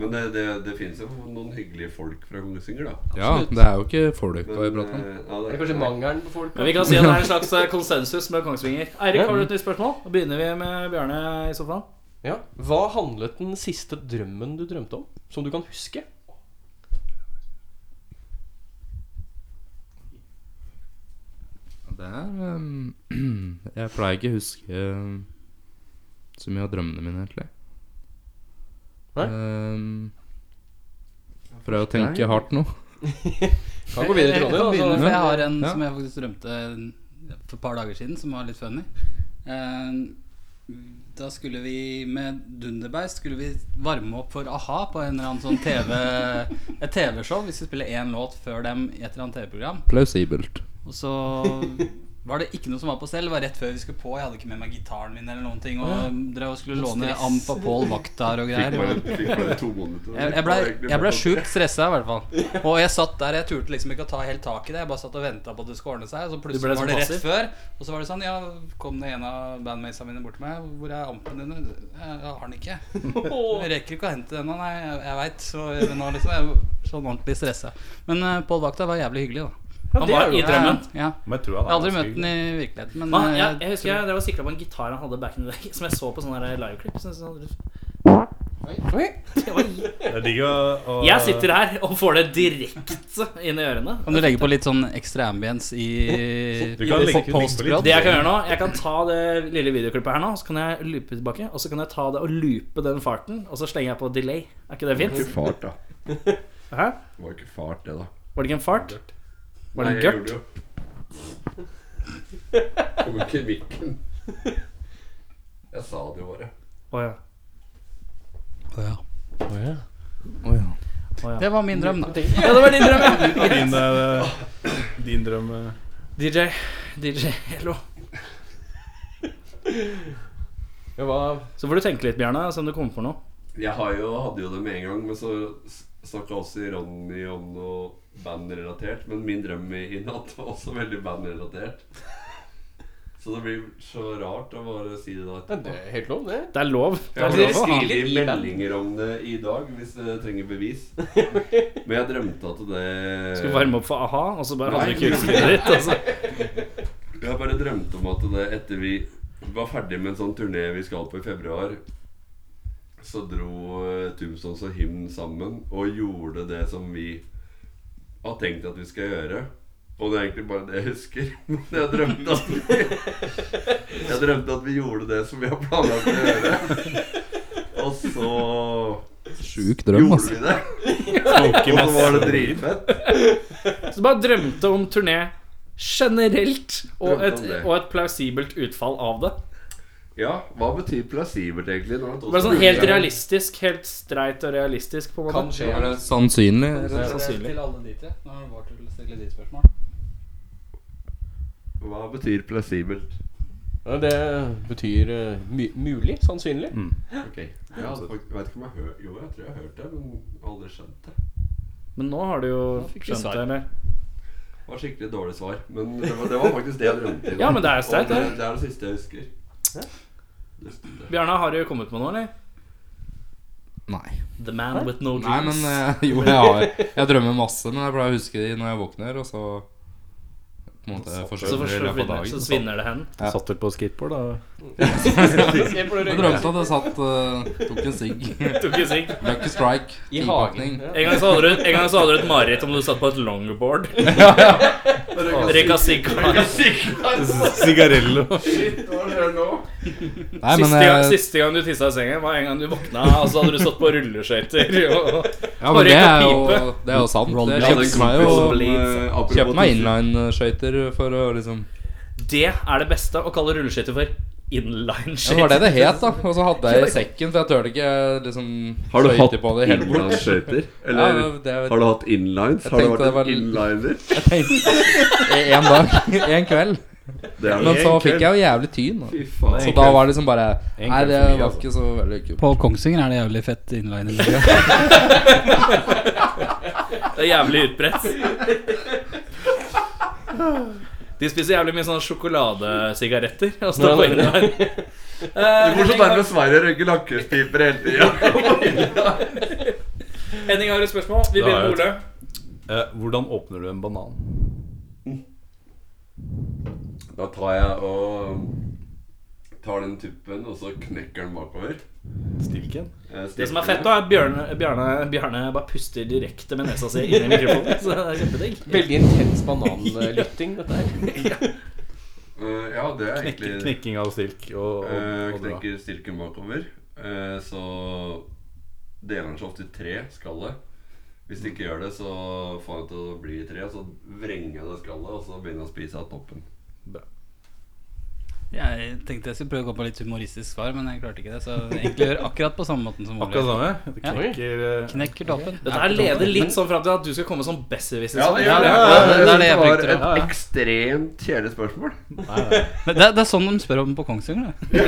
Speaker 5: Men det, det, det finnes jo noen hyggelige folk fra Kongsvinger, da.
Speaker 7: ja, det er jo ikke folka vi
Speaker 5: Men,
Speaker 7: prater om.
Speaker 5: eh, ja,
Speaker 3: Det er kanskje mangelen på folk.
Speaker 2: Men vi kan si at det er en slags eh, konsensus med Kongsvinger. Eirik, har du et nytt spørsmål? Da begynner vi med Bjarne i sofaen.
Speaker 3: Ja. Hva handlet den siste drømmen du drømte om, som du kan huske?
Speaker 7: Det er ehm, [CLEARS THROAT] Jeg pleier ikke å huske ehm, så mye av drømmene mine, egentlig.
Speaker 3: Nei?
Speaker 7: Ehm, prøver å tenke hardt nå.
Speaker 3: Kan gå videre
Speaker 6: Jeg
Speaker 3: til
Speaker 6: kan
Speaker 3: Ronny. da,
Speaker 6: begynne,
Speaker 7: altså.
Speaker 6: for jeg har en
Speaker 7: Ja.
Speaker 6: som jeg faktisk drømte for et par dager siden, som var litt funny. Eh, Da skulle vi med Dunderbeist Skulle vi varme opp for a-ha på en eller annen sånn TV
Speaker 7: [LAUGHS]
Speaker 6: et TV-show. Vi skulle spille én låt før dem i et eller annet TV-program.
Speaker 7: Plausibelt.
Speaker 6: Og så var det ikke noe som var på stell. Det var rett før vi skulle på. Jeg hadde ikke med meg gitaren min eller noen ting. Og drev og skulle låne amp av Pål Vaktar og greier.
Speaker 5: Fikk bare, fikk bare to måneder.
Speaker 6: Jeg, jeg ble, jeg ble sjukt stressa i hvert fall. Og jeg satt der, jeg turte liksom ikke å ta helt tak i det. Jeg bare satt og venta på at det skulle ordne seg. Og så
Speaker 2: Du ble
Speaker 6: plutselig var det
Speaker 2: så
Speaker 6: rett før. Og så var det sånn, ja, kom det en av bandmatesa mine bort til meg. 'Hvor er ampen din?' Jeg, jeg har den ikke. Jeg rekker ikke å hente den nå, nei. Jeg, jeg veit. Så men nå liksom, jeg var sånn ordentlig stressa. Men uh, Pål Bakta var jævlig hyggelig, da.
Speaker 2: det er
Speaker 6: var
Speaker 2: jo
Speaker 6: i
Speaker 2: det.
Speaker 6: drømmen. Ja.
Speaker 4: Men jeg tror
Speaker 6: Jeg har aldri
Speaker 4: ganske
Speaker 6: møtt den i virkeligheten, men
Speaker 2: Man,
Speaker 6: eh,
Speaker 2: Ah, jeg, jeg husker
Speaker 6: tror-
Speaker 2: jeg drev og sikla på en gitar han hadde back in the day, som jeg så på sånne der liveklipp. Så, så, Det var-
Speaker 4: hyggelig. Det er digg å, å
Speaker 2: jeg sitter her og får det direkte inn i ørene.
Speaker 6: kan du legge på litt sånn ekstra ambience i
Speaker 4: Du kan legge- legge på litt.
Speaker 2: Det jeg kan gjøre nå, jeg kan ta det lille videoklippet her nå, så kan jeg loope tilbake. Og så kan jeg ta det og loope den farten, og så slenger jeg på delay. Er ikke det
Speaker 5: Det var
Speaker 2: fint?
Speaker 5: ikke fart, da.
Speaker 2: Hæ?
Speaker 5: Det var ikke fart, det, da.
Speaker 2: Var det ikke en fart? Var det
Speaker 5: Nei,
Speaker 2: en
Speaker 5: jeg
Speaker 2: gørt?
Speaker 5: gjorde jo- Kommer ikke i mikken. Jeg sa det jo bare.
Speaker 2: Å ja.
Speaker 6: Det var min drøm, da.
Speaker 2: ja. Det var din drøm, ja. [LAUGHS]
Speaker 4: Ja, din, eh, [LAUGHS] din drøm eh.
Speaker 2: DJ. DJ Hello.
Speaker 3: Ja, hva-
Speaker 2: Så får du tenke litt, Bjarne, se om du kommer på noe.
Speaker 5: Jeg har jo, hadde jo det med en gang, men så snakka også Ronny om noe bandrelatert. Men min drøm i i natt var også veldig bandrelatert. Så det blir så rart å bare si det da
Speaker 3: Ja,
Speaker 5: etterpå.
Speaker 3: det er helt lov, det.
Speaker 2: Det er lov.
Speaker 5: Jeg har
Speaker 2: Det er
Speaker 5: også
Speaker 2: lov.
Speaker 5: skrevet meldinger om det i dag, hvis dere trenger bevis.
Speaker 2: [LAUGHS]
Speaker 5: Men jeg drømte at det
Speaker 2: Skulle varme opp for a-ha, og så bare hadde du
Speaker 5: Nei.
Speaker 2: ikke utstyret ditt. Altså.
Speaker 5: Jeg bare drømte om at det etter vi var ferdig med en sånn turné vi skal på i februar, så dro eh, Tombstones og Hymn sammen og gjorde det som vi har tenkt at vi skal gjøre. Og det er egentlig bare det jeg husker. [LAUGHS] Men jeg drømte at vi, [LAUGHS] jeg drømte at vi gjorde det som vi har planlagt å gjøre. Og så
Speaker 7: [LAUGHS] Sjuk altså.
Speaker 5: gjorde vi det. Og så var det dritfett.
Speaker 2: Så bare drømte om turné generelt, og
Speaker 5: Drømte
Speaker 2: et,
Speaker 5: om det.
Speaker 2: og et plausibelt utfall av det.
Speaker 5: Ja, hva betyr plasibert egentlig? Det var et
Speaker 2: Bare
Speaker 5: også-
Speaker 2: sånn helt realistisk, helt streit og realistisk, på en måte.
Speaker 6: skje.
Speaker 7: Er det sannsynlig?
Speaker 2: sannsynlig.
Speaker 6: Til alle de tre. Nå er det vår tur til å stille ditt spørsmål.
Speaker 5: Hva betyr plasibelt?
Speaker 3: Ja, det betyr eh, mu- mulig, sannsynlig.
Speaker 5: Ok, Jeg hadde fakt- altså, jeg vet ikke om jeg hør, Jo, jeg tror jeg har hørt det, men aldri skjønt det.
Speaker 2: Men nå har du jo
Speaker 6: fikk vi
Speaker 2: skjønt
Speaker 6: svar.
Speaker 2: det, eller?
Speaker 5: Det var skikkelig dårlig svar, men det var, det var faktisk det jeg drømte. i
Speaker 2: Ja,
Speaker 5: dag.
Speaker 2: men det er jo sterkt,
Speaker 5: Og det.
Speaker 2: det.
Speaker 5: Det er det siste jeg husker. Nesten det.
Speaker 2: Bjarne, har du kommet med noe, eller?
Speaker 7: Nei.
Speaker 2: The man with no
Speaker 7: Nei, men
Speaker 2: dreams.
Speaker 7: eh, [LAUGHS] jo, jeg har Jeg drømmer masse, men jeg pleier å huske de når jeg våkner, og så på en måte
Speaker 2: så
Speaker 7: forsvinner det i løpet av
Speaker 2: forsvinner,
Speaker 7: dagen.
Speaker 2: så svinner det hen.
Speaker 7: Ja.
Speaker 4: Satt vel på skateboard, da?
Speaker 7: Jeg drømte at jeg satt eh, Tok en sigg. [LAUGHS]
Speaker 2: Tok ikke sigg.
Speaker 7: Lucky strike.
Speaker 3: I
Speaker 7: innpakning.
Speaker 3: hagen. Ja.
Speaker 2: En gang så hadde du, en gang så hadde du et mareritt om du satt på et longboard. Røyka sigg.
Speaker 4: Sigarello.
Speaker 7: Nei,
Speaker 2: Siste,
Speaker 7: men eh,
Speaker 2: gang-
Speaker 7: jeg,
Speaker 2: siste gang du tissa i sengen, var en gang du våkna, og så hadde du stått på rulleskøyter. [LAUGHS] og-
Speaker 7: ja, men det
Speaker 2: Røyka
Speaker 7: er jo
Speaker 2: pipe.
Speaker 7: Det er jo sant.
Speaker 5: Jeg
Speaker 7: Jeg
Speaker 5: hadde en
Speaker 7: kjøpte meg jo
Speaker 5: kompis som, eh, apropos
Speaker 7: Kjøpte meg
Speaker 5: tusen-
Speaker 7: inline-skøyter for å liksom
Speaker 2: Det er det beste, å kalle rulleskøyter for
Speaker 7: Ja, det var det
Speaker 2: inline-skøyter.
Speaker 7: det het, da. Og så hadde jeg i sekken, for jeg tørte ikke liksom
Speaker 5: Har du
Speaker 7: skøyter
Speaker 5: hatt
Speaker 7: på det hele bort.
Speaker 5: inlineskøyter?
Speaker 7: Ja,
Speaker 5: Eller
Speaker 7: det er
Speaker 5: har du hatt inlines? Har du
Speaker 7: tenkte det
Speaker 5: vært
Speaker 7: var-
Speaker 5: en inliner?
Speaker 7: jeg tenkte [LAUGHS] En dag. En kveld.
Speaker 5: Det er
Speaker 7: Men
Speaker 5: jo
Speaker 7: så fikk jeg jo jævlig tyn. da.
Speaker 5: Fy faen.
Speaker 7: Så da var det liksom bare
Speaker 4: En
Speaker 7: Nei,
Speaker 4: kveld
Speaker 7: det
Speaker 4: for mye,
Speaker 7: var
Speaker 4: altså.
Speaker 7: ikke så veldig kult.
Speaker 6: På Kongsvinger er det jævlig fett inliner.
Speaker 2: Det er jævlig utbredt. De spiser jævlig mye sånne sjokoladesigaretter. Og står på inline.
Speaker 7: [LAUGHS]
Speaker 2: Eh,
Speaker 5: Morsomt er det
Speaker 2: Henning,
Speaker 5: med Sverige røyker lakrispiper hele tida.
Speaker 2: Henning, har du et spørsmål? Vi
Speaker 4: Da har jeg
Speaker 2: begynner med Ole.
Speaker 4: Eh, hvordan åpner du en banan?
Speaker 5: Da tar jeg og um, tar den tuppen, og så knekker den bakover.
Speaker 4: Stilken?
Speaker 5: Eh,
Speaker 2: Det som er fett, da, er at Bjørne, Bjørne, Bjørne bare puster direkte med nesa si inn i mikrofonen. Så det er kjempedigg.
Speaker 3: Veldig intens bananlytting, dette her.
Speaker 2: [LAUGHS]
Speaker 5: Eh, Ja, det er egentlig
Speaker 4: Knekking av stilk og, og,
Speaker 5: Eh,
Speaker 4: og dra.
Speaker 5: knekker stilken bakover. Eh, så deler han seg ofte i tre, skallet. Hvis
Speaker 4: Mm.
Speaker 5: det ikke gjør det, så får han det til å bli i tre. Så vrenger jeg det skallet, og så begynner jeg å spise av toppen.
Speaker 4: Bra.
Speaker 6: Jeg tenkte jeg skulle prøve å gå på litt humoristisk svar, men jeg klarte ikke det. Så egentlig gjør akkurat på samme måten som Ole.
Speaker 4: Akkurat samme. Det
Speaker 6: Ja.
Speaker 4: knekker eh,
Speaker 6: Knekker toppen.
Speaker 2: Dette her leder litt sånn fram til at du skal komme som besserwisser. sånn.
Speaker 5: Ja, det gjør det.
Speaker 6: det er det jeg
Speaker 5: var
Speaker 6: frykter,
Speaker 5: et ekstremt kjedelig spørsmål.
Speaker 6: Men Det, er- det er sånn de spør om på Kongsvinger. det.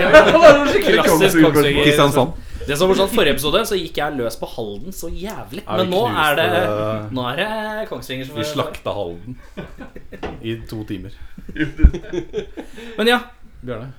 Speaker 2: Klassisk Kongsvinger.
Speaker 4: Kristiansand.
Speaker 2: Det som var morsomt, Forrige episode så gikk jeg løs på Halden så jævlig.
Speaker 4: Ja, vi
Speaker 2: Men nå er det
Speaker 4: knuste det.
Speaker 2: Nå er det Kongsvinger [LAUGHS] som
Speaker 4: Vi slakta Halden i to timer.
Speaker 2: Men ja,
Speaker 4: Bjørne,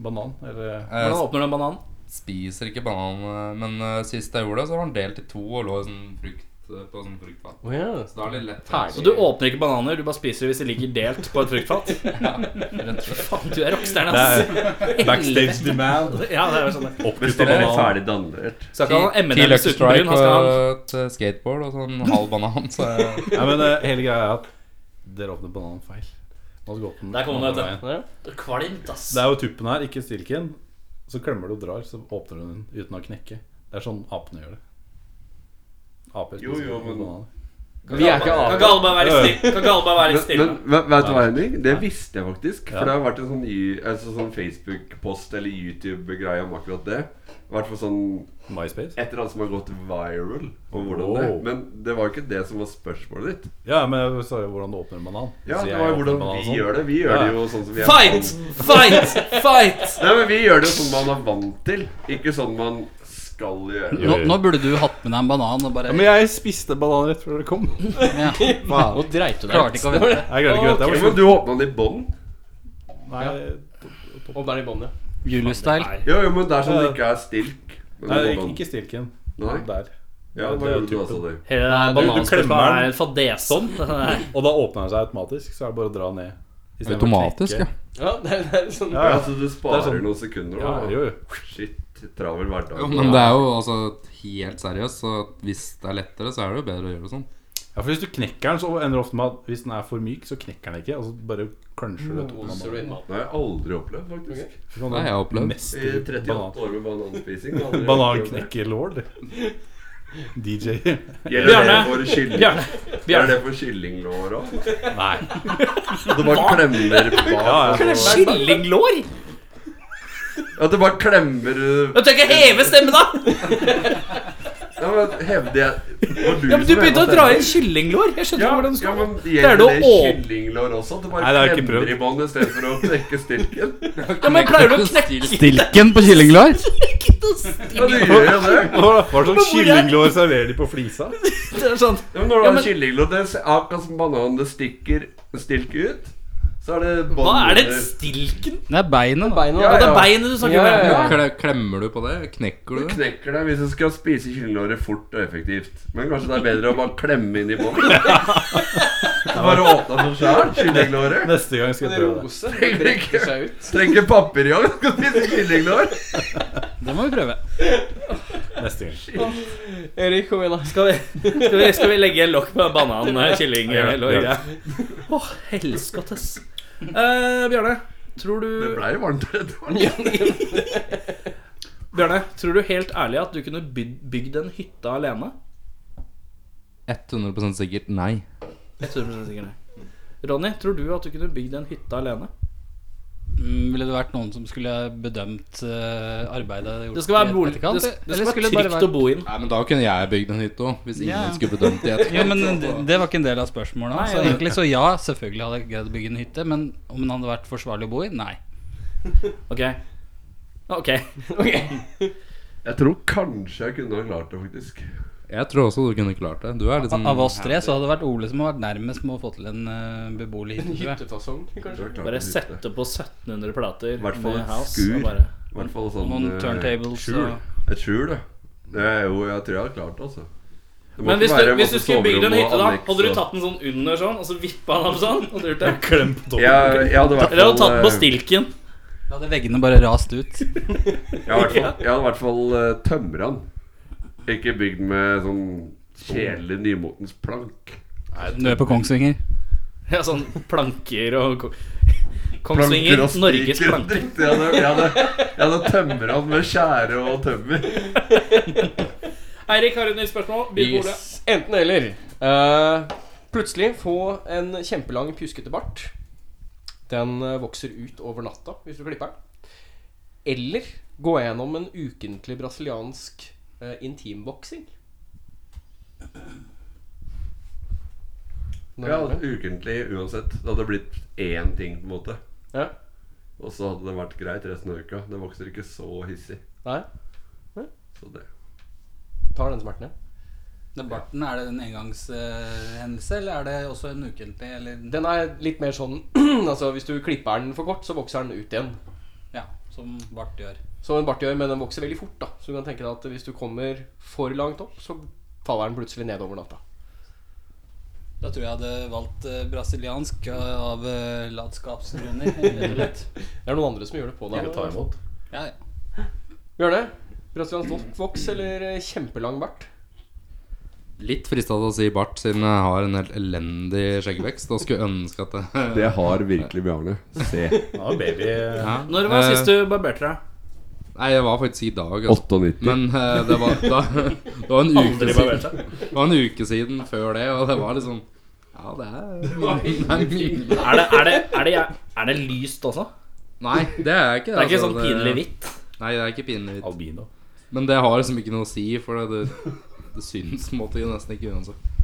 Speaker 4: banan eller
Speaker 7: Jeg
Speaker 2: hvordan åpner du en banan?
Speaker 7: spiser ikke banan, men eh, sist jeg gjorde det, så var den delt i to og lå i sånn frukt eh, på sånn fruktvann.
Speaker 3: Å ja.
Speaker 7: Så da er det litt lett.
Speaker 3: Ferdig.
Speaker 2: Så du åpner ikke bananer, du bare spiser det hvis det ligger delt på et
Speaker 6: [LAUGHS]
Speaker 2: fruktfat? Faen, du er rockstjerne, [LAUGHS] ass.
Speaker 4: Backstage demand.
Speaker 2: Ja, det er jo sånn det.
Speaker 4: Oppkutta
Speaker 5: Bestiller
Speaker 4: banan.
Speaker 5: ferdig dandert.
Speaker 2: Skal ikke ha
Speaker 7: Ti
Speaker 2: noen
Speaker 7: ti
Speaker 2: M&M's
Speaker 7: Lucky
Speaker 2: uten bryn.
Speaker 7: Strike
Speaker 2: Han skal ha
Speaker 7: og et eh, skateboard og sånn halv banan, [LAUGHS] så jeg-
Speaker 4: Nei, men eh, hele greia er at dere åpner bananen feil. Man skal åpne den
Speaker 2: Der kom den,
Speaker 4: andre
Speaker 2: vet
Speaker 4: veien.
Speaker 2: du. Kvalmt, ass.
Speaker 4: Det er jo tuppen her, ikke stilken. Så klemmer du og drar, så åpner du den uten å knekke. Det er sånn apene gjør det. Aper
Speaker 5: Jo, jo, men-
Speaker 4: bananer.
Speaker 3: Vi er ikke
Speaker 2: Kan
Speaker 3: av.
Speaker 2: ikke alle bare være stille? Kan ikke alle bare være litt stille?
Speaker 5: Men, men vet du hva, Henning? Det visste jeg faktisk.
Speaker 4: Ja.
Speaker 5: For det har vært en sånn, y- altså sånn Facebook-post eller YouTube-greie om akkurat det. I hvert fall sånn
Speaker 4: MySpace?
Speaker 5: et eller annet som har gått viral. Om hvordan det
Speaker 4: Wow.
Speaker 5: Men det var jo ikke det som var spørsmålet ditt.
Speaker 4: Ja, men jeg sa jo hvordan du åpner en banan.
Speaker 5: Ja,
Speaker 4: Så
Speaker 5: det
Speaker 4: jeg
Speaker 5: var jo
Speaker 4: åpner
Speaker 5: hvordan
Speaker 4: bananen
Speaker 5: vi
Speaker 4: sånn.
Speaker 5: gjør det. Vi gjør det
Speaker 4: Ja.
Speaker 5: jo sånn som vi er
Speaker 2: Fight! Fight! Fight!
Speaker 5: Nei, men Vi gjør det jo sånn man er vant til, ikke sånn man skal gjøre. det.
Speaker 4: Jo,
Speaker 6: Nå,
Speaker 4: jo.
Speaker 6: nå burde du hatt med deg en banan og bare
Speaker 4: Ja, men jeg spiste banan rett før dere [LAUGHS] kom.
Speaker 6: ja,
Speaker 3: Nå dreit du
Speaker 6: Klarte
Speaker 3: deg
Speaker 6: ikke å vente.
Speaker 4: Jeg greide ikke dette.
Speaker 5: Ja, men du åpna den i bånn?
Speaker 4: Nei,
Speaker 3: Og der i båndet.
Speaker 6: Julius-style.
Speaker 5: Jo, jo, men det er sånn det ikke er stilk. Men
Speaker 4: nei
Speaker 5: det
Speaker 4: ikke,
Speaker 5: var bånd.
Speaker 4: ikke stilken.
Speaker 5: Nei.
Speaker 4: Der.
Speaker 5: Ja, hva
Speaker 4: Det er
Speaker 5: gjorde du
Speaker 4: typen.
Speaker 5: altså, du?
Speaker 2: Hele den
Speaker 4: du- du
Speaker 2: bananspørsmålet
Speaker 4: klemmer den.
Speaker 2: er en fadese. Sånn.
Speaker 4: Og da åpner den seg automatisk, så er det bare å dra ned. I stedet for å
Speaker 7: Automatisk,
Speaker 4: knekke.
Speaker 7: ja.
Speaker 3: Ja, det er, det er sånn
Speaker 4: Ja,
Speaker 5: Ja,
Speaker 4: ja.
Speaker 5: så du sparer
Speaker 4: Det er sånn-
Speaker 5: noen sekunder,
Speaker 4: Ja,
Speaker 5: da?
Speaker 4: jo, jo.
Speaker 5: Shit, travel hverdag.
Speaker 7: Jo, men det er jo altså helt seriøst, så hvis det er lettere, så er det jo bedre å gjøre det sånn.
Speaker 4: Ja, for Hvis du knekker den, så ender det ofte med at hvis den er for myk, så knekker den ikke. Og så bare cruncher du
Speaker 5: Mm.
Speaker 4: to
Speaker 3: Oser du
Speaker 4: bananer.
Speaker 3: inn maten.
Speaker 5: Det har jeg aldri opplevd, faktisk.
Speaker 4: Så kan
Speaker 7: Det har
Speaker 4: du
Speaker 7: jeg opplevd.
Speaker 4: mestre
Speaker 5: I 38
Speaker 4: banan.
Speaker 5: år med bananspising. har jeg aldri opplevd det.
Speaker 4: [LAUGHS] Bananknekkerlord. DJ.
Speaker 5: Gjelder det
Speaker 2: Bjarne.
Speaker 5: for kylling?
Speaker 2: Bjarne.
Speaker 5: Gjelder det for kyllinglår òg?
Speaker 4: Nei.
Speaker 5: Det bare klemmer
Speaker 4: Ja,
Speaker 5: bak.
Speaker 4: ja.
Speaker 2: Skillinglår?
Speaker 5: At det bare klemmer uh,
Speaker 2: Du tør ikke heve stemmen, da!
Speaker 5: [LAUGHS] Ja, men Hevde jeg var
Speaker 2: Ja, men Du
Speaker 5: som
Speaker 2: begynte å
Speaker 5: heva
Speaker 2: dra
Speaker 5: stemmen?
Speaker 2: inn kyllinglår. Jeg skjønner
Speaker 5: Ja,
Speaker 2: ikke hvordan du
Speaker 5: ja,
Speaker 2: skal
Speaker 5: men
Speaker 2: Pleier du
Speaker 5: gjelder
Speaker 2: å
Speaker 5: det
Speaker 2: åp-
Speaker 5: kyllinglår også? At det
Speaker 4: Nei, det har
Speaker 5: bare
Speaker 4: jeg ikke
Speaker 5: klemmer
Speaker 4: prøvd.
Speaker 5: i bånn istedenfor
Speaker 4: [LAUGHS]
Speaker 5: å trekke stilken?
Speaker 2: Ja, men pleier du å knekke
Speaker 6: Stilken på kyllinglår?
Speaker 5: Ja, du gjør jo det.
Speaker 4: [LAUGHS] Hva hva slags
Speaker 2: hvor er-
Speaker 4: kyllinglår serverer de på flisa?
Speaker 2: Det er sånn
Speaker 5: Ja, men når du
Speaker 2: Ja,
Speaker 5: har
Speaker 2: men-
Speaker 5: kyllinglår, det er akkurat som banan, det stikker stilker ut. Så er det bånd
Speaker 2: Hva er det?
Speaker 5: under.
Speaker 2: Stilken?
Speaker 6: Det er beinet. da.
Speaker 3: Beina
Speaker 5: Ja,
Speaker 2: Det
Speaker 5: ja.
Speaker 2: er beinet du snakker
Speaker 3: Ja,
Speaker 2: om.
Speaker 3: ja, ja.
Speaker 7: Kle- Klemmer du på det? Knekker du
Speaker 5: Du
Speaker 7: det?
Speaker 5: knekker deg hvis du skal spise kyllinglåret fort og effektivt. Men kanskje det er bedre å bare klemme inn i
Speaker 4: [LAUGHS]
Speaker 5: [LAUGHS] båndet? Bare åpne for sjæl, kyllinglåret.
Speaker 4: Neste gang skal jeg prøve det.
Speaker 3: Rose
Speaker 5: Trenger ikke,
Speaker 3: seg ut.
Speaker 5: trenger papirjogg, skal spise kyllinglår.
Speaker 6: Det må vi prøve.
Speaker 4: Neste gang.
Speaker 3: Erik, kom igjen, da.
Speaker 2: Skal vi, [LAUGHS] skal, vi, skal vi legge lokk på bananen eh, kylling? eh, lår?
Speaker 4: Ja.
Speaker 2: Å, helskottes. Eh, Bjørne, tror du
Speaker 5: Det blei varmt redd.
Speaker 2: Bjørne, tror du helt ærlig at du kunne bygd, bygd en hytte alene?
Speaker 7: 100 sikkert nei.
Speaker 2: 100 sikkert nei. Ronny, tror du at du kunne bygd en hytte alene?
Speaker 6: Mm, Ville det vært noen som skulle bedømt eh, arbeidet gjort
Speaker 2: Det skal være,
Speaker 6: i
Speaker 2: bolig, det,
Speaker 6: etterkant,
Speaker 2: det,
Speaker 6: eller
Speaker 2: skal
Speaker 6: skulle
Speaker 2: være
Speaker 6: det bare
Speaker 2: trygt å bo inn.
Speaker 7: Nei, men da kunne jeg bygd en hytte òg, hvis ingen
Speaker 6: Ja.
Speaker 7: skulle bedømt det. [LAUGHS] etterpå.
Speaker 6: Jo, men det, det var ikke en del av spørsmålet.
Speaker 2: Nei,
Speaker 6: så
Speaker 2: ja.
Speaker 6: egentlig så ja, selvfølgelig hadde jeg greid å bygge en hytte. Men om den hadde vært forsvarlig å bo i? Nei.
Speaker 2: Ok. Ok.
Speaker 5: Jeg tror kanskje jeg kunne ha klart det, faktisk.
Speaker 7: Jeg tror også du kunne klart det. Du er litt sånn
Speaker 6: Av oss tre så hadde det vært Ole som har vært nærmest med å få til en eh, beboelig hytte. tror jeg.
Speaker 3: Hyttefasong, kanskje.
Speaker 2: Bare sette på 1700 plater.
Speaker 5: I hvert fall
Speaker 2: med
Speaker 5: et
Speaker 2: house,
Speaker 5: skur.
Speaker 2: og Bare...
Speaker 5: I hvert fall sånn
Speaker 6: Noen
Speaker 5: eh,
Speaker 6: turntables
Speaker 5: skjul.
Speaker 6: og-
Speaker 5: Et skjul, ja. Det er jo Jeg tror jeg hadde klart det, altså. Det må
Speaker 2: Men
Speaker 5: ikke
Speaker 2: hvis du,
Speaker 5: være
Speaker 2: hvis du
Speaker 5: masse
Speaker 2: skulle bygd en
Speaker 5: soverom og
Speaker 2: hytte, da,
Speaker 5: anneks
Speaker 2: hadde du
Speaker 5: og-
Speaker 2: tatt den sånn under sånn, og så vippa den opp sånn? Hadde du gjort det?
Speaker 4: Klem på toppen.
Speaker 5: Jeg, jeg hadde i hvert
Speaker 2: Eller hadde du tatt den på
Speaker 5: eh,
Speaker 2: stilken?
Speaker 6: Da hadde veggene bare rast ut.
Speaker 5: eh, Jeg hadde i hvert fall, jeg hadde i hvert fall eh, tømra den. Ikke bygd med sånn kjedelig nymotens plank.
Speaker 6: Du er på Kongsvinger.
Speaker 2: Ja, sånn planker og
Speaker 5: [LAUGHS]
Speaker 2: ko-
Speaker 5: Planker
Speaker 2: Kongsvinger.
Speaker 5: og
Speaker 2: Norges
Speaker 5: spiker
Speaker 2: planker.
Speaker 5: og [LAUGHS] dritt. Jeg hadde, jeg hadde, jeg hadde tømra den med skjære og tømmer.
Speaker 2: Eirik, har du et nytt spørsmål? Begynn med Ole.
Speaker 3: Yes. Enten eller. Eh, plutselig få en kjempelang, pjuskete bart. Den eh, vokser ut over natta hvis du klipper den. Eller gå gjennom en ukentlig brasiliansk eh, intimboksing.
Speaker 5: Ja, ukentlig uansett. Det hadde blitt én ting, på en måte.
Speaker 3: Ja.
Speaker 5: Og så hadde det vært greit resten av uka. Det vokser ikke så hissig.
Speaker 3: Nei,
Speaker 5: Så det
Speaker 3: tar den smerten igjen.
Speaker 6: Den barten, er det en engangshendelse, eller er det også en ukentlig, eller
Speaker 3: Den er litt mer sånn [CLEARS THROAT] Altså Hvis du klipper den for kort, så vokser den ut igjen.
Speaker 6: Ja, som bart gjør.
Speaker 3: Som en bart gjør, men den vokser veldig fort. da Så du kan tenke deg at hvis du kommer for langt opp, så faller den plutselig ned over natta.
Speaker 6: Da tror jeg jeg hadde valgt eh, brasiliansk eh, av eh, latskapsgrunner. rett og slett.
Speaker 3: Det er noen andre som gjør det på deg.
Speaker 6: Ja, ja.
Speaker 3: Bjørne, brasiliansk voks eller eh, kjempelang bart?
Speaker 7: Litt frista til å si bart, siden jeg har en helt elendig skjeggvekst. Og skulle ønske at det
Speaker 5: Det har virkelig Bjarne. Se. [LAUGHS]
Speaker 4: Ja, baby.
Speaker 7: ja.
Speaker 2: Når var
Speaker 7: Eh,
Speaker 2: sist du barberte deg?
Speaker 7: Nei, det var faktisk i dag. Altså.
Speaker 5: 98.
Speaker 7: Men eh, det var da, det var en uke
Speaker 4: Aldri
Speaker 7: siden
Speaker 4: barbert seg.
Speaker 7: Det var en uke siden før det, og det var liksom Ja, det er, det er mye
Speaker 2: Er det, er, det, er, det, er det lyst også?
Speaker 7: Nei, det er
Speaker 2: [LAUGHS]
Speaker 7: ikke det.
Speaker 2: Det er ikke
Speaker 7: altså,
Speaker 2: sånn pinlig hvitt?
Speaker 7: Nei, det er ikke pinlig hvitt.
Speaker 4: Albino.
Speaker 7: Men det har liksom ikke noe å si, for det, det, det syns på en måte nesten ikke uansett.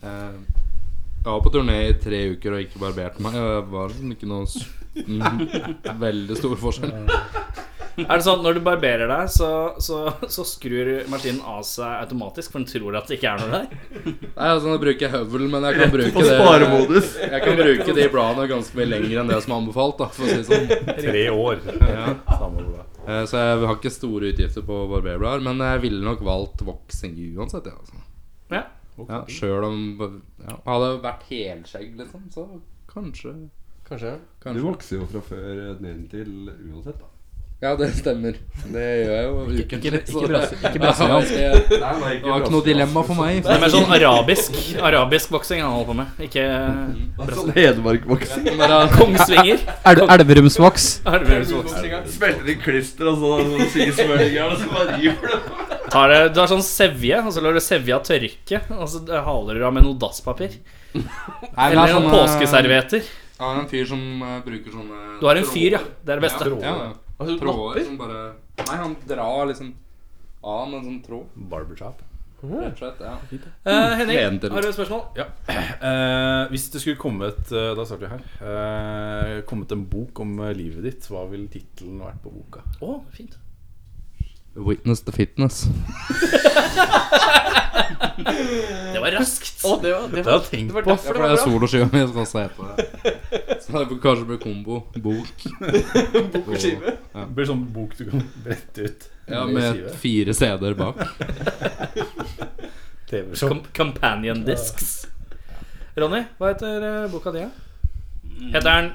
Speaker 7: Eh, jeg var på turné i tre uker og ikke barbert meg. og Det var liksom ikke noe s mm, veldig stor forskjell.
Speaker 2: Er det sånn at når du barberer deg, så, så, så skrur maskinen av seg automatisk, for den tror at det ikke er noe der?
Speaker 7: Nei, altså Nå bruker jeg høvel, men jeg kan bruke det Jeg kan bruke de bladene ganske mye lenger enn det som er anbefalt. da For å si det sånn
Speaker 4: Tre [LAUGHS] år.
Speaker 7: ja.
Speaker 4: Samme hvor det er.
Speaker 7: Eh, Så jeg har ikke store utgifter på barberblader, men jeg ville nok valgt voksing uansett. Ja, altså.
Speaker 2: Ja.
Speaker 7: ja, Sjøl om ja, Hadde det vært helskjegg, liksom, så kanskje.
Speaker 3: Kanskje.
Speaker 5: Du
Speaker 7: kanskje.
Speaker 5: vokser jo fra før eh, nedentil uansett, da.
Speaker 7: Ja, det stemmer. Det gjør jeg jo ukentlig. så-
Speaker 4: ikke brasi- ikke
Speaker 7: Ja,
Speaker 4: brasiliansk.
Speaker 7: jeg-
Speaker 5: Nei, nei,
Speaker 7: Det var ikke noe dilemma for meg.
Speaker 2: Det er mer sånn arabisk Arabisk boksing han holder på med. Ikke
Speaker 5: Sånn Hedmarkvoksing.
Speaker 2: Kongsvinger.
Speaker 6: Elverumsvoks.
Speaker 2: Er det vel sånn?
Speaker 5: Smelter
Speaker 7: [LAUGHS]
Speaker 5: [LAUGHS] i klister og sånn sismøringer, og så bare river det.
Speaker 2: Tar det, du har sånn sevje, og så lar du sevja tørke. Og så haler du av med noe dasspapir.
Speaker 7: Nei, men
Speaker 2: Eller
Speaker 7: det
Speaker 2: noen
Speaker 7: er sånn, eh,
Speaker 2: påskeservietter.
Speaker 7: Jeg har en fyr som eh, bruker sånne
Speaker 2: Du har en fyr, ja. Det er det beste.
Speaker 7: Ja, ja.
Speaker 3: Altså,
Speaker 7: Tråder
Speaker 3: napper.
Speaker 7: som bare Nei, han drar liksom av med en sånn tråd.
Speaker 4: Barbershop.
Speaker 7: Rett og slett. Ja.
Speaker 2: Eh, Henning,
Speaker 7: Ledende.
Speaker 2: har du et spørsmål?
Speaker 4: Eh, hvis det skulle kommet eh, Da starter vi her. Eh, kommet en bok om eh, livet ditt, hva ville tittelen vært på boka?
Speaker 2: Å, fint.
Speaker 7: Witness the fitness.
Speaker 2: Det var raskt.
Speaker 3: Å, det var, det
Speaker 4: Det
Speaker 3: var,
Speaker 4: har jeg tenkt
Speaker 3: det var
Speaker 4: på.
Speaker 7: Ja,
Speaker 3: derfor
Speaker 7: for
Speaker 3: det
Speaker 7: det
Speaker 3: var
Speaker 7: er
Speaker 3: bra.
Speaker 7: soloskiva mi som også heter det. Så det får kanskje bli kombo. Bok. Bok og skive.
Speaker 4: Det blir sånn bok du kan [LAUGHS] brette ut.
Speaker 7: Ja, med
Speaker 4: skive.
Speaker 7: fire CD-er bak.
Speaker 4: TV-show.
Speaker 2: Com companion discs. Ronny, hva heter eh, boka di? da? Heter den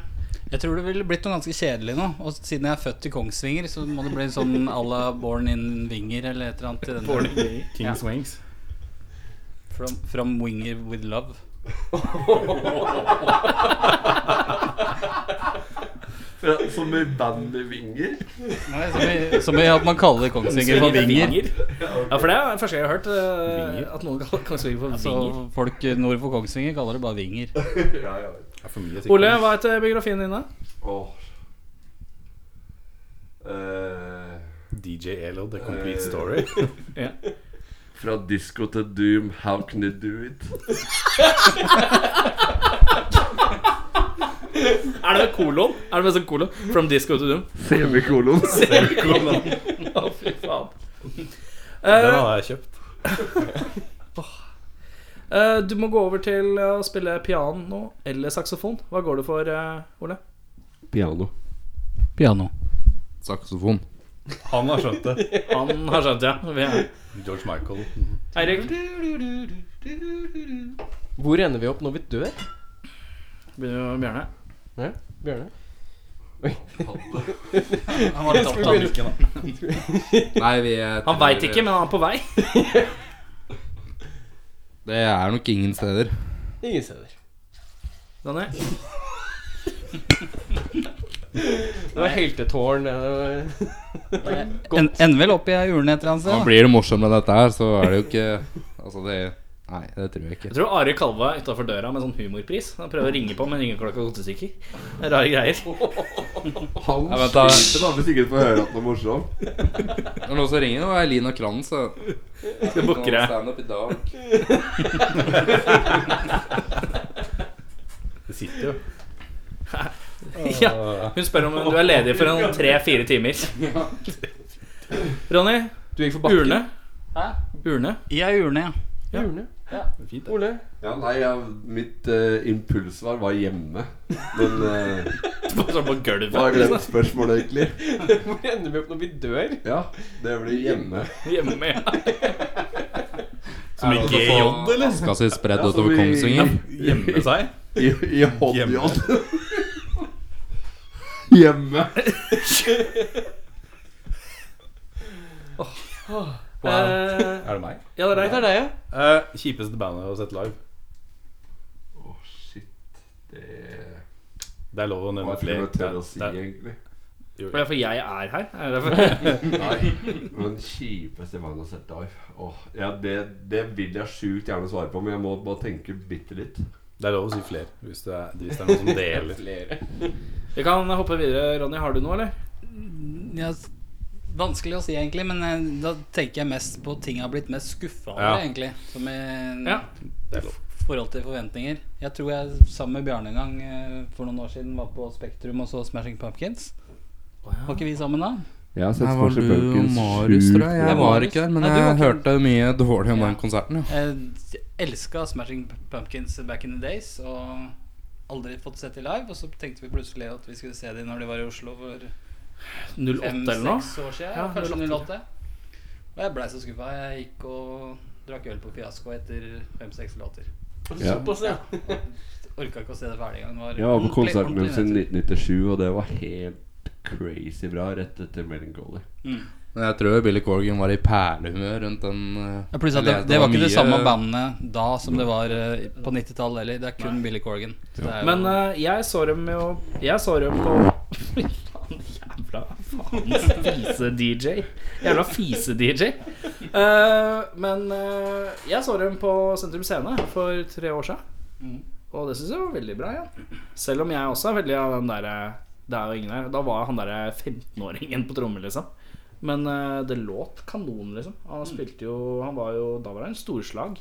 Speaker 6: Jeg tror det ville blitt noe ganske kjedelig nå. Og siden jeg er født i Kongsvinger, så må det bli sånn à la Born in Winger eller et eller annet. i den der.
Speaker 4: Kings Wings.
Speaker 6: From, from Winger with Love.
Speaker 5: Som i band med vinger.
Speaker 6: Nei, som, i, som i at man kaller Kongsvinger for Winger.
Speaker 2: Ja, for det er første gang jeg har hørt eh,
Speaker 4: Vinger.
Speaker 2: at noen kaller Kongsvinger for
Speaker 6: Så
Speaker 2: Vinger.
Speaker 6: folk nord for Kongsvinger kaller det bare Winger.
Speaker 5: Ja, ja.
Speaker 4: Det er for mye ting.
Speaker 2: Ole, hva heter biografien din, da?
Speaker 5: Åh. Eh,
Speaker 4: DJ Elo,
Speaker 2: Eh,
Speaker 4: The Complete
Speaker 2: [LAUGHS]
Speaker 4: Story.
Speaker 5: fra disco til doom, how can you do it?
Speaker 2: Er det med kolon? Er det med sånn kolon? From disco to doom?
Speaker 5: Semikolon.
Speaker 2: Å, fy faen.
Speaker 4: Den
Speaker 2: Eh,
Speaker 4: hadde jeg kjøpt.
Speaker 2: eh, du må gå over til eh, å spille piano eller saksofon. Hva går du for, eh, Ole?
Speaker 5: Piano.
Speaker 6: Piano.
Speaker 7: Saksofon.
Speaker 4: Han har skjønt det.
Speaker 2: Han har skjønt, ja. Vi er.
Speaker 4: George Michael.
Speaker 2: Eirik,
Speaker 3: Hvor ender vi opp når vi dør?
Speaker 2: begynner med Bjørne.
Speaker 3: Ja, Bjørne?
Speaker 6: Han var litt opptatt av mikken, da.
Speaker 7: Nei, vi er-
Speaker 2: Han veit ikke, men han er på vei.
Speaker 7: Det er nok ingen steder.
Speaker 3: Ingen steder.
Speaker 2: Daniel?
Speaker 3: Det var heltetårn. eh,
Speaker 6: En, ender vel opp i ei urne et eller annet
Speaker 7: Ja,
Speaker 6: sted.
Speaker 7: blir det morsomt med dette her, så er det jo ikke Altså, det Nei, det tror jeg ikke.
Speaker 2: Jeg tror Are Kalve er utafor døra med sånn humorpris. Han prøver å ringe på, men ringeklokka går åtte stykker. Det er Rare greier.
Speaker 5: Han
Speaker 7: Ja, vent da.
Speaker 5: sliter da hvis ikke du får høre at den er morsom.
Speaker 7: Det er noen som ringer, og Elina Kranz. Skal
Speaker 2: Skal booke deg.
Speaker 7: Standup i dag.
Speaker 4: Det sitter jo.
Speaker 2: Ja. Hun spør om du er ledig for en tre-fire timer. Ronny,
Speaker 3: Du gikk for bakken.
Speaker 2: urne.
Speaker 6: Hæ?
Speaker 2: Urne.
Speaker 6: I ei urne, ja.
Speaker 3: Urne.
Speaker 4: Fint, det.
Speaker 3: Ole. [LAUGHS]
Speaker 5: Ja, nei, jeg, mitt eh, impulsvar var hjemme. Men eh,
Speaker 2: Bare sånn på gulvet.
Speaker 5: hva har jeg glemt spørsmålet, egentlig?
Speaker 3: Hvor ender vi opp når vi dør?
Speaker 5: Ja, det blir hjemme.
Speaker 2: Hjemme.
Speaker 7: Som i GJ, eller? Skal se spredd
Speaker 5: Ja, som
Speaker 7: utover
Speaker 5: i-
Speaker 7: Kongsvinger.
Speaker 2: Hjemme seg.
Speaker 5: I, i håndjål. [LAUGHS] Hjemme.
Speaker 2: Eh,
Speaker 4: Er det meg?
Speaker 2: ja, det er deg.
Speaker 3: Det er deg, ja.
Speaker 4: Eh, kjipeste bandet å sette live.
Speaker 5: Å, shit. Det
Speaker 4: Det er lov å nevne
Speaker 5: var ikke
Speaker 4: flere.
Speaker 5: noe jeg tør å si,
Speaker 4: Det er-
Speaker 5: egentlig.
Speaker 2: For det er fordi jeg er her. Er det derfor?
Speaker 5: Nei, men kjipeste bandet jeg har sett live. Åh, ja, det, det vil jeg sjukt gjerne svare på, men jeg må bare tenke bitte litt.
Speaker 4: Det er lov å si flere hvis det er, hvis det er noen som deler.
Speaker 2: Vi kan hoppe videre. Ronny, har du noe, eller?
Speaker 6: ja s- vanskelig å si, egentlig. Men eh, da tenker jeg mest på ting jeg har blitt mest skuffa over,
Speaker 4: Ja.
Speaker 6: egentlig. Som i eh,
Speaker 2: Ja.
Speaker 4: Det er lov.
Speaker 6: forhold til forventninger. Jeg tror jeg sammen med Bjarne en gang eh, for noen år siden var på Spektrum og så Smashing Pumpkins. Var ikke vi sammen da?
Speaker 5: Jeg har
Speaker 7: Her var du og Marius, tror jeg.
Speaker 6: Det var
Speaker 7: Jeg var
Speaker 6: Marius.
Speaker 7: ikke der, men
Speaker 6: Nei, du var
Speaker 7: jeg
Speaker 6: ikke-
Speaker 7: hørte mye dårlig om
Speaker 6: Ja.
Speaker 7: den konserten. Ja.
Speaker 6: Jeg elska Smashing Pumpkins back in the days og aldri fått sett de live. Og så tenkte vi plutselig at vi skulle se de når de var i Oslo for
Speaker 2: 08 eller noe?
Speaker 6: fem-seks år siden.
Speaker 2: Ja,
Speaker 6: kanskje
Speaker 2: 08,
Speaker 6: 08. Og jeg blei så skuffa. Jeg gikk og drakk øl på Fiasko etter fem-seks låter.
Speaker 5: Ja.
Speaker 6: Orka ikke å se det ferdig engang. Det var
Speaker 5: Jeg var på
Speaker 6: ordentlig-
Speaker 5: konserten
Speaker 6: ordentlig
Speaker 5: deres i
Speaker 6: nedtur.
Speaker 5: 1997, og det var helt crazy bra rett etter Melancholy.
Speaker 7: Men jeg tror Billy Corgan var i perlehumør rundt den eh,
Speaker 6: Ja, pluss at
Speaker 7: eller
Speaker 6: det, det var ikke det
Speaker 7: mye-
Speaker 6: samme bandet da som det var eh, på 90-tallet heller. Det er kun Billy Corgan. Så det er jo,
Speaker 2: Men eh, jeg så dem jo Jeg så dem på [LAUGHS] Fy faen, jævla faens fise-DJ. Jævla fise-DJ. Eh, men eh, jeg så dem på Sentrum Scene for tre år siden. Og det syns jeg var veldig bra. Ja. Selv om jeg også er veldig av den derre Det er jo ingen her. Da var jeg han derre 15-åringen på trommer, liksom. Men eh, det låt kanon, liksom. Han spilte jo Han var jo Da var han storslag.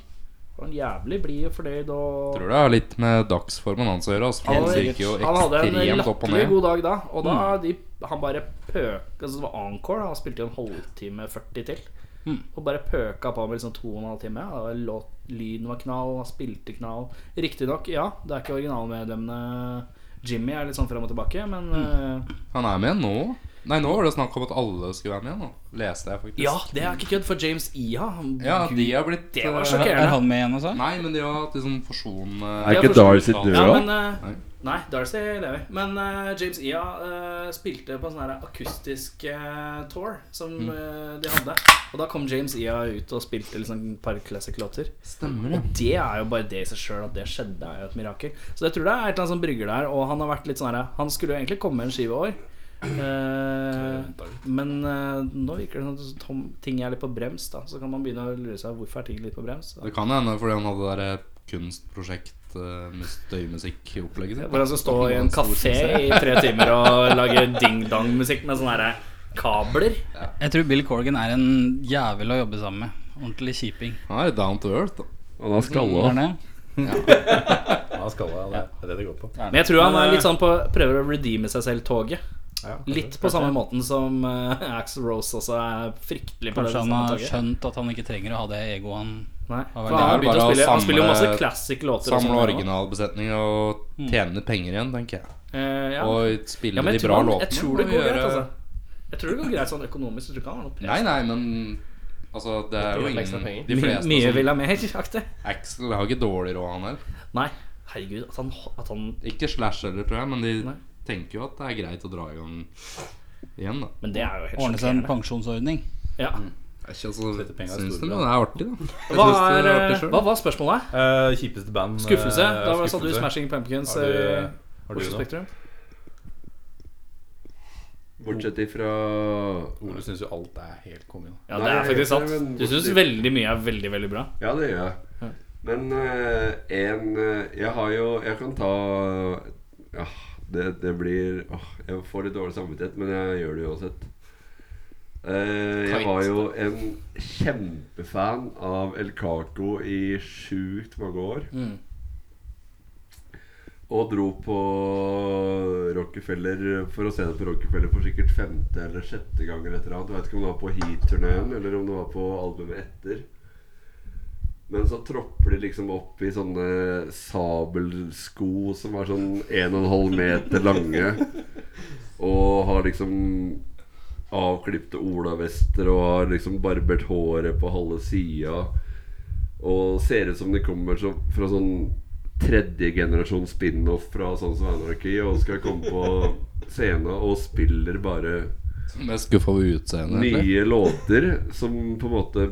Speaker 2: Han var jævlig blid og fornøyd og
Speaker 7: Tror det har litt med dagsformen hans å gjøre. Altså, for
Speaker 2: han,
Speaker 7: han virker jo
Speaker 2: han hadde en
Speaker 7: ekstremt opp og
Speaker 2: latterlig
Speaker 7: ned.
Speaker 2: god dag da, og Mm. da de, han bare pøka altså Det var encore, han spilte jo en halvtime 40 til. Og bare pøka på med liksom to og en halv time. Ja, det var låt, lyden var knall, han spilte knall. Riktignok, ja, det er ikke originalmedlemmene Jimmy er litt sånn frem og tilbake, men eh,
Speaker 7: Han er med igjen nå. Nei, nå var det snakk om at alle skulle være med igjen. nå. Leste jeg faktisk.
Speaker 2: Ja, det er ikke kødd, for James Iha han,
Speaker 7: Ja, de har blitt
Speaker 2: Det var
Speaker 7: eh,
Speaker 2: sjokkerende.
Speaker 6: er han med igjen sånn? også?
Speaker 7: Nei, men de har hatt liksom forsjon...
Speaker 5: Er
Speaker 2: ikke
Speaker 5: Darcy død?
Speaker 2: Ja, men eh,
Speaker 7: Nei.
Speaker 2: Nei, Darcy lever. Men eh, James Ia eh, spilte på en sånn her akustisk eh, tour som
Speaker 7: Mm.
Speaker 2: eh, de hadde. Og da kom James Ia ut og spilte liksom et par classic-låter.
Speaker 7: Stemmer det.
Speaker 2: Det er jo bare det i seg sjøl at det skjedde, er jo et mirakel. Så jeg tror det er et eller annet som brygger der. Og han har vært litt sånn her Han skulle jo egentlig komme med en skive i år. Eh, men eh, nå virker det som tom, ting er litt på brems, da. Så kan man begynne å lure seg hvorfor er ting litt på brems. Da.
Speaker 7: Det kan hende fordi han hadde det der eh, kunstprosjekt eh, med støymusikkopplegget sitt.
Speaker 2: Hvor han skal stå i en kafé i tre timer og lage ding-dong-musikk med sånne her kabler.
Speaker 6: Jeg tror Bill Corgan er en jævel å jobbe sammen med. Ordentlig kjiping.
Speaker 7: Han er down to earth, da.
Speaker 5: Han har skalla.
Speaker 6: Er det?
Speaker 4: Ja, skal jeg, det er det det går på.
Speaker 2: Men jeg tror han
Speaker 7: eh,
Speaker 2: er litt sånn på prøver å redeeme seg selv-toget.
Speaker 4: Ja, kanskje.
Speaker 2: Litt på samme måten som uh, Axel Rose også er fryktelig på det
Speaker 6: Kanskje han
Speaker 2: samme
Speaker 6: har
Speaker 2: toget.
Speaker 6: skjønt at han ikke trenger å ha det egoet han
Speaker 2: Nei,
Speaker 6: Han
Speaker 2: for
Speaker 6: er
Speaker 2: han, har
Speaker 7: bare
Speaker 2: begynt å
Speaker 7: å
Speaker 2: spille, han
Speaker 7: samle-
Speaker 2: spiller jo masse classic-låter. og
Speaker 7: Samle
Speaker 2: sånn nå.
Speaker 7: originalbesetning og tjene penger igjen, tenker jeg.
Speaker 2: Eh, Mm. ja.
Speaker 7: Og
Speaker 2: ja,
Speaker 7: spille
Speaker 2: men
Speaker 7: de
Speaker 2: jeg tror,
Speaker 7: bra
Speaker 2: han,
Speaker 7: låtene.
Speaker 2: jeg tror det
Speaker 7: og
Speaker 2: går greit,
Speaker 7: gjøre-
Speaker 2: altså. Jeg tror det går greit sånn økonomisk. Jeg tror ikke han har noe press.
Speaker 7: Nei, nei, men altså, det er jo
Speaker 3: Det er ekstra penger.
Speaker 7: ingen De
Speaker 2: mye,
Speaker 7: fleste
Speaker 2: mye
Speaker 7: som-
Speaker 2: vil ha mer, [LAUGHS] aktig.
Speaker 7: Axel har ikke dårlig råd, han heller.
Speaker 2: Nei, herregud, at han, at han
Speaker 7: Ikke Slash heller, tror jeg, men de
Speaker 2: Nei.
Speaker 7: tenker jo at det er greit å dra i gang igjen, da.
Speaker 2: Men det er jo helt
Speaker 6: ordne seg en
Speaker 2: sjokkerende.
Speaker 6: pensjonsordning.
Speaker 2: Ja.
Speaker 7: Jeg ikke, altså,
Speaker 4: Sette penger i
Speaker 7: syns det,
Speaker 4: storbrann.
Speaker 7: men det er artig, da. Jeg
Speaker 2: Hva,
Speaker 7: syns
Speaker 2: er,
Speaker 7: det er
Speaker 2: eh,
Speaker 7: artig
Speaker 2: hva
Speaker 7: sjøl.
Speaker 2: var spørsmålet?
Speaker 4: Eh, kjipeste band eh,
Speaker 2: Skuffelse? Da var- satt du
Speaker 4: skuffelse.
Speaker 2: Smashing Pumpkins
Speaker 4: Har
Speaker 2: eh,
Speaker 4: du, har du
Speaker 2: Oslo
Speaker 4: noe?
Speaker 2: Spektrum.
Speaker 5: Bortsett ifra
Speaker 4: Ole syns jo alt er helt konge. da.
Speaker 2: Ja, det er
Speaker 5: Nei,
Speaker 2: faktisk sant.
Speaker 5: men-
Speaker 2: Du syns veldig mye er veldig, veldig bra.
Speaker 5: Ja, det gjør jeg. Men eh, en eh, Jeg har jo Jeg kan ta ja, det, det blir åh, Jeg får litt dårlig samvittighet, men jeg gjør det uansett. Eh, jeg var jo en kjempefan av El Caco i sjukt mange år. Og dro på Rockefeller for å se det på Rockefeller for sikkert femte eller sjette gang. eller et eller annet. Jeg vet ikke om det var på Heat-turneen eller om det var på albumet etter. Men så tropper de liksom opp i sånne sabelsko som er sånn 1,5 meter lange. Og har liksom avklipte olavester og har liksom barbert håret på halve sida. Og ser ut som de kommer så, fra sånn tredje generasjon spin-off fra sånn som Anarchy, og skal komme på scenen og spiller bare
Speaker 7: Mest skuffa over utseendet, egentlig.
Speaker 5: nye låter som på en måte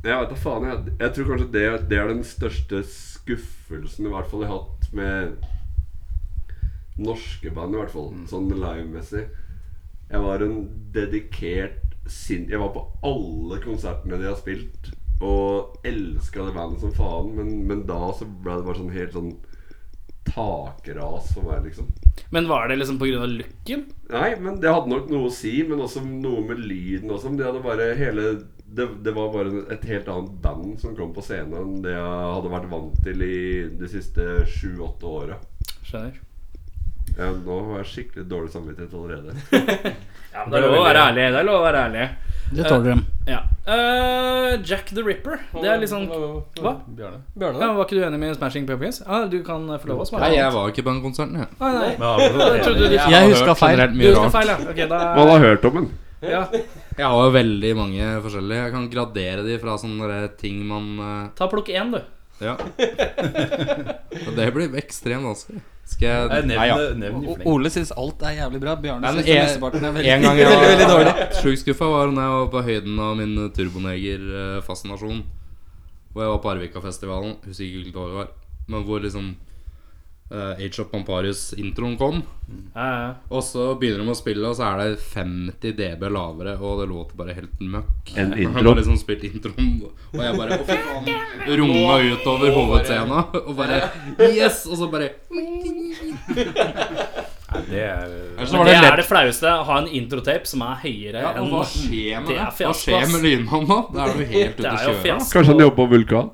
Speaker 5: Jeg vet da faen. Jeg, jeg tror kanskje det, det er den største skuffelsen i hvert fall jeg har hatt med norske band, i hvert fall. Sånn livemessig. Jeg var en dedikert sin... Jeg var på alle konsertene de har spilt. Og elska det bandet som faen, men, men da så ble det bare sånn helt sånn takras for meg, liksom.
Speaker 2: Men var det liksom pga. looken?
Speaker 5: Nei, men det hadde nok noe å si, men også noe med lyden også. men Det, hadde bare hele, det, det var bare et helt annet band som kom på scenen enn det jeg hadde vært vant til i de siste sju-åtte åra.
Speaker 2: Skjønner.
Speaker 5: Ja, nå har jeg skikkelig dårlig samvittighet allerede.
Speaker 2: Ja, men Det er lov å være ærlig. Det er lov å være ærlig.
Speaker 6: Det tåler dem.
Speaker 2: Ja. Eh, Jack the Ripper. Det er litt sånn Hva?
Speaker 7: Bjarne.
Speaker 2: Ja, var ikke du enig med Smashing Pumpkins? Ja, du kan få lov å svare.
Speaker 7: Nei, jeg var ikke på den konserten, jeg.
Speaker 2: Nei, nei.
Speaker 4: Men han var
Speaker 2: Jeg trodde du
Speaker 6: Jeg
Speaker 7: har
Speaker 6: husker
Speaker 7: hørt
Speaker 6: feil.
Speaker 7: generelt
Speaker 2: Du
Speaker 7: Mye
Speaker 2: husker
Speaker 7: rart.
Speaker 2: feil, ja. Ok, da
Speaker 5: Man har hørt om den.
Speaker 2: ja.
Speaker 7: Jeg har jo veldig mange forskjellige. Jeg kan gradere de fra sånne der ting man eh,
Speaker 2: Ta plukk én, du.
Speaker 6: [LAUGHS]
Speaker 7: Ja. Og det blir ekstremt vanskelig. Skal jeg
Speaker 4: Nevn
Speaker 7: Nei, ja.
Speaker 4: det- nevn i
Speaker 6: O-
Speaker 4: fleng.
Speaker 6: Ole syns alt er jævlig bra. Bjarne
Speaker 7: Nei, men
Speaker 6: syns
Speaker 7: en-
Speaker 6: mesteparten er
Speaker 7: En
Speaker 6: veldig, [LAUGHS]
Speaker 7: gang jeg var,
Speaker 6: veldig, veldig dårlig.
Speaker 7: Sjukt skuffa var når jeg var på høyden av min turbonegerfascinasjon. Hvor jeg var på Arvikafestivalen, husker ikke hvilket år det var, men hvor liksom eh, Age of Pamparius-introen kom.
Speaker 2: Ja, ja.
Speaker 7: Og så begynner de å spille, og så er det 50 dB lavere, og det låter bare helt møkk.
Speaker 5: En
Speaker 7: Han
Speaker 5: intro.
Speaker 7: har liksom spilt introen, og jeg bare å, fy faen, Roma utover hovedscena, og bare Yes! Og så bare
Speaker 4: Nei, Det er
Speaker 7: Ellers så
Speaker 2: Men
Speaker 7: var
Speaker 2: det
Speaker 7: det
Speaker 2: er
Speaker 7: lett.
Speaker 2: det flaueste. å Ha en introtape som er høyere
Speaker 7: Ja, og
Speaker 2: enn
Speaker 7: hva skjer med
Speaker 2: Det
Speaker 7: det?
Speaker 2: er
Speaker 7: Hva
Speaker 2: fiasko,
Speaker 7: skjer
Speaker 2: ass.
Speaker 7: med lynmannen da?
Speaker 2: [LAUGHS]
Speaker 7: Da er du helt
Speaker 2: Det er
Speaker 7: ute å
Speaker 2: jo
Speaker 7: kjøre. ass.
Speaker 2: fiasko.
Speaker 5: Kanskje han jobber på Vulkan?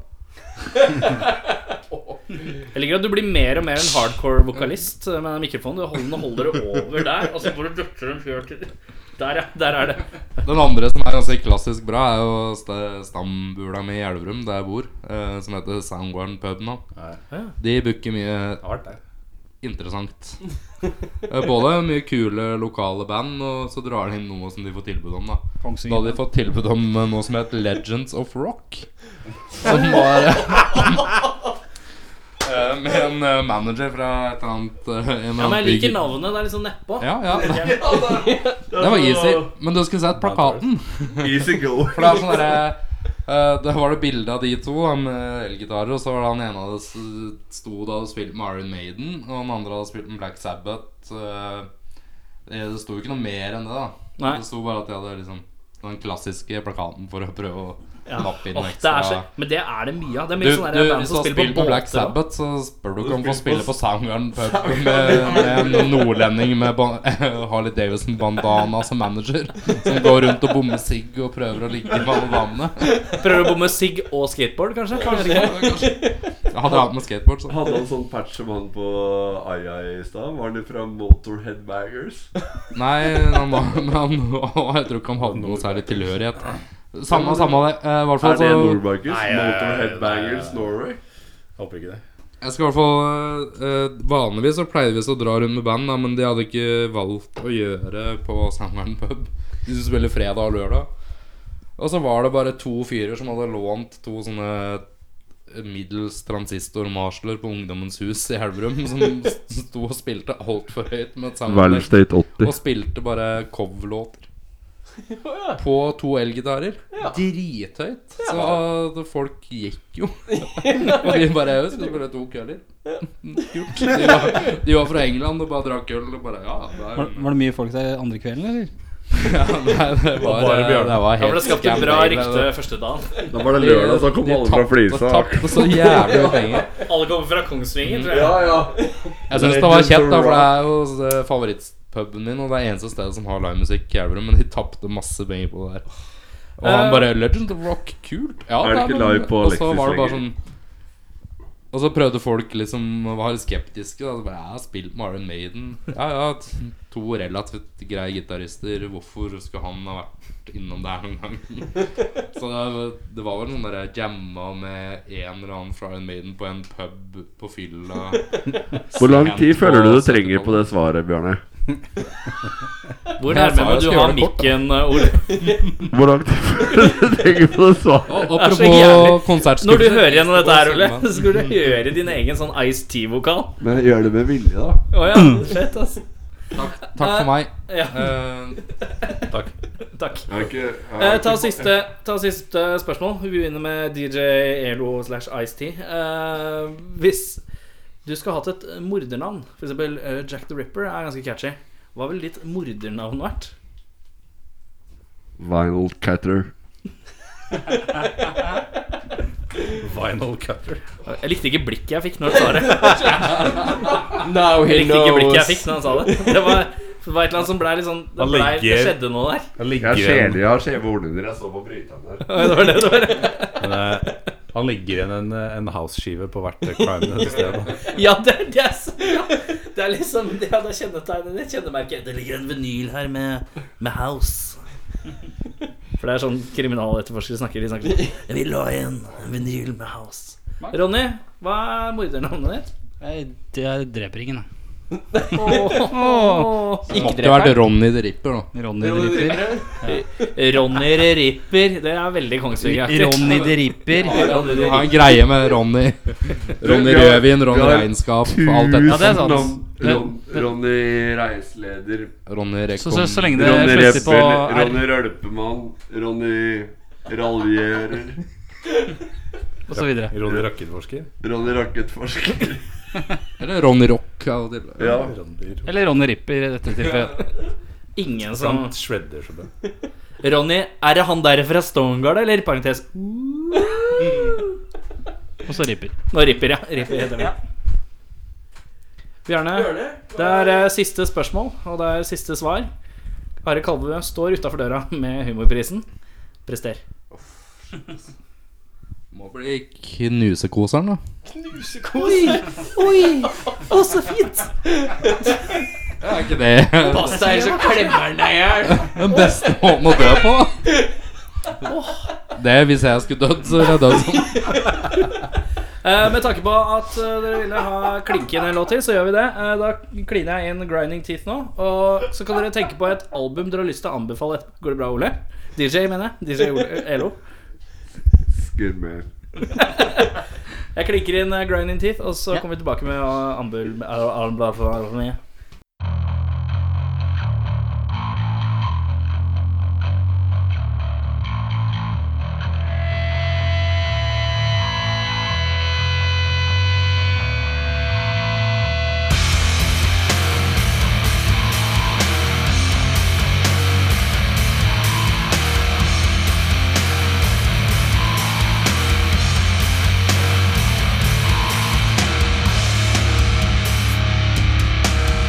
Speaker 2: Jeg liker at du blir mer og mer en hardcore vokalist med den mikrofonen. Du holder den og holder det over der, og så får du døtter den fjør til Der, ja. Der er det.
Speaker 7: Den andre som er ganske klassisk bra, er jo st- stambula mi i Elverum, der jeg bor, eh, som heter Soundgarden Pub nå. De booker mye
Speaker 4: hardt, det.
Speaker 7: interessant. Eh, Både mye kule lokale band, og så drar de inn noe som de får tilbud om, da. Da hadde de fått tilbud om eh, noe som het Legends of Rock. Som var eh, Med en eh, manager fra et eller annet eh, en eller
Speaker 2: Ja, men jeg
Speaker 7: annen
Speaker 2: liker
Speaker 7: bygg-
Speaker 2: navnet. Det er litt sånn nedpå.
Speaker 7: Ja, ja. Det var easy. Men du skulle sett plakaten.
Speaker 5: [LAUGHS] Easy go.
Speaker 7: For det er sånn derre eh, Da var det bilde av de to da, med elgitarer, og så var det han ene hadde s- sto da og spilte med Iron Maiden, og den andre hadde spilt med Black Sabbath. eh, Det sto jo ikke noe mer enn det, da.
Speaker 2: Nei.
Speaker 7: Det sto bare at de hadde liksom den klassiske plakaten for å prøve å
Speaker 2: Ja.
Speaker 7: nappe inn
Speaker 2: Åh,
Speaker 7: noe
Speaker 2: det er så,
Speaker 7: ekstra.
Speaker 2: men det er det mye av. Det er
Speaker 7: Du,
Speaker 2: mye
Speaker 7: du,
Speaker 2: sånn
Speaker 7: hvis
Speaker 2: der
Speaker 7: du har
Speaker 2: band som
Speaker 7: spilt
Speaker 2: spiller
Speaker 7: med
Speaker 2: på
Speaker 7: Black
Speaker 2: båter. og-
Speaker 7: Sabbath, så spør du ikke om å få spille på Soundgarden Pub med, med en nordlending med ba- [LAUGHS] Harley Davidson-bandana som manager. Som går rundt og bommer sigg og prøver å ligge med alle damene.
Speaker 2: Prøver å bomme sigg og skateboard, kanskje?
Speaker 7: Kanskje. Hadde jeg hatt med skateboard, så.
Speaker 5: Hadde han sånn patch som han på Aya i stad? Var det fra Motorhead Baggers?
Speaker 7: Nei, han var, men han, [LAUGHS] jeg tror ikke han hadde noe særlig tilhørighet. Samme, samme det. Eh, I hvert fall
Speaker 5: Er det
Speaker 7: så
Speaker 5: Nordbaggers?
Speaker 4: Nei, nei, nei, nei,
Speaker 5: Motorhead
Speaker 4: nei,
Speaker 5: Baggers
Speaker 4: nei.
Speaker 5: Norway?
Speaker 4: Håper ikke det.
Speaker 7: Jeg skal i hvert fall eh, Vanligvis så pleide vi så å dra rundt med band, da, men de hadde ikke valgt å gjøre på Soundgarden pub. De skulle spille fredag og lørdag. Og så var det bare to fyrer som hadde lånt to sånne eh, middels transistor-marsler på Ungdommens hus i Elverum, som sto og spilte altfor høyt med et soundtrack,
Speaker 5: State 80.
Speaker 7: og spilte bare coverlåter. På to elgitarer. Drithøyt. Så eh, folk
Speaker 2: [LAUGHS]
Speaker 7: gikk jo. Og de bare «Ja, Skal du spille to køller? Kult. De var, de var fra England og bare drakk øl og bare Ja, det er
Speaker 6: Var, var det mye folk der andre kvelden, eller?
Speaker 7: [LAUGHS] Ja, nei, det var,
Speaker 4: bare Bjørn.
Speaker 7: det var helt
Speaker 2: Ja, for det skapte
Speaker 7: scam
Speaker 2: bra
Speaker 7: mail,
Speaker 2: rykte
Speaker 7: det-
Speaker 2: første dagen.
Speaker 5: Da var det lørdag, så kom
Speaker 7: de
Speaker 5: alle fra
Speaker 7: tapte-
Speaker 5: Flisa.
Speaker 7: Tapte så jævlig mye penger.
Speaker 2: Alle kommer fra Kongsvinger. tror jeg.
Speaker 5: Ja, ja.
Speaker 7: Jeg syns det var kjekt, da, for det er jo eh, favorittpuben min, og det er eneste stedet som har livemusikk i Elverum, men de tapte masse penger på det der. Og han bare Legend of Rock, kult. Ja,
Speaker 5: Eh, Er det ikke
Speaker 7: men-
Speaker 5: live på
Speaker 7: Og så
Speaker 5: Alexis
Speaker 7: var det bare sånn
Speaker 5: lenger?
Speaker 7: Og så prøvde folk liksom å være skeptiske. Da. Så bare, Jeg har spilt med Iron Maiden. Ja, ja, t- to relativt greie gitarister. Hvorfor skulle han ha vært innom der noen gang? Så det, det var vel sånn der jeg jamma med en eller annen fra Iron Maiden på en pub på fylla.
Speaker 5: Hvor lang tid
Speaker 7: Sent på
Speaker 5: føler du du trenger på
Speaker 7: 70-tallet.
Speaker 5: det svaret, Bjørne?
Speaker 2: Hvor
Speaker 7: Jeg sa
Speaker 2: nærme må
Speaker 7: jeg
Speaker 2: du
Speaker 7: skulle
Speaker 2: ha
Speaker 7: gjøre det kort,
Speaker 2: mikken, eh, Ole?
Speaker 5: Hvor lang tid [LAUGHS] føler du du trenger på det svaret?
Speaker 7: Og
Speaker 2: er så jævlig.
Speaker 7: apropos konsertskuffel
Speaker 2: Når du hører gjennom dette
Speaker 7: [LAUGHS]
Speaker 2: her, Ole, så [LAUGHS] skulle du høre din egen sånn Ice-T-vokal.
Speaker 5: Men gjør det med vilje, da.
Speaker 2: Å ja,
Speaker 3: Mm.
Speaker 2: fett, altså.
Speaker 7: Takk for meg.
Speaker 2: Ja,
Speaker 7: Eh,
Speaker 2: takk.
Speaker 5: Er det ikke, er
Speaker 2: Eh,
Speaker 5: det
Speaker 2: ta,
Speaker 5: ikke-
Speaker 2: siste, ta siste spørsmål. Vi begynner med DJ Elo slash Ice-T. Eh, hvis du skulle hatt et mordernavn, f.eks. Eh, Jack the Ripper, er ganske catchy. Hva ville ditt mordernavn vært?
Speaker 5: Vinyl Catter.
Speaker 4: Vinyl cutter.
Speaker 2: Jeg likte ikke blikket jeg fikk når han sa det.
Speaker 3: Now
Speaker 2: Jeg
Speaker 3: he
Speaker 2: likte ikke blikket jeg
Speaker 3: knows.
Speaker 2: fikk når han sa det. Det var, det var et eller annet som blei litt sånn Det,
Speaker 4: Han
Speaker 2: ble, det
Speaker 4: legger-
Speaker 2: skjedde noe der.
Speaker 4: Han
Speaker 5: Jeg
Speaker 4: ligger
Speaker 5: er
Speaker 4: igjen,
Speaker 5: skjelig, jeg har skjeve hornhinner. Jeg så på bryteren der.
Speaker 2: Ja, Det var det det var.
Speaker 4: men, eh, han ligger igjen en, eh, en house-skive på hvert eh, crime sted. da.
Speaker 2: Ja, det, det, er, så- ja, det er liksom Det er det kjennetegnet ditt. Kjennemerket. Det ligger en vinyl her med, med House. For det er sånn kriminaletterforskere snakker. De snakker sånn Vi la igjen en vinyl med House. Ronny, hva er mordernavnet ditt?
Speaker 6: Jeg, jeg dreper ingen, jeg.
Speaker 3: Ikke
Speaker 7: det hadde
Speaker 3: dreper.
Speaker 7: vært Ronny the Ripper, da.
Speaker 6: Ronny Dripper.
Speaker 2: Ronny the Ripper. Det er veldig Kongsvinger-aktig.
Speaker 6: Ronny Dripper.
Speaker 2: Ronny the
Speaker 7: Jeg
Speaker 2: Ripper.
Speaker 7: har en greie med [LAUGHS] Ronny. Ronny
Speaker 5: Vi har-
Speaker 7: Rødvin, Ronny
Speaker 5: vi har
Speaker 7: Regnskap, alt dette.
Speaker 6: Ja, det er sant.
Speaker 5: Ron-
Speaker 6: Det-
Speaker 5: Ron- Ronny reiseleder.
Speaker 7: Ronny
Speaker 6: Så, så, så lenge det
Speaker 5: Ronny
Speaker 6: slutter på
Speaker 5: Reppel.
Speaker 6: R,
Speaker 5: Ronny Rølpemann. Ronny Raljerer.
Speaker 6: og så videre.
Speaker 4: Ronny Rakketforsker.
Speaker 5: Ronny Rakettforsker.
Speaker 7: Eller Ronny Rock. av og til.
Speaker 5: Ja.
Speaker 4: Ronny
Speaker 6: Eller Ronny Ripper i dette tilfellet.
Speaker 2: Ingen som
Speaker 4: Ron Shredder, så bra.
Speaker 2: Ronny, er det han der fra Stonegard, eller? Parentes.
Speaker 6: Og så Ripper.
Speaker 2: Nå ripper jeg. Ripper heter det. Bjørne, det er eh, siste spørsmål, og det er siste svar. Are Kalvø står utafor døra med humorprisen. Prester.
Speaker 7: Må bli Knusekoseren, da.
Speaker 2: Oi! Oi! Å, så fint!
Speaker 7: Det er ikke det
Speaker 2: Pass deg, så klemmer han deg i hjel.
Speaker 7: den beste måten å dø på? Det Hvis jeg skulle dødd, så ville jeg dødd sånn.
Speaker 2: Eh, med tanke på at eh, dere ville ha klinke inn en låt til, så gjør vi det. Eh, da kliner jeg inn Grinding Teeth nå. Og så kan dere tenke på et album dere har lyst til å anbefale. etterpå. Går det bra, Ole? DJ, mener jeg. DJ Ole, Elo.
Speaker 5: Skurmer.
Speaker 2: Jeg klikker inn eh, Grinding Teeth, og så kommer vi tilbake med uh, Ambul... Uh, med.
Speaker 8: Thank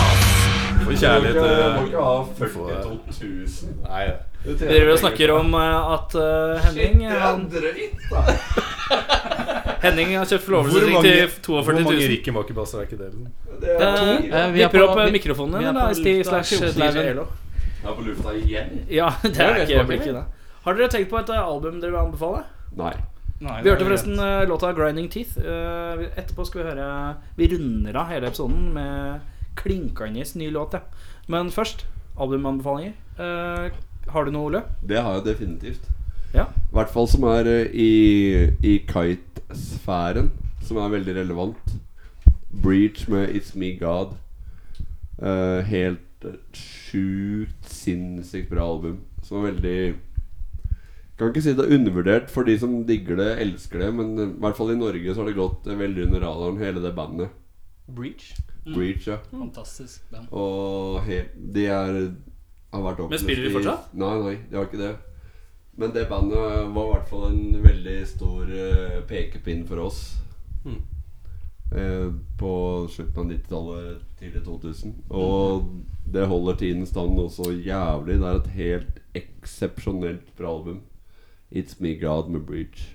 Speaker 4: kjærlighet,
Speaker 5: Du må ikke-
Speaker 4: eh,
Speaker 5: må ikke ha
Speaker 4: får jeg.
Speaker 5: 42 000.
Speaker 4: Nei,
Speaker 5: Det
Speaker 2: Vi
Speaker 5: tjener
Speaker 2: driver og
Speaker 5: penger
Speaker 2: snakker
Speaker 5: på.
Speaker 2: om eh, at eh, Henning
Speaker 5: Det er
Speaker 2: han,
Speaker 5: drøyt, da.
Speaker 2: Henning har kjøpt
Speaker 4: Hvor
Speaker 2: forlovelsesring
Speaker 4: mange-
Speaker 2: til
Speaker 4: Hvor mange
Speaker 2: 42 000.
Speaker 4: rikke makebasser er ikke det? liksom?
Speaker 5: Det er
Speaker 2: Eh,
Speaker 5: to.
Speaker 3: Eh, vi er
Speaker 2: Vipper
Speaker 3: på-
Speaker 2: opp
Speaker 3: vi-
Speaker 2: mikrofonen
Speaker 3: vi er på
Speaker 2: din, da.
Speaker 3: lufta.
Speaker 2: Stig slash slash Elo.
Speaker 5: Jeg er på lufta igjen.
Speaker 2: Ja, det er
Speaker 3: vet
Speaker 2: ikke
Speaker 3: man
Speaker 2: blikket, da. Har dere tenkt på et eh, album dere vil anbefale?
Speaker 5: Nei.
Speaker 2: Vi hørte forresten eh, låta 'Grinding Teeth'. Eh, vi- Etterpå skal vi høre Vi runder av hele episoden med klinkende ny låt, ja. Men først albumanbefalinger. Eh, Har du noe, Ole?
Speaker 5: Det har jeg definitivt.
Speaker 2: Ja.
Speaker 5: I hvert fall som er eh, i, i kitesfæren, som er veldig relevant. Breach med It's Me God. Eh, helt eh, sjukt sinnssykt bra album. Som er veldig Kan ikke si det er undervurdert for de som digger det, elsker det, men eh, i hvert fall i Norge så har det gått eh, veldig under radaren, hele det bandet.
Speaker 3: Breach.
Speaker 5: Breach, ja.
Speaker 6: Fantastisk band.
Speaker 5: Og helt, de er har vært opplyst
Speaker 2: spiller de
Speaker 5: i-
Speaker 2: fortsatt?
Speaker 5: Nei, nei, de har ikke det. Men det bandet var i hvert fall en veldig stor eh, pekepinn for oss.
Speaker 3: Mm.
Speaker 5: Eh, på slutten av 90-tallet, tidlig 2000. Og det holder tiden stand også jævlig. Det er et helt eksepsjonelt bra album. It's Me God med Breach.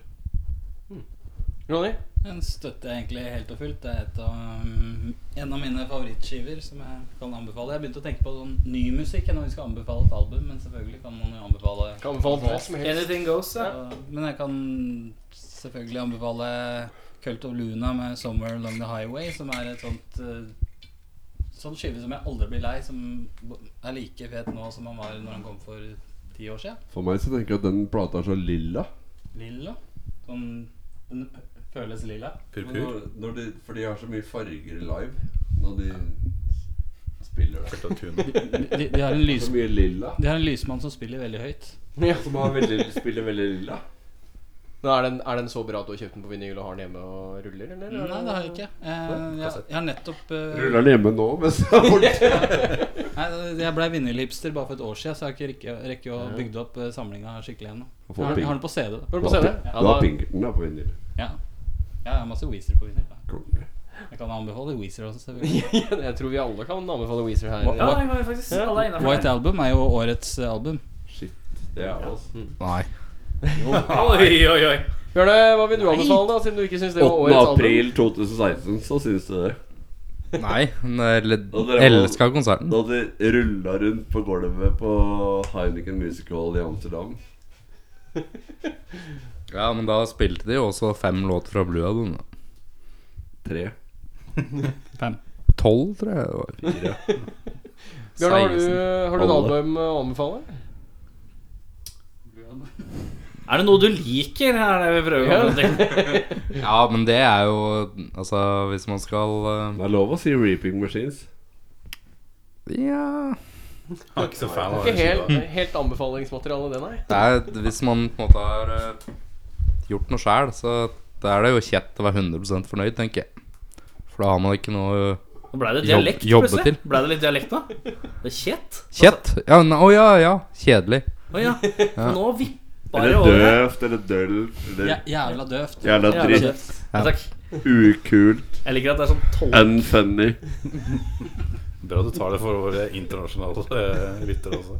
Speaker 3: Ronny?
Speaker 6: Den støtter jeg egentlig helt og fullt. Det er et av, um, en av mine favorittskiver som jeg kan anbefale. Jeg begynte å tenke på sånn ny musikk når vi skal anbefale et album, men selvfølgelig kan man jo anbefale
Speaker 3: Kan anbefale hva som helst.
Speaker 2: Anything Goes. Ja.
Speaker 6: Så- Men jeg kan selvfølgelig anbefale Cult of Luna med 'Somewhere Along the Highway', som er et sånt uh, sånn skive som jeg aldri blir lei, som er like fet nå som han var når han kom for ti år siden.
Speaker 5: For meg så tenker jeg at den plata er så lilla.
Speaker 6: Lilla. Sånn, den føles lilla.
Speaker 4: Purpur?
Speaker 5: Når, når de, for de har så mye farger live når de spiller det.
Speaker 6: De, de, de har en lys
Speaker 5: Så mye lilla.
Speaker 6: De har en lysmann som spiller veldig høyt.
Speaker 3: Ja.
Speaker 5: Som har veldig, spiller veldig lilla.
Speaker 3: Men er, den, er den så bra at du har kjøpt den på vinyl og har den hjemme og ruller, eller?
Speaker 6: Nei, det har jeg ikke. Eh, jeg, jeg har nettopp eh,
Speaker 5: Ruller den hjemme nå mens den er borte.
Speaker 6: Nei, Jeg blei vinylhipster bare for et år siden, så jeg har ikke rekke, rekke å bygge opp eh, samlinga skikkelig ennå.
Speaker 5: Du
Speaker 6: Jeg har,
Speaker 5: har,
Speaker 6: jeg har den på CD. da.
Speaker 3: Har du på CD? Ja,
Speaker 5: du
Speaker 3: da-
Speaker 5: har Pinkerton da på vinyl.
Speaker 6: Ja. ja, jeg har masse Weezer på vinyl. da.
Speaker 5: Konge.
Speaker 6: Jeg kan anbefale Weezer også, selvfølgelig.
Speaker 3: [LAUGHS] jeg tror vi alle kan anbefale Weezer her.
Speaker 6: Hva-
Speaker 2: Ja, jeg var faktisk alle er innenfor.
Speaker 6: White Album er jo årets eh, album.
Speaker 5: Shit. Det er altså
Speaker 7: Nei.
Speaker 2: Oi, oi, oi.
Speaker 3: Bjørne, hva vil du anbefale, da, siden du ikke syns det var
Speaker 5: 8.
Speaker 3: årets
Speaker 5: april 2016, så syns du det.
Speaker 7: Nei, men jeg
Speaker 5: Og dere må-
Speaker 7: elska konserten.
Speaker 5: Da de rulla rundt på gulvet på Heineken Music Hall i Amsterdam.
Speaker 7: Ja, men da spilte de jo også fem låter fra Blue Album.
Speaker 5: Tre.
Speaker 7: Tolv, tror jeg det [LAUGHS] var.
Speaker 3: [LAUGHS] album? Bjørne, har du,
Speaker 7: 16.
Speaker 3: har du et
Speaker 5: Alle.
Speaker 3: album å anbefale?
Speaker 2: Er det noe du liker? Er det vi prøver å komme fram til?
Speaker 7: Ja, men det er jo Altså, hvis man skal eh,
Speaker 5: Det er lov å si Reaping Machines.
Speaker 7: Ja
Speaker 4: Jeg er ikke så fan av
Speaker 3: [LAUGHS] Ikke
Speaker 4: det.
Speaker 3: helt, helt anbefalingsmateriale, det, nei.
Speaker 7: det er, Hvis man på en måte har eh, gjort noe sjæl, så da er det jo kjett å være 100 fornøyd, tenker jeg. For da har man ikke noe
Speaker 2: Nå ble det
Speaker 7: Jobb-
Speaker 2: dialekt,
Speaker 7: jobbe
Speaker 2: plutselig.
Speaker 7: til.
Speaker 2: Ble det litt dialekt nå? Det er kjett.
Speaker 7: Kjett! Ja, Å ja, ja. Kjedelig.
Speaker 2: Å ja. Nå vippa det
Speaker 5: Eller
Speaker 2: over.
Speaker 5: døvt, eller dølt,
Speaker 6: Ja,
Speaker 5: eller
Speaker 6: jævla døvt.
Speaker 5: jævla
Speaker 2: Jævla
Speaker 5: dritt.
Speaker 2: kjeft. Ja, takk.
Speaker 5: Ukult.
Speaker 2: Jeg liker at det er sånn tolv
Speaker 5: Unfunny.
Speaker 4: Bra du tar det for våre internasjonale eh, lyttere også.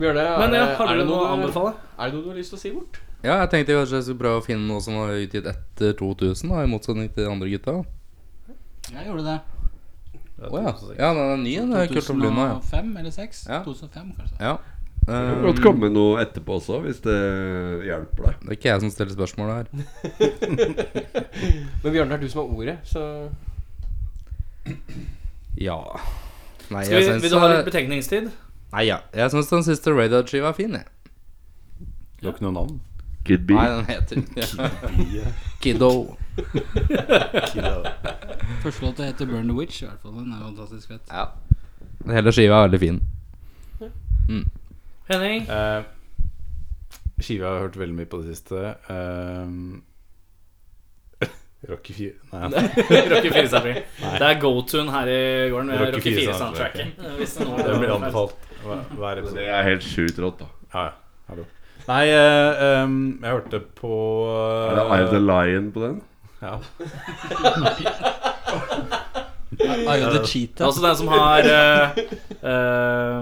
Speaker 3: Bjørne, er,
Speaker 2: Men ja,
Speaker 3: det-
Speaker 2: har
Speaker 3: er,
Speaker 2: du
Speaker 3: det
Speaker 2: noe å
Speaker 3: noe, er
Speaker 2: anbefale?
Speaker 3: det noe du har lyst til å si bort? [LAUGHS]
Speaker 7: Ja, jeg tenkte kanskje jeg skulle prøve å finne noe som var utgitt etter 2000, da, i motsetning til de andre gutta.
Speaker 6: Jeg gjorde det.
Speaker 7: Å ja. ja, den er ny, den er Kult om Luna.
Speaker 6: 2005 eller 2006?
Speaker 7: Ja.
Speaker 6: 2005, kanskje.
Speaker 7: Ja. ja.
Speaker 5: Det kan
Speaker 7: Eh,
Speaker 5: godt komme noe etterpå også, hvis det hjelper deg.
Speaker 7: det er ikke jeg som stiller spørsmål her.
Speaker 3: Men Bjørne, det er du som har ordet, så
Speaker 7: Ja Nei,
Speaker 2: Skal
Speaker 7: jeg
Speaker 2: vi,
Speaker 7: syns
Speaker 2: vil du ha litt
Speaker 7: eh,
Speaker 2: betenkningstid?
Speaker 7: Nei, ja. Jeg syns den siste Radar-skiva er fin, jeg.
Speaker 4: Du har ikke noe navn?
Speaker 5: Could be.
Speaker 7: Nei, den heter ikke Kiddo.
Speaker 6: Første låt heter 'Burn the Witch'. i hvert fall Den er fantastisk fett.
Speaker 7: Ja. Hele skiva er veldig fin.
Speaker 2: Henning?
Speaker 4: Eh, Skive har jeg hørt veldig mye på det siste. Eh, [LAUGHS] Rocky 4 Nei,
Speaker 2: [LAUGHS] Rocky 4 soundtrack. Det er go-tune her i gården. Med
Speaker 4: Rocky
Speaker 2: Rocky 4
Speaker 4: IV
Speaker 2: soundtracket. Hvis det nå-
Speaker 4: det blir anbefalt hver- hver episode.
Speaker 5: Det er helt sjukt rått, da.
Speaker 4: Ja, ja. Hallo. Nei, eh, em, jeg hørte på
Speaker 5: uh,
Speaker 4: eh,
Speaker 5: Er det Eye of the Lion på den?
Speaker 4: Ja.
Speaker 6: Are you the cheetah?
Speaker 2: Det er også den som har eh, eh,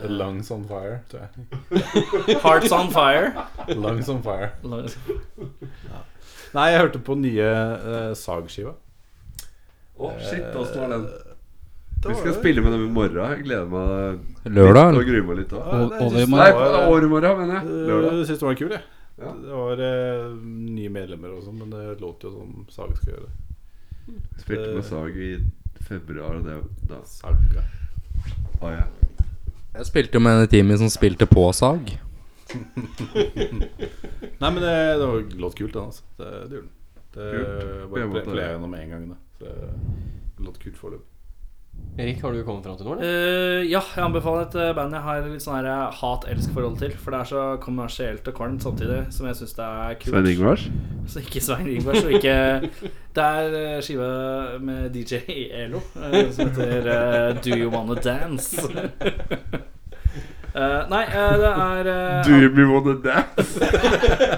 Speaker 4: The lungs on fire, tror jeg.
Speaker 2: eh, Hearts on fire.
Speaker 4: Lungs on [LAUGHS] fire. Nei, jeg hørte på nye eh, Sag-skiva.
Speaker 5: Å, shit, åssen var den? Uh, Vi skal spille med dem i morgen. Jeg gleder meg
Speaker 7: Lørdag?
Speaker 5: og gruer meg litt òg.
Speaker 6: O- Over i
Speaker 5: Nei,
Speaker 6: morgen.
Speaker 5: over i morgen, Uh, mener jeg. Lørdag.
Speaker 4: Jeg syns Eh, det var kul, jeg.
Speaker 5: Ja.
Speaker 4: Det var eh, nye medlemmer og sånn, men det låter jo som Sag skal gjøre.
Speaker 5: Spilte med Sag i februar, og det da
Speaker 4: Saga.
Speaker 5: var jeg
Speaker 7: Jeg spilte jo med en i Timmy som spilte på sag.
Speaker 4: Nei, men det, det var låt kult, den, altså. Det, det gjorde den. Det
Speaker 5: Kult. På
Speaker 4: bare ble,
Speaker 5: en måte.
Speaker 4: ble jeg gjennom én gang, da. Så Det låt kult foreløpig.
Speaker 3: Erik, har du kommet fram til noe? eller?
Speaker 2: Eh, ja, jeg anbefaler et eh, band jeg har litt sånn her, eh, hat-elsk-forhold til. For det er så kommersielt og kvalmt samtidig som jeg syns det er kult.
Speaker 5: Svein Ingvars?
Speaker 2: Så ikke Svein Ingvars, og ikke Det er eh, skiva med DJ Elo eh, som heter eh, Do You Wanna Dance. [LAUGHS] Eh, nei, eh, det er eh,
Speaker 5: Do you wanna dance?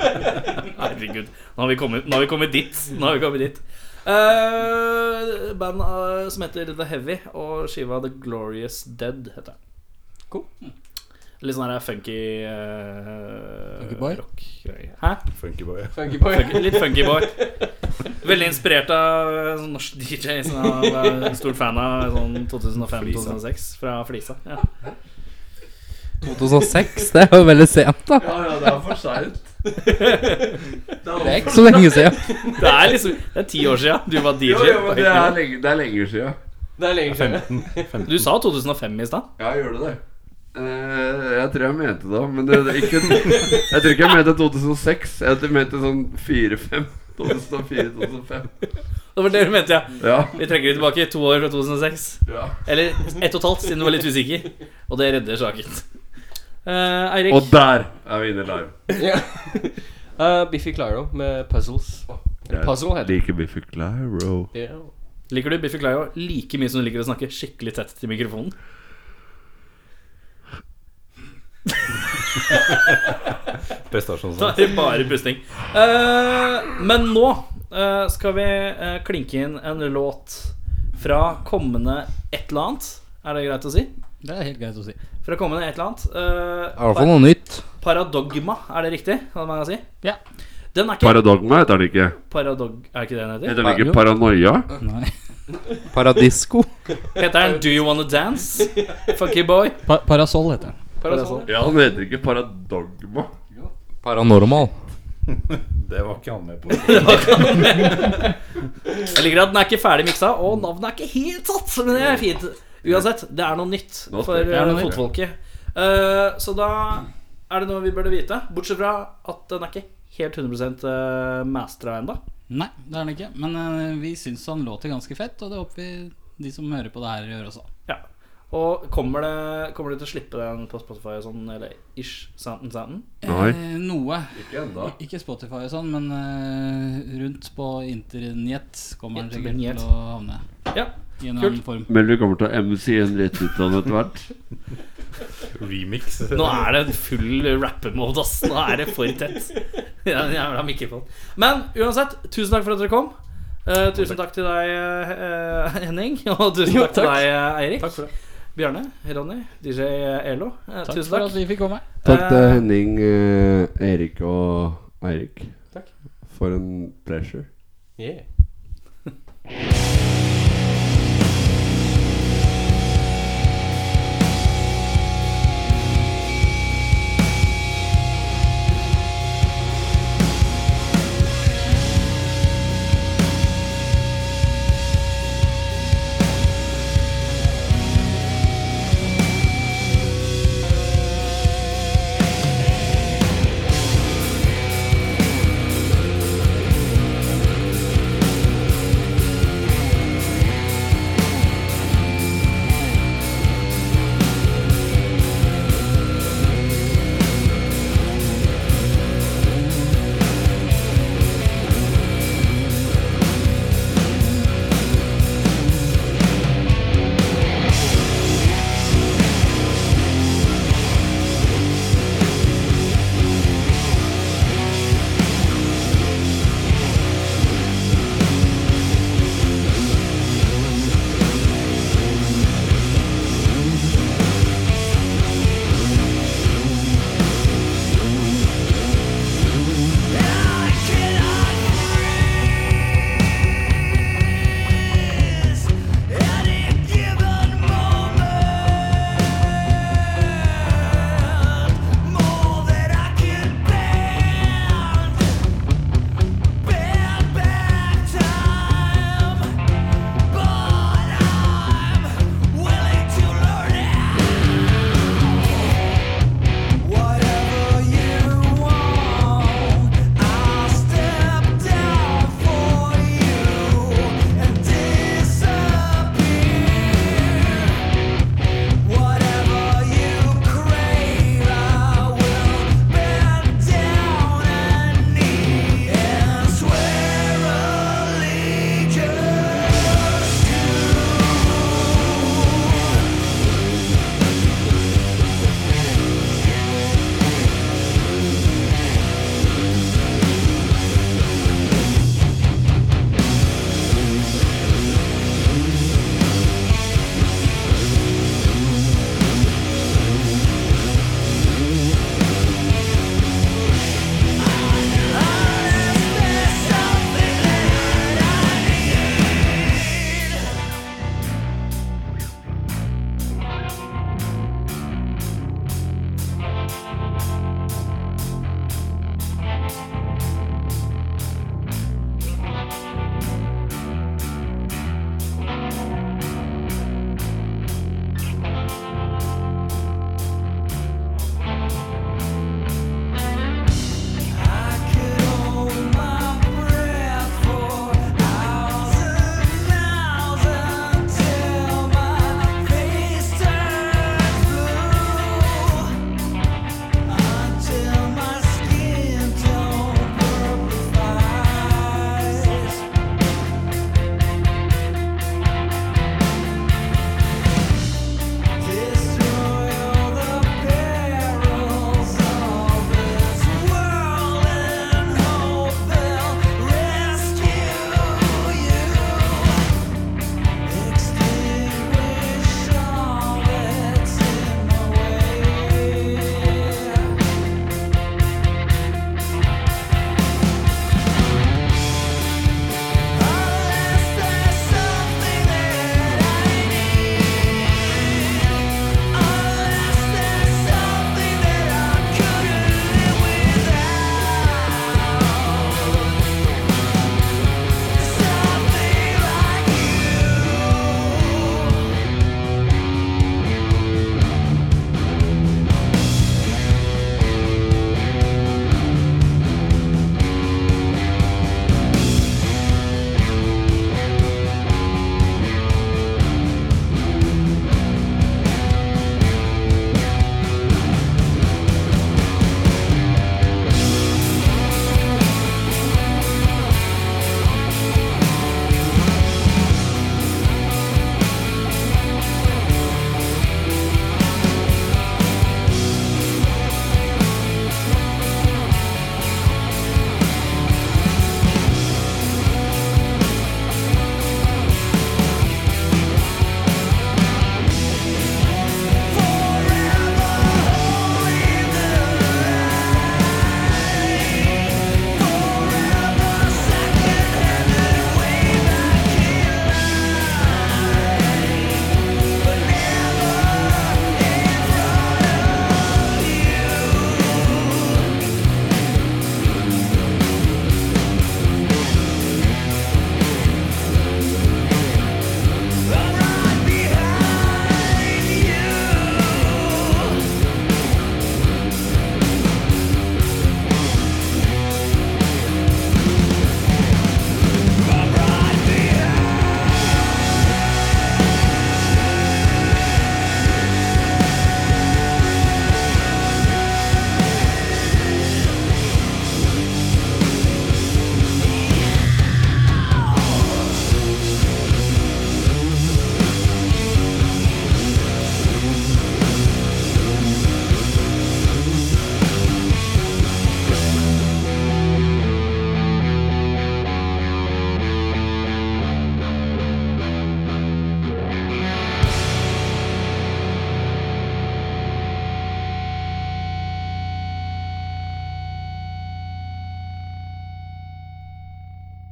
Speaker 2: [LAUGHS] Herregud. Nå har vi kommet, nå har vi kommet dit. Nå har vi kommet dit. Eh, band eh, som heter The Heavy, og skiva The Glorious Dead heter den.
Speaker 3: Cool.
Speaker 2: Litt sånn her funky eh,
Speaker 7: Funky boy?
Speaker 2: rock. Hæ?
Speaker 4: Funkyboy.
Speaker 2: Funky, litt funky boy. Veldig inspirert av en sånn norsk DJ som jeg var en stor fan av sånn 2005-2006 fra Flisa. Ja.
Speaker 7: 2006, det er jo veldig sent, da.
Speaker 5: Ja, ja, det er for seint.
Speaker 7: Det er ikke så lenge siden.
Speaker 2: Det er liksom Det er ti år sia du var DJ.
Speaker 5: Jo, jo, men det er lenge, det er lenge siden.
Speaker 3: Det er lenge siden.
Speaker 2: Du sa 2005 i stad.
Speaker 5: Ja, gjør det det? Eh, jeg tror jeg mente det, men det, det er ikke Jeg tror ikke jeg mente 2006. Jeg tror jeg mente sånn 4-5. 2004-2005.
Speaker 2: Det var det du mente, ja.
Speaker 5: Ja.
Speaker 2: Vi trekker det tilbake to år fra 2006.
Speaker 5: ja.
Speaker 2: Eller ett og et halvt, siden du var litt usikker. Og det redder saken. Eh, Eirik,
Speaker 5: Og der er vi inne live.
Speaker 3: [LAUGHS] Eh, Biffy Clyro med Puzzles.
Speaker 5: Jeg
Speaker 3: Puzzle heter det.
Speaker 5: liker Biffy Clyro.
Speaker 3: Ja.
Speaker 2: liker du Biffy Clyro like mye som du liker å snakke skikkelig tett til mikrofonen?
Speaker 7: [LAUGHS] sånn
Speaker 4: Prestasjon
Speaker 2: Da er det bare pusting. Eh, men nå eh, skal vi eh, klinke inn en låt fra kommende et eller annet. Er det greit å si?
Speaker 6: Det er helt greit å si.
Speaker 2: Fra kommende et eller annet.
Speaker 7: Det
Speaker 2: Eh,
Speaker 7: er i hvert fall noe nytt.
Speaker 2: Paradogma, er det riktig? Hva man kan si?
Speaker 6: Ja.
Speaker 2: Den er ikke
Speaker 5: Paradogma heter den ikke.
Speaker 2: Paradog... Er ikke det den heter?
Speaker 5: Heter den ikke Paranoia?
Speaker 6: Nei.
Speaker 7: Paradisco.
Speaker 2: Heter den Do You Wanna Dance? Funky boy.
Speaker 6: Pa Parasol heter den.
Speaker 3: Parasol.
Speaker 5: Ja, den heter ikke Paradogma.
Speaker 7: Paranormal.
Speaker 4: [LAUGHS] Det var ikke han med på.
Speaker 2: Jeg liker at den er ikke ferdig miksa, og navnet er ikke helt tatt. Men det er fint. Uansett, det er noe nytt
Speaker 5: Nå
Speaker 2: for
Speaker 5: skal-
Speaker 2: eh, fotfolket. Eh, så da er det noe vi burde vite. Bortsett fra at den er ikke helt 100 mastra ennå.
Speaker 6: Nei, det er den ikke. Men eh, vi syns han låter ganske fett, og det håper vi de som hører på det her, gjør også.
Speaker 2: Ja. Og kommer, det, kommer du til å slippe den på Spotify og sånn, eller ish? Santen, santen?
Speaker 5: Nei.
Speaker 6: Eh, noe.
Speaker 5: Ikke ennå.
Speaker 6: Ikke Spotify og sånn, men eh, rundt på internett kommer han sikkert
Speaker 2: Internett.
Speaker 6: til å havne.
Speaker 2: Ja.
Speaker 6: I en eller
Speaker 2: Kult.
Speaker 6: annen form.
Speaker 5: Men vi kommer til å MC-en litt ut av den etter hvert.
Speaker 4: Remix.
Speaker 2: Nå er det full rappemode, ass. Nå er det for tett. Ja, den jævla mikrofonen. Men uansett, tusen takk for at dere kom. Eh, tusen takk til deg, eh, Henning. [LAUGHS] Og tusen takk, til deg, eh, Eirik. Bjarne, Ronny, DJ Elo. Eh,
Speaker 6: Takk
Speaker 2: tusen
Speaker 6: for at
Speaker 2: takk.
Speaker 6: vi fikk komme.
Speaker 5: Takk til
Speaker 2: Eh,
Speaker 5: Henning, eh, Erik og Eirik.
Speaker 3: Takk.
Speaker 5: For en pleasure.
Speaker 3: Yeah.
Speaker 8: Thank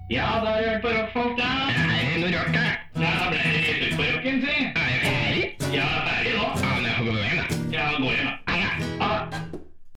Speaker 4: Ja, da har du hørt på rockfolk, da. Det er noe rart, det. Ja, da ble det litt ut på rocken, si.